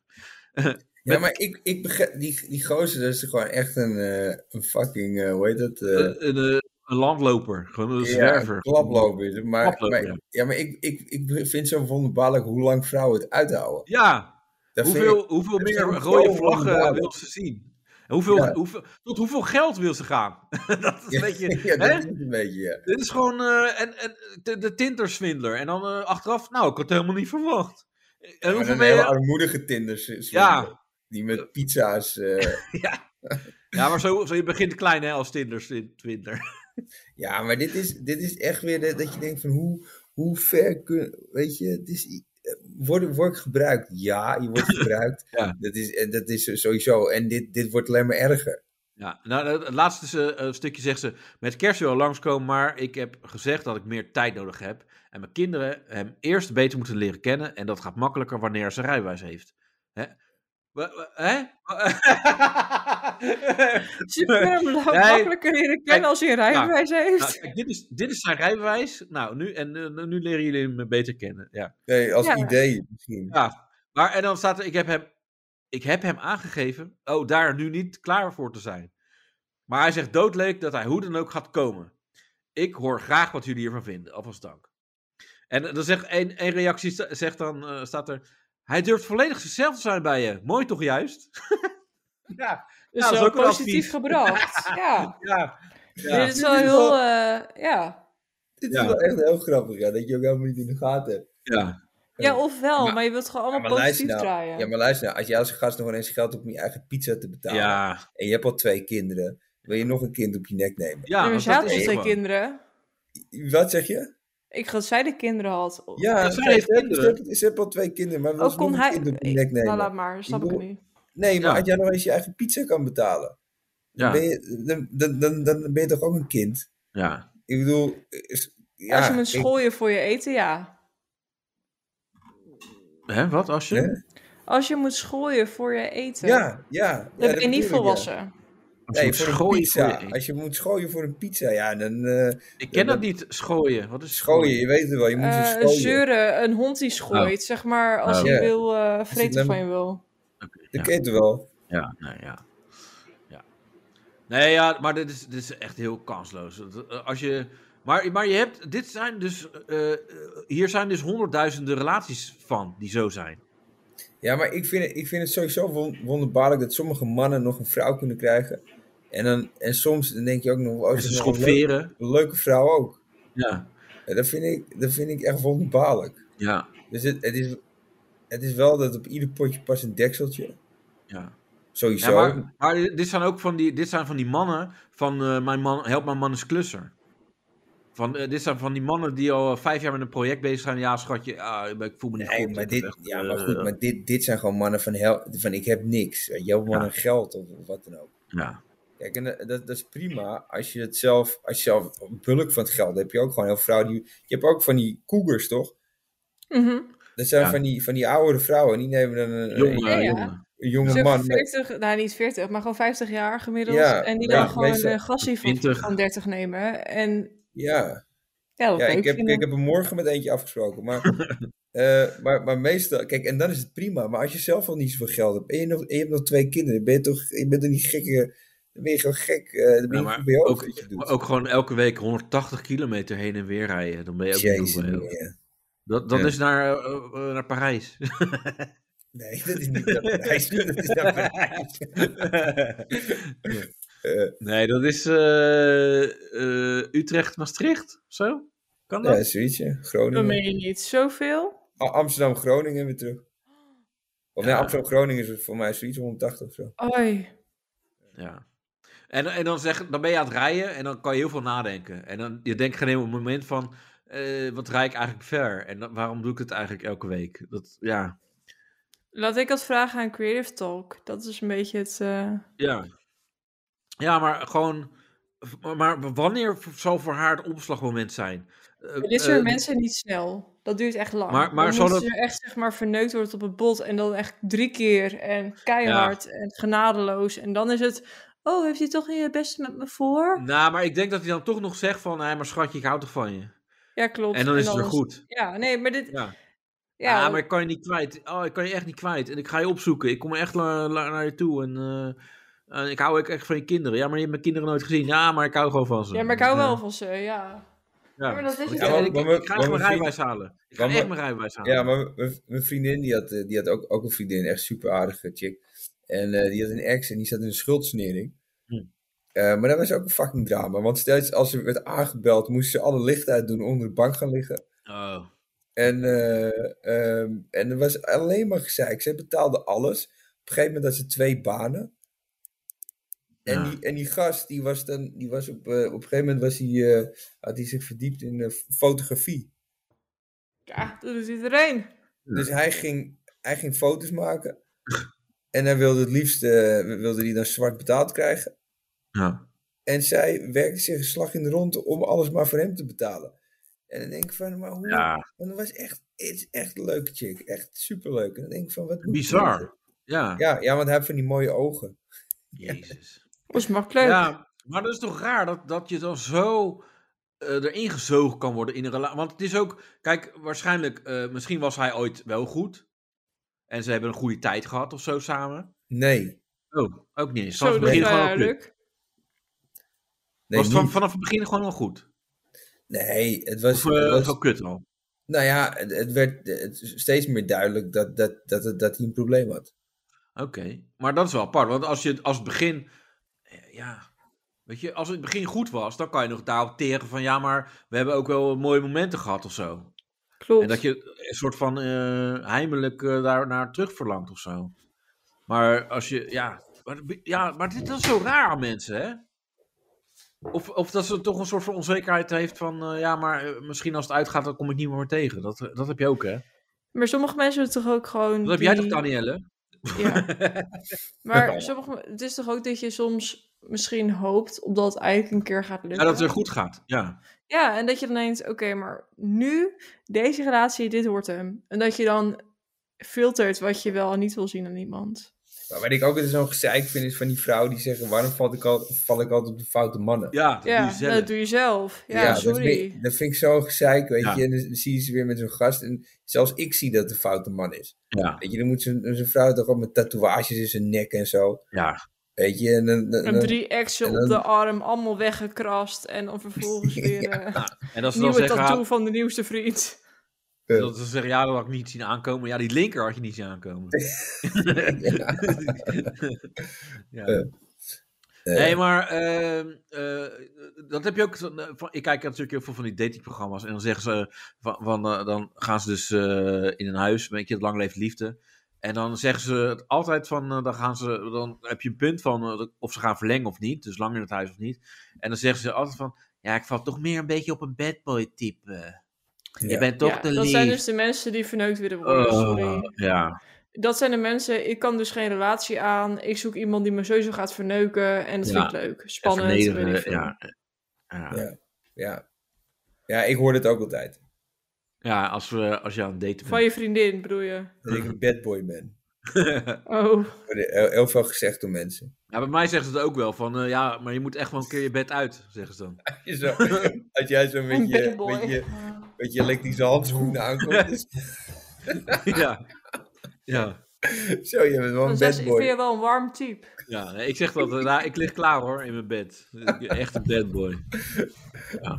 Ja, maar ik, ik begrijp, die, die gozer, dat is gewoon echt een, eh, een fucking, eh, hoe heet dat? eh,
Een, een, eh, een landloper, gewoon een
Ja,
zwerver.
een klaploper is het. Maar,
Klaploper,
maar,
ja.
ja. maar ik, ik, ik vind zo wonderbaarlijk hoe lang vrouwen het uithouden.
Ja,
Dat vind
Hoeveel,
ik-
hoeveel
dat
meer
vind ik
rode
zo
vlaggen
wonderbaarlijk.
wil ze zien? En hoeveel,
Ja.
hoeveel, tot hoeveel geld wil ze gaan? [laughs] dat
[laughs]
is een beetje.
ja, dat
hè?
is het een beetje, ja.
Dit is gewoon eh, en, en, de, de Tinderswindler. En dan eh, achteraf, nou, ik had het helemaal niet verwacht. Eh, En
Maar
hoeveel
een
ben
hele
je...
armoedige tinders. is-
Ja.
Die met pizza's. eh, [laughs]
ja, maar zo, zo je begint klein hè, als Tinderswindler.
ja, maar dit is, dit is echt weer dat, dat je denkt van hoe, hoe ver kun Weet je, het is, i- eh, word, word ik gebruikt? Ja, je
[laughs]
wordt gebruikt.
Ja.
dat, is, eh, dat is sowieso. En dit, dit wordt alleen maar erger.
Ja, nou, het het laatste eh, stukje zegt ze: Met kerst wil langskomen, maar ik heb gezegd dat ik meer tijd nodig heb. En mijn kinderen hem eerst beter moeten leren kennen. En dat gaat makkelijker wanneer ze een rijbewijs heeft. Hè? Wa- wa- Hè? [laughs]
Super
Jij-
makkelijker leren kennen als je een rijbewijs
Nou,
heeft.
kijk, dit, is, dit is zijn rijbewijs. Nou, nu, en eh, nu leren jullie hem beter kennen. Ja.
Nee, als
Ja.
idee misschien.
ja. Maar en dan staat er: ik heb, hem, ik heb hem aangegeven. Oh, daar nu niet klaar voor te zijn. Maar hij zegt doodleuk dat hij hoe dan ook gaat komen. Ik hoor graag wat jullie hiervan vinden. Alvast dank. En eh, dan zegt één één reactie: sta- zegt dan, eh, staat er. Hij durft volledig zichzelf te zijn bij je. Mooi toch juist? ja,
Dus
Ja, dat is
wel
ook een advies.
positief gebracht.
[laughs]
Ja.
ja.
Dit
ja.
is wel heel... eh, ja.
Dit
Ja.
is wel echt heel grappig, ja, dat je ook helemaal niet in de gaten hebt.
ja.
ja, ofwel, maar,
Maar-
je wilt gewoon allemaal
maar luister
positief
nou.
draaien.
Ja, maar luister nou, als jij als gast nog ineens geld hebt om je eigen pizza te betalen.
Ja,
En je hebt al twee kinderen. Wil je nog een kind op je nek nemen?
ja,
maar
want
ze had
dat
al
is
twee
gewoon.
kinderen.
Wat zeg je?
Ik dacht dat zij de kinderen had.
Ja,
zij heeft
ze- ze-
kinderen.
Ze, ze heeft al twee kinderen, maar wil
Ook
ze nog
kon
een
Oh, hij...
kind op je nek nemen?
Nou, laat maar. Snap ik
bedoel-
niet.
Nee, maar
Ja.
als jij nog eens je eigen pizza kan betalen,
Ja,
ben je, dan, dan, dan, dan ben je toch ook een kind?
ja.
Ik bedoel... is- Ja,
Als je moet
ik-
schooien voor je eten, ja.
Hè, wat als je?
Hè?
Als je moet schooien voor je eten,
Ja, ja. ja
dan
dat
ben je
bedoel
niet
ik, ja.
volwassen.
Als je
Nee,
moet
voor een
schooien
pizza.
voor je-
Als je moet schooien voor een pizza, ja, dan... eh
Ik ken
Ja,
dat niet, schooien. Wat is
schooien, je weet het wel, je moet
Eh,
ze
een
schooien. Nou.
zeuren, een hond die schooit, zeg maar, als
Oh.
hij
Ja.
wil, eh vreten
dan-
van je wil.
Oké,
Dat
ja.
ken je toch wel?
Ja, nee, ja. ja. Nee, ja, maar dit is, dit is echt heel kansloos. Dat, eh, Als je, maar, maar je hebt, dit zijn dus, eh, eh, hier zijn dus honderdduizenden relaties van die zo zijn.
Ja, maar ik vind het, ik vind het sowieso won- wonderbaarlijk dat sommige mannen nog een vrouw kunnen krijgen. En, dan, en soms dan denk je ook nog, oh,
En
ze
ze
is nog een leuk-
schofferen.
een leuke vrouw ook.
Dus Ja,
Ja, dat, vind ik, dat vind ik echt wonderbaarlijk.
ja,
Dus het, het, is, het is wel dat op ieder potje past een dekseltje.
ja.
Sowieso.
ja maar, maar dit zijn ook van die, dit zijn van die mannen van eh, mijn man, help mijn man is klusser. Van, eh, dit zijn van die mannen die al eh, vijf jaar met een project bezig zijn. Ja, schatje, ah, ik voel me niet
Nee,
goed.
maar
Ik heb
dit,
echt,
ja, maar
eh,
goed, maar dit, dit zijn gewoon mannen van, hel, van ik heb niks. Weet je, mannen geld of, of wat dan ook.
Ja,
Kijk, en eh, dat, dat is prima als je het zelf, als je zelf bulk van het geld hebt. Heb je ook gewoon heel veel vrouwen die, je hebt ook van die koegers, toch?
Mhm.
Dat zijn
Ja.
van, die, van die oudere vrouwen. Die nemen dan een,
jongen,
ja,
een-
ja.
jongen.
een
Dus
jonge
ook
man. met-
40, nou niet 40, maar gewoon 50 jaar gemiddeld.
Ja,
en die
ja,
dan gewoon
meestal
een gassie van,
20.
van 30 nemen. En
Ja,
ja, dat
ja
leuk
ik, heb,
vinden.
ik heb er morgen met eentje afgesproken.
[laughs]
Maar, eh, maar, maar meestal, kijk, en dan is het prima. Maar als je zelf al niet zoveel geld hebt en je, nog, en je hebt nog twee kinderen, ben je toch, je bent toch niet gekke, dan ben je gewoon gek. eh, dan ben
Ja,
je
maar
niet bij je hoofd
ook,
wat je doet.
maar ook gewoon elke week 180 kilometer heen en weer rijden. Dan ben je ook
Jezus,
niet goed bij je
nee, ja.
Dat, dat
Ja.
is naar, eh, eh, naar
[laughs]
Parijs.
Nee, [laughs] dat is niet naar Parijs. dat is naar Parijs. Eh,
nee, dat is eh, eh, Utrecht-Maastricht of zo? Kan dat?
ja, zoiets, ja.
Dan
Groningen.
meen je niet zoveel.
A- Amsterdam-Groningen weer terug. Of nee,
Ja.
Amsterdam-Groningen is voor mij zoiets 180 of zo.
Oei.
Ja. En, en dan, zeg, dan ben je aan het rijden en dan kan je heel veel nadenken. En dan je denkt geen enkel moment van, eh, wat rij ik eigenlijk ver? En dan- waarom doe ik het eigenlijk elke week? Dat, ja.
Laat ik dat vragen aan Creative Talk. Dat is een beetje het... eh,
ja. Ja, maar gewoon... maar- Maar wanneer zal voor haar het omslagmoment zijn? Eh,
Maar dit soort
eh,
mensen niet snel. Dat duurt echt lang.
Maar- maar
dan
zal
moeten ze echt zeg maar verneukt worden op het bot. En dan echt drie keer. En keihard. En genadeloos. En dan is het... Oh, heeft hij toch niet het beste met me voor?
Nou, maar ik denk dat hij dan toch nog zegt van... Hé, maar schatje, ik hou toch van je?
Ja, klopt.
En dan is het weer goed.
Ja, nee, maar dit...
Ja.
Ja,
Ah, maar ik kan je niet kwijt. Oh, ik kan je echt niet kwijt. En ik ga je opzoeken. Ik kom echt la- la- naar je toe. En eh, eh, ik hou ook echt van je kinderen. Ja, maar je hebt mijn kinderen nooit gezien. Ja, maar ik hou gewoon van ze.
ja, maar ik hou
Ja.
wel van ze, ja.
Ja.
maar dat is
Want
het
ik-
ook.
en ik,
Maar we-
ik ga echt
maar we
mijn rijbewijs halen. Ik ga
maar we-
echt mijn rijbewijs halen.
Ja, maar mijn- mijn vriendin, die had, eh, die had ook, ook een vriendin, echt super aardige chick. En eh, die had een ex en die zat in een schuldsnering.
Hm.
Eh, maar dat was ook een fucking drama. Want steeds als ze werd aangebeld, moest ze alle licht uitdoen onder de bank gaan liggen.
Oh.
En, eh, ehm, en er was alleen maar gezeik. Ze betaalde alles. Op een gegeven moment had ze twee banen. En,
Ja.
die, en die gast, die was dan, die was op, eh, op een gegeven moment was hij, eh, had hij zich verdiept in eh, f- fotografie.
Ja, dat doet iedereen.
Ja.
Dus hij ging, hij ging foto's maken. En hij wilde het liefst, eh, wilde die dan zwart betaald krijgen.
Ja.
En zij werkte zich een slag in de ronde om alles maar voor hem te betalen. En dan denk ik van, maar hoe,
ja,
want het was echt, het is echt een leuke chick. Echt superleuk. En dan denk ik van, wat moet
bizar. Ja,
je? Ja, ja, want hij heeft van die mooie ogen.
jezus.
Dat is makkelijk.
Ja, maar dat is toch raar dat, dat je dan zo eh, erin gezogen kan worden in een relatie. Want het is ook, kijk, waarschijnlijk, eh, misschien was hij ooit wel goed. En ze hebben een goede tijd gehad of zo samen.
Nee.
Oh, ook niet eens.
Zo, dus,
Vanaf het
nou dat is
begin
wel
gewoon al goed.
duidelijk.
Nee,
was het van-
niet.
vanaf het begin gewoon al goed?
nee het was...
Of eh,
het was-
gewoon kut al?
nou ja, het, het werd het is steeds meer duidelijk dat, dat, dat, dat, dat hij een probleem had.
Oké, maar dat is wel apart. Want als, je, het- als het begin, eh, ja, weet je, als het begin goed was, dan kan je nog daarop tegen van ja, maar we hebben ook wel mooie momenten gehad of zo.
Klopt.
En dat je een soort van eh, heimelijk eh, daar naar terug verlangt of zo. Maar als je, ja, maar, ja, maar dit dat is zo raar aan mensen, hè? Of, of dat ze toch een soort van onzekerheid heeft van, eh, ja, maar eh, misschien als het uitgaat, dan kom ik niet meer tegen. Dat, eh, dat heb je ook, hè?
Maar sommige mensen hebben toch ook gewoon...
Dat heb jij toch,
die-
Danielle?
Ja.
[laughs]
Maar
Ja.
sommige, het is toch ook dat je soms misschien hoopt op dat het eigenlijk een keer gaat lukken.
Ja, dat het weer goed gaat, ja.
Ja, en dat je dan denkt, oké, maar nu, deze relatie, dit wordt hem. En dat je dan filtert wat je wel en niet wil zien aan iemand.
Maar wat ik ook altijd zo'n gezeik vind, is van die vrouwen die zeggen... waarom val ik, al, val ik altijd op de foute mannen?
Ja, dat doe
ja, nou,
je zelf.
dat doe je zelf. Ja,
dat,
sorry.
vind, dat vind ik zo'n gezeik, weet
Ja.
je. En dan, dan zie je ze weer met zo'n gast. En zelfs ik zie dat de foute man is.
Ja,
Weet je, dan moet zo'n zo'n vrouw toch ook met tatoeages in zijn nek en zo.
ja.
Weet je, en dan... dan-
En
dan-
drie exen
en
op de
dan-
arm, allemaal weggekrast. En dan
[laughs]
vervolgens weer eh,
En als ze dan
nieuwe
zeggen,
tattoo
ah,
van de nieuwste vriend.
eh,
dat ze zeggen, ja, dat had ik niet zien aankomen. Ja, die linker had je niet zien aankomen.
ja.
[laughs] Ja.
Eh,
Nee, maar ehm, eh, dat heb je ook. zo- eh, van- ik kijk natuurlijk heel veel van die datingprogramma's. En dan zeggen ze. eh, Van, van, eh, dan gaan ze dus eh, in een huis. Weet je, het lang leeft liefde. En dan zeggen ze het altijd van. eh, dan, gaan ze, dan heb je een punt van. eh, of ze gaan verlengen of niet. Dus lang in het huis of niet. En dan zeggen ze altijd van. Ja, ik val toch meer een beetje op een badboy type. Je
Ja.
bent [laughs] toch
Ja,
de
dat
lief.
zijn dus de mensen die verneukt willen worden, sorry.
Oh, ja.
Dat zijn de mensen, ik kan dus geen relatie aan. Ik zoek iemand die me sowieso gaat verneuken. En dat
Ja,
vind ik leuk. Spannend. weet ik
Vernederen,
veel.
ja. Ja.
Ja. ja. Ja, ik hoor dit ook altijd.
Ja, als, we, als je aan het daten
Van je vriendin bedoel je.
Dat ik een badboy ben.
bent.
Oh,
Er wordt heel, heel veel gezegd door mensen.
Ja, bij mij zeggen ze het ook wel van, eh, ja, maar je moet echt wel een keer je bed uit, zeggen ze dan.
Als je zo- [laughs] Als jij zo met
een
je,
bad boy.
met je, [laughs] met je elektrische handschoenen aankomt.
ja. ja.
Zo, je bent wel een
Dan zegt
bad
ze, Dus ik vind
boy.
je wel een warm type.
Ja, nee, ik zeg dat. eh, nou, ik lig klaar hoor in mijn bed. Echt een bad boy.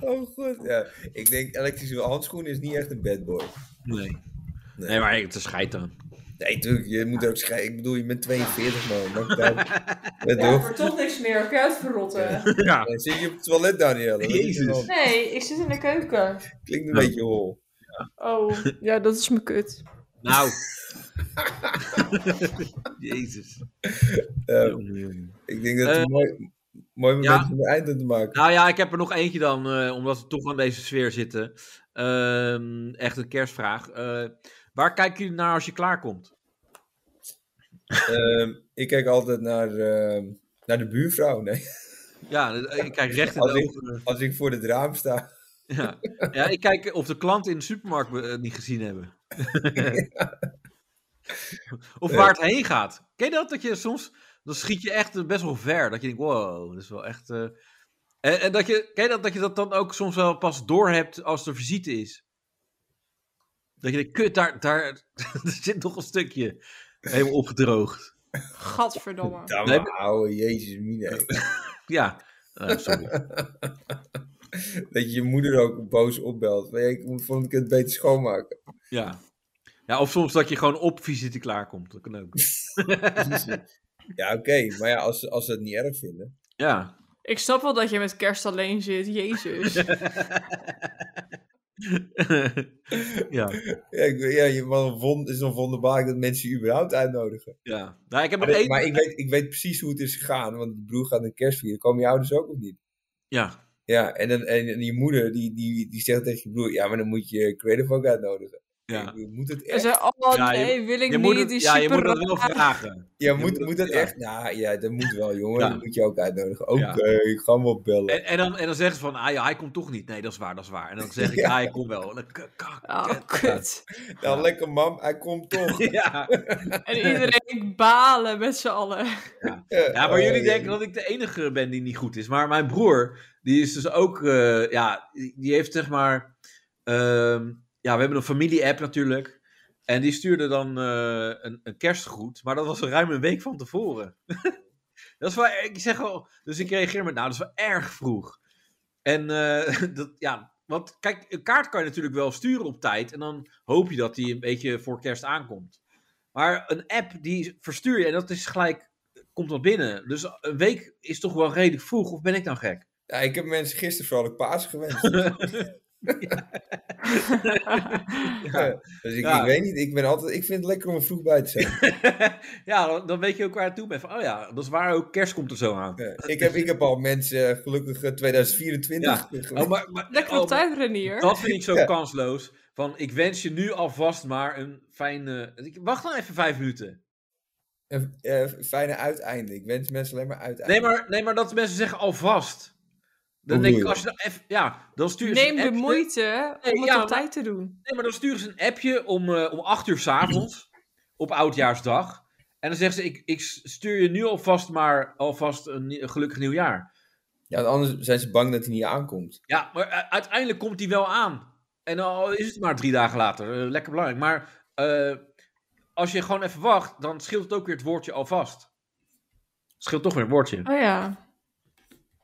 Oh, goed. Ja. Ik denk, elektrische handschoenen is niet echt een bad boy.
Nee. Nee, maar het is scheid aan.
Nee, tuurlijk, je moet er ook scheiden. Ik bedoel, je bent 42, man. Maakt het uit.
[laughs]
Ja,
Ja,
toch?
voor toch niks meer. Kun je uitverrotten?
Ja.
Ja, Zit je op het toilet, Daniel?
Jezus.
[laughs] Nee, ik zit in de keuken.
Klinkt een
Ja.
beetje hol.
Oh, ja, dat is mijn kut.
Nou. Jezus.
Eh,
Jongen, jongen.
ik denk dat het
Eh,
een mooi, mooi moment
ja.
is om een eind aan te maken.
Nou ja, ik heb er nog eentje dan, eh, omdat we toch aan deze sfeer zitten. Ehm, echt een kerstvraag. Eh, waar kijken jullie naar als je klaarkomt?
Ehm, ik kijk altijd naar, ehm, naar de buurvrouw. Nee. [laughs]
Ja, eh, ik kijk recht in
Als
de
ik-
ogen.
Als ik voor het raam sta.
Ja. ja, ik kijk of de klanten in de supermarkt me, eh, niet gezien hebben. of waar het heen gaat. Ken je dat? Dat je soms, dan schiet je echt eh, best wel ver. Dat je denkt, wow, dat is wel echt... eh. En, en dat je, ken je dat? Dat je dat dan ook soms wel pas doorhebt als er visite is. Dat je denkt, kut, daar, daar [laughs] er zit nog een stukje. Helemaal opgedroogd.
Gadverdomme.
Nou,
Nee,
ouwe, jezus, mine.
Ja, Eh, sorry.
Dat je je moeder ook boos opbelt. Van, ja, ik moet volgende keer het beter
[laughs]
schoonmaken.
Ja. ja, of soms dat je gewoon op visite klaarkomt. Dat kan ook.
Ja, oké. Maar ja, als, ze- als ze het niet erg vinden.
Ja. [laughs]
Ik snap wel dat je met kerst alleen zit. Jezus.
ja,
Ja, ik, ja je, man, wond, is een wonderbaar dat mensen je überhaupt uitnodigen.
ja. Nou, ik heb nog
Maar,
één.
maar ik, weet, ik weet precies hoe het is gegaan. Want je broer gaat een kerstvier. Komen je ouders ook of niet?
Ja,
Ja, en, dan, en, en je moeder die, die, die zegt tegen je broer... Ja, maar dan moet je Creative ook uitnodigen. Ik
ja.
bedoel, moet het
En
echt?
zei, oh
Ja, je-
nee, wil ik
Je
niet.
moet, het,
die is
ja, je
super
moet dat wel
raar.
[laughs] vragen. je
Ja, moet,
moet het-
moet dat
ja.
echt? Nou ja, dat moet wel, jongen.
Ja.
Dat moet je ook uitnodigen. Oké,
Ja.
ik ga hem wel bellen.
En, en, dan, en dan zeggen ze van, ah ja, hij komt toch niet. Nee, dat is waar, dat is waar. En dan zeg ik,
Ja.
ah, hij komt wel. En dan, k- kak.
Oh, kut.
nou,
ja.
lekker mam, hij komt toch.
Ja.
En iedereen balen met z'n allen.
[laughs] ja, maar jullie
Oh,
denken dat ik de enige ben die niet goed is. Maar mijn broer, die is dus ook, eh, ja, die die heeft zeg maar, ehm, ja, we hebben een familie-app natuurlijk. En die stuurde dan eh, een, een kerstgroet, maar dat was ruim een week van tevoren. [laughs] dat is wel, ik zeg wel, dus ik reageer met, nou, dat is wel erg vroeg. En eh, [laughs] dat, ja, want kijk, een kaart kan je natuurlijk wel sturen op tijd. En dan hoop je dat die een beetje voor kerst aankomt. Maar een app die verstuur je en dat is gelijk komt dat binnen. Dus een week is toch wel redelijk vroeg, of ben ik dan gek? [laughs]
Ja, ik heb mensen gisteren vrolijk paas gewenst. Ja. Dus ik,
Ja.
ik weet niet, ik, ben altijd, ik vind het lekker om er vroeg bij te zijn.
[laughs] ja, dan, dan weet je ook waar je toe bent. Van, oh ja, dat is waar ook, kerst komt er zo aan.
Ja. Ik, heb, ik heb al mensen eh, gelukkig eh, 2024 gewenst.
Oh, maar, maar,
Lekker
oh,
op tijd, Renier.
maar Dat vind ik zo
Ja.
kansloos. Van, ik wens je nu alvast maar een fijne... ik- Wacht dan even vijf minuten.
Een eh, fijne uiteinde. Ik wens mensen alleen maar uiteinde.
Nee, maar, nee, maar dat mensen zeggen alvast. Dan
Hoe
denk ik,
bedoel
als je dan even... Ja, dan stuur je
Neem de moeite
Nee,
om het
eh, ja,
op
maar-
tijd te doen.
Nee, maar dan sturen ze een appje om, eh, om 8 uur s'avonds op oudjaarsdag. En dan zeggen ze: ik, ik stuur je nu alvast maar alvast een, nie- een gelukkig nieuwjaar.
Ja, want anders zijn ze bang dat hij niet aankomt.
Ja, maar u- uiteindelijk komt die wel aan. En al is het maar drie dagen later. eh, lekker belangrijk. Maar eh, als je gewoon even wacht, dan scheelt het ook weer het woordje alvast. Scheelt toch weer een woordje.
Oh ja.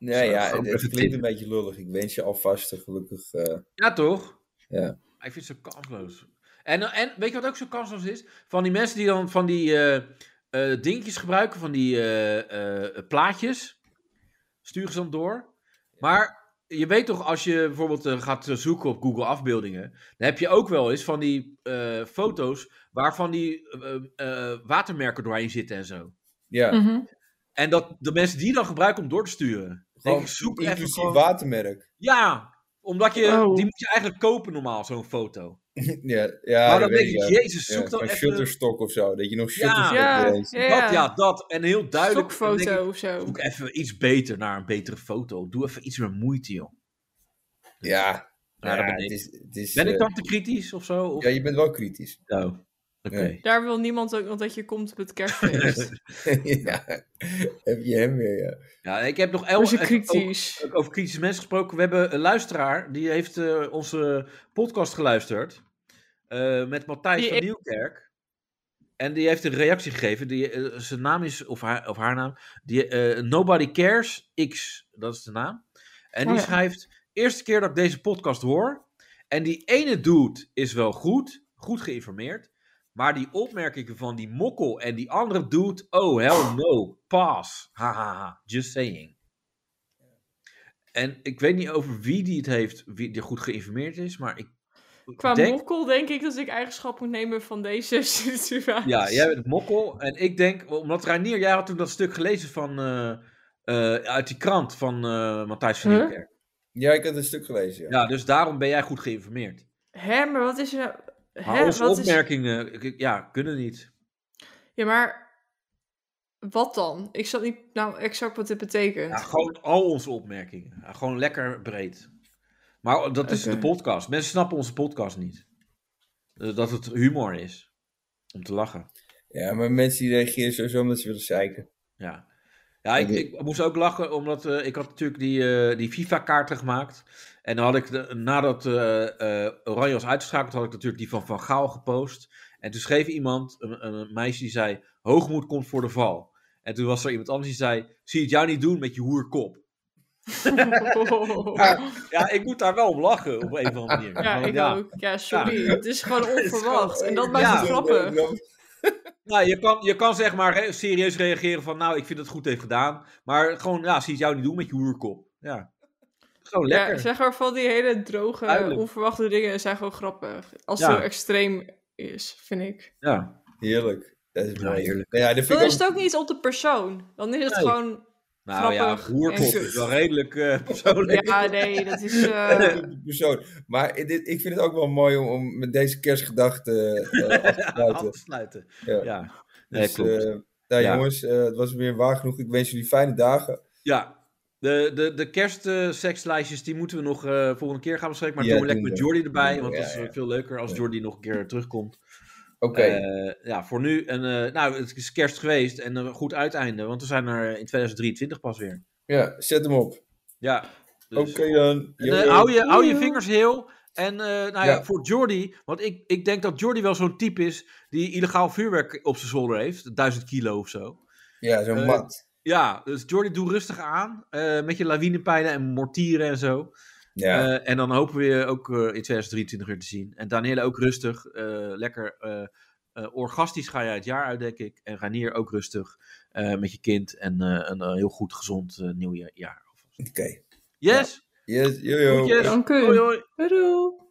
Nee,
Zo,
ja,
ook
het, het
even
klinkt
tip.
een beetje lullig. Ik wens je alvast een gelukkig... eh,
Ja, toch?
Ja.
Ik vind het zo kansloos. En, en weet je wat ook zo kansloos is? Van die mensen die dan van die eh, eh, dingetjes gebruiken, van die eh, eh, plaatjes, sturen ze dan door. Maar je weet toch, als je bijvoorbeeld eh, gaat zoeken op Google afbeeldingen, dan heb je ook wel eens van die eh, foto's waarvan die eh, eh, watermerken doorheen zitten en zo.
ja,
Mhm.
En dat de mensen die dan gebruiken om door te sturen. Denk
gewoon
ik, zoek even
inclusief
gewoon-
watermerk. [laughs]
Ja, omdat je,
Oh.
die moet je eigenlijk kopen normaal, zo'n foto
ja, ja,
maar
dat
dan denk
weet
ik,
ik, ja.
jezus,
Ja,
zoek dan
een
even...
shutterstock of zo. Dat je nog
Ja.
shutterstock
Ja,
ja. leest.
ja.
Dat, ja, dat. En heel duidelijk. Dan denk
Stokfoto
ik,
of zo.
zoek even iets beter naar een betere foto. Doe even iets meer moeite, joh.
Ja,
Ja, dat
ja,
ben
het
ik.
is, het is,
Dus Ben ik
eh,
dan te kritisch of zo? Of...
Ja, je bent wel
[laughs]
kritisch.
Oh, Oké.
Daar wil niemand ook nog dat je komt op het
[laughs]
kerstfeest.
ja, heb je hem weer, ja.
Ja, ik heb nog elf...
Dus je
even
kritisch.
Ook, ook over kritische mensen gesproken. We hebben een luisteraar, die heeft eh, onze podcast geluisterd. eh, met Matthijs
Die
van
ik-
Nieuwkerk. En die heeft een reactie gegeven. Die, eh, zijn naam is, of haar, of haar naam, die, eh, Nobody Cares X. Dat is de naam. En die
Oh ja.
schrijft, eerste keer dat ik deze podcast hoor. En die ene dude is wel goed, goed geïnformeerd. Maar die opmerkingen van die mokkel en die andere dude, oh hell no, pass. Hahaha, just saying. En ik weet niet over wie die het heeft, wie die goed geïnformeerd is, maar ik
Qua
denk...
mokkel denk ik dat ik eigenschap moet nemen van deze [laughs] situatie.
Ja, jij bent mokkel. En ik denk, omdat Reinier, jij had toen dat stuk gelezen van, eh, eh, uit die krant van eh Matthijs van
Huh?
Nieuwkerk.
Ja, ik had een stuk gelezen. Ja.
Ja, dus daarom ben jij goed geïnformeerd.
Hè, maar wat is er nou...
Maar
hè,
onze
wat is-
opmerkingen, ik- ik- ja, kunnen niet.
Ja, maar... Wat dan? Ik snap niet nou exact wat dit betekent.
Ja, gewoon al onze opmerkingen. Ja, gewoon lekker breed. Maar dat is
Oké.
de podcast. Mensen snappen onze podcast niet. Eh, Dat het humor is. Om te lachen.
Ja, maar mensen die reageren sowieso omdat ze willen zeiken.
Ja, ja ik,
En die-
ik moest ook lachen, omdat eh, ik had natuurlijk die, eh, die FIFA-kaarten gemaakt. En dan had ik, de- nadat eh, eh, Oranje was uitgeschakeld, had ik natuurlijk die van Van Gaal gepost. En toen schreef iemand, een, een- een meisje, die zei, hoogmoed komt voor de val. En toen was er iemand anders die zei, zie het jou niet doen met je hoerkop.
[laughs] ja,
Ja, [laughs] ik moet daar wel om lachen, op een of andere manier. Van,
ik
ja.
ook. Ja, sorry. [laughs] Het is gewoon onverwacht. En dat
Ja.
maakt
Ja.
het grappig.
Nou, je kan, je kan zeg maar hè, serieus reageren van, nou, ik vind dat het goed heeft gedaan. Maar gewoon, ja, zie het jou niet doen met je hoerkop. Ja, gewoon lekker.
Ja, zeg maar van die hele droge,
Duidelijk.
onverwachte dingen zijn gewoon grappig. Als
Ja.
het zo extreem is, vind ik.
ja.
Heerlijk. Dat is mooi.
heerlijk.
Ja, dat vind
Dan
ik
is
ook...
het ook niet op de persoon. Dan is het
Nee.
gewoon...
Nou
Grappig
ja, roerkop
en kut.
is wel redelijk eh, [laughs] persoonlijk.
Ja, nee, dat [laughs] is... eh,
een persoon. Maar ik- dit, ik vind het ook wel mooi om, om met deze kerstgedachte eh,
[laughs]
af te
Af
sluiten.
te sluiten.
Ja.
Ja, nee,
Dus,
klopt.
eh, nou
Ja.
jongens, eh, het was weer waar genoeg. Ik wens jullie fijne dagen.
ja. De, de, de kerstsekslijstjes, die moeten we nog eh, volgende keer gaan bespreken. Maar
Ja,
doen we lekker
doen
met
we.
Jordi
Doen
erbij,
we,
want
ja,
dat is eh,
ja.
veel leuker als
Ja.
Jordi nog een keer terugkomt.
Oké.
Eh, ja, voor nu. En, eh, nou, het is kerst geweest en een goed uiteinde, want we zijn er in 2023 pas weer.
ja, zet hem op.
Ja,
Oké
dus...
dan.
En,
Yo,
eh,
yo.
hou, je, hou je vingers heel. En eh, nou ja,
Ja.
voor Jordi, want ik, ik denk dat Jordi wel zo'n type is die illegaal vuurwerk op zijn zolder heeft. Duizend kilo of zo.
Ja, zo'n
eh,
mat.
Ja, dus Jordi, doe rustig aan. eh, met je lawinepijlen en mortieren en zo.
Ja.
Eh, en dan hopen we je ook eh, in 2023 weer te zien. En Danielle ook rustig. eh, lekker eh, eh, orgastisch ga jij het jaar uit, denk ik. En Ranier ook rustig eh, met je kind. En eh, een eh, heel goed, gezond eh, nieuw jaar.
Oké.
Yes!
Yes, yo, yo.
Groetjes.
Dank u.
Hoi, hoi.
Doei.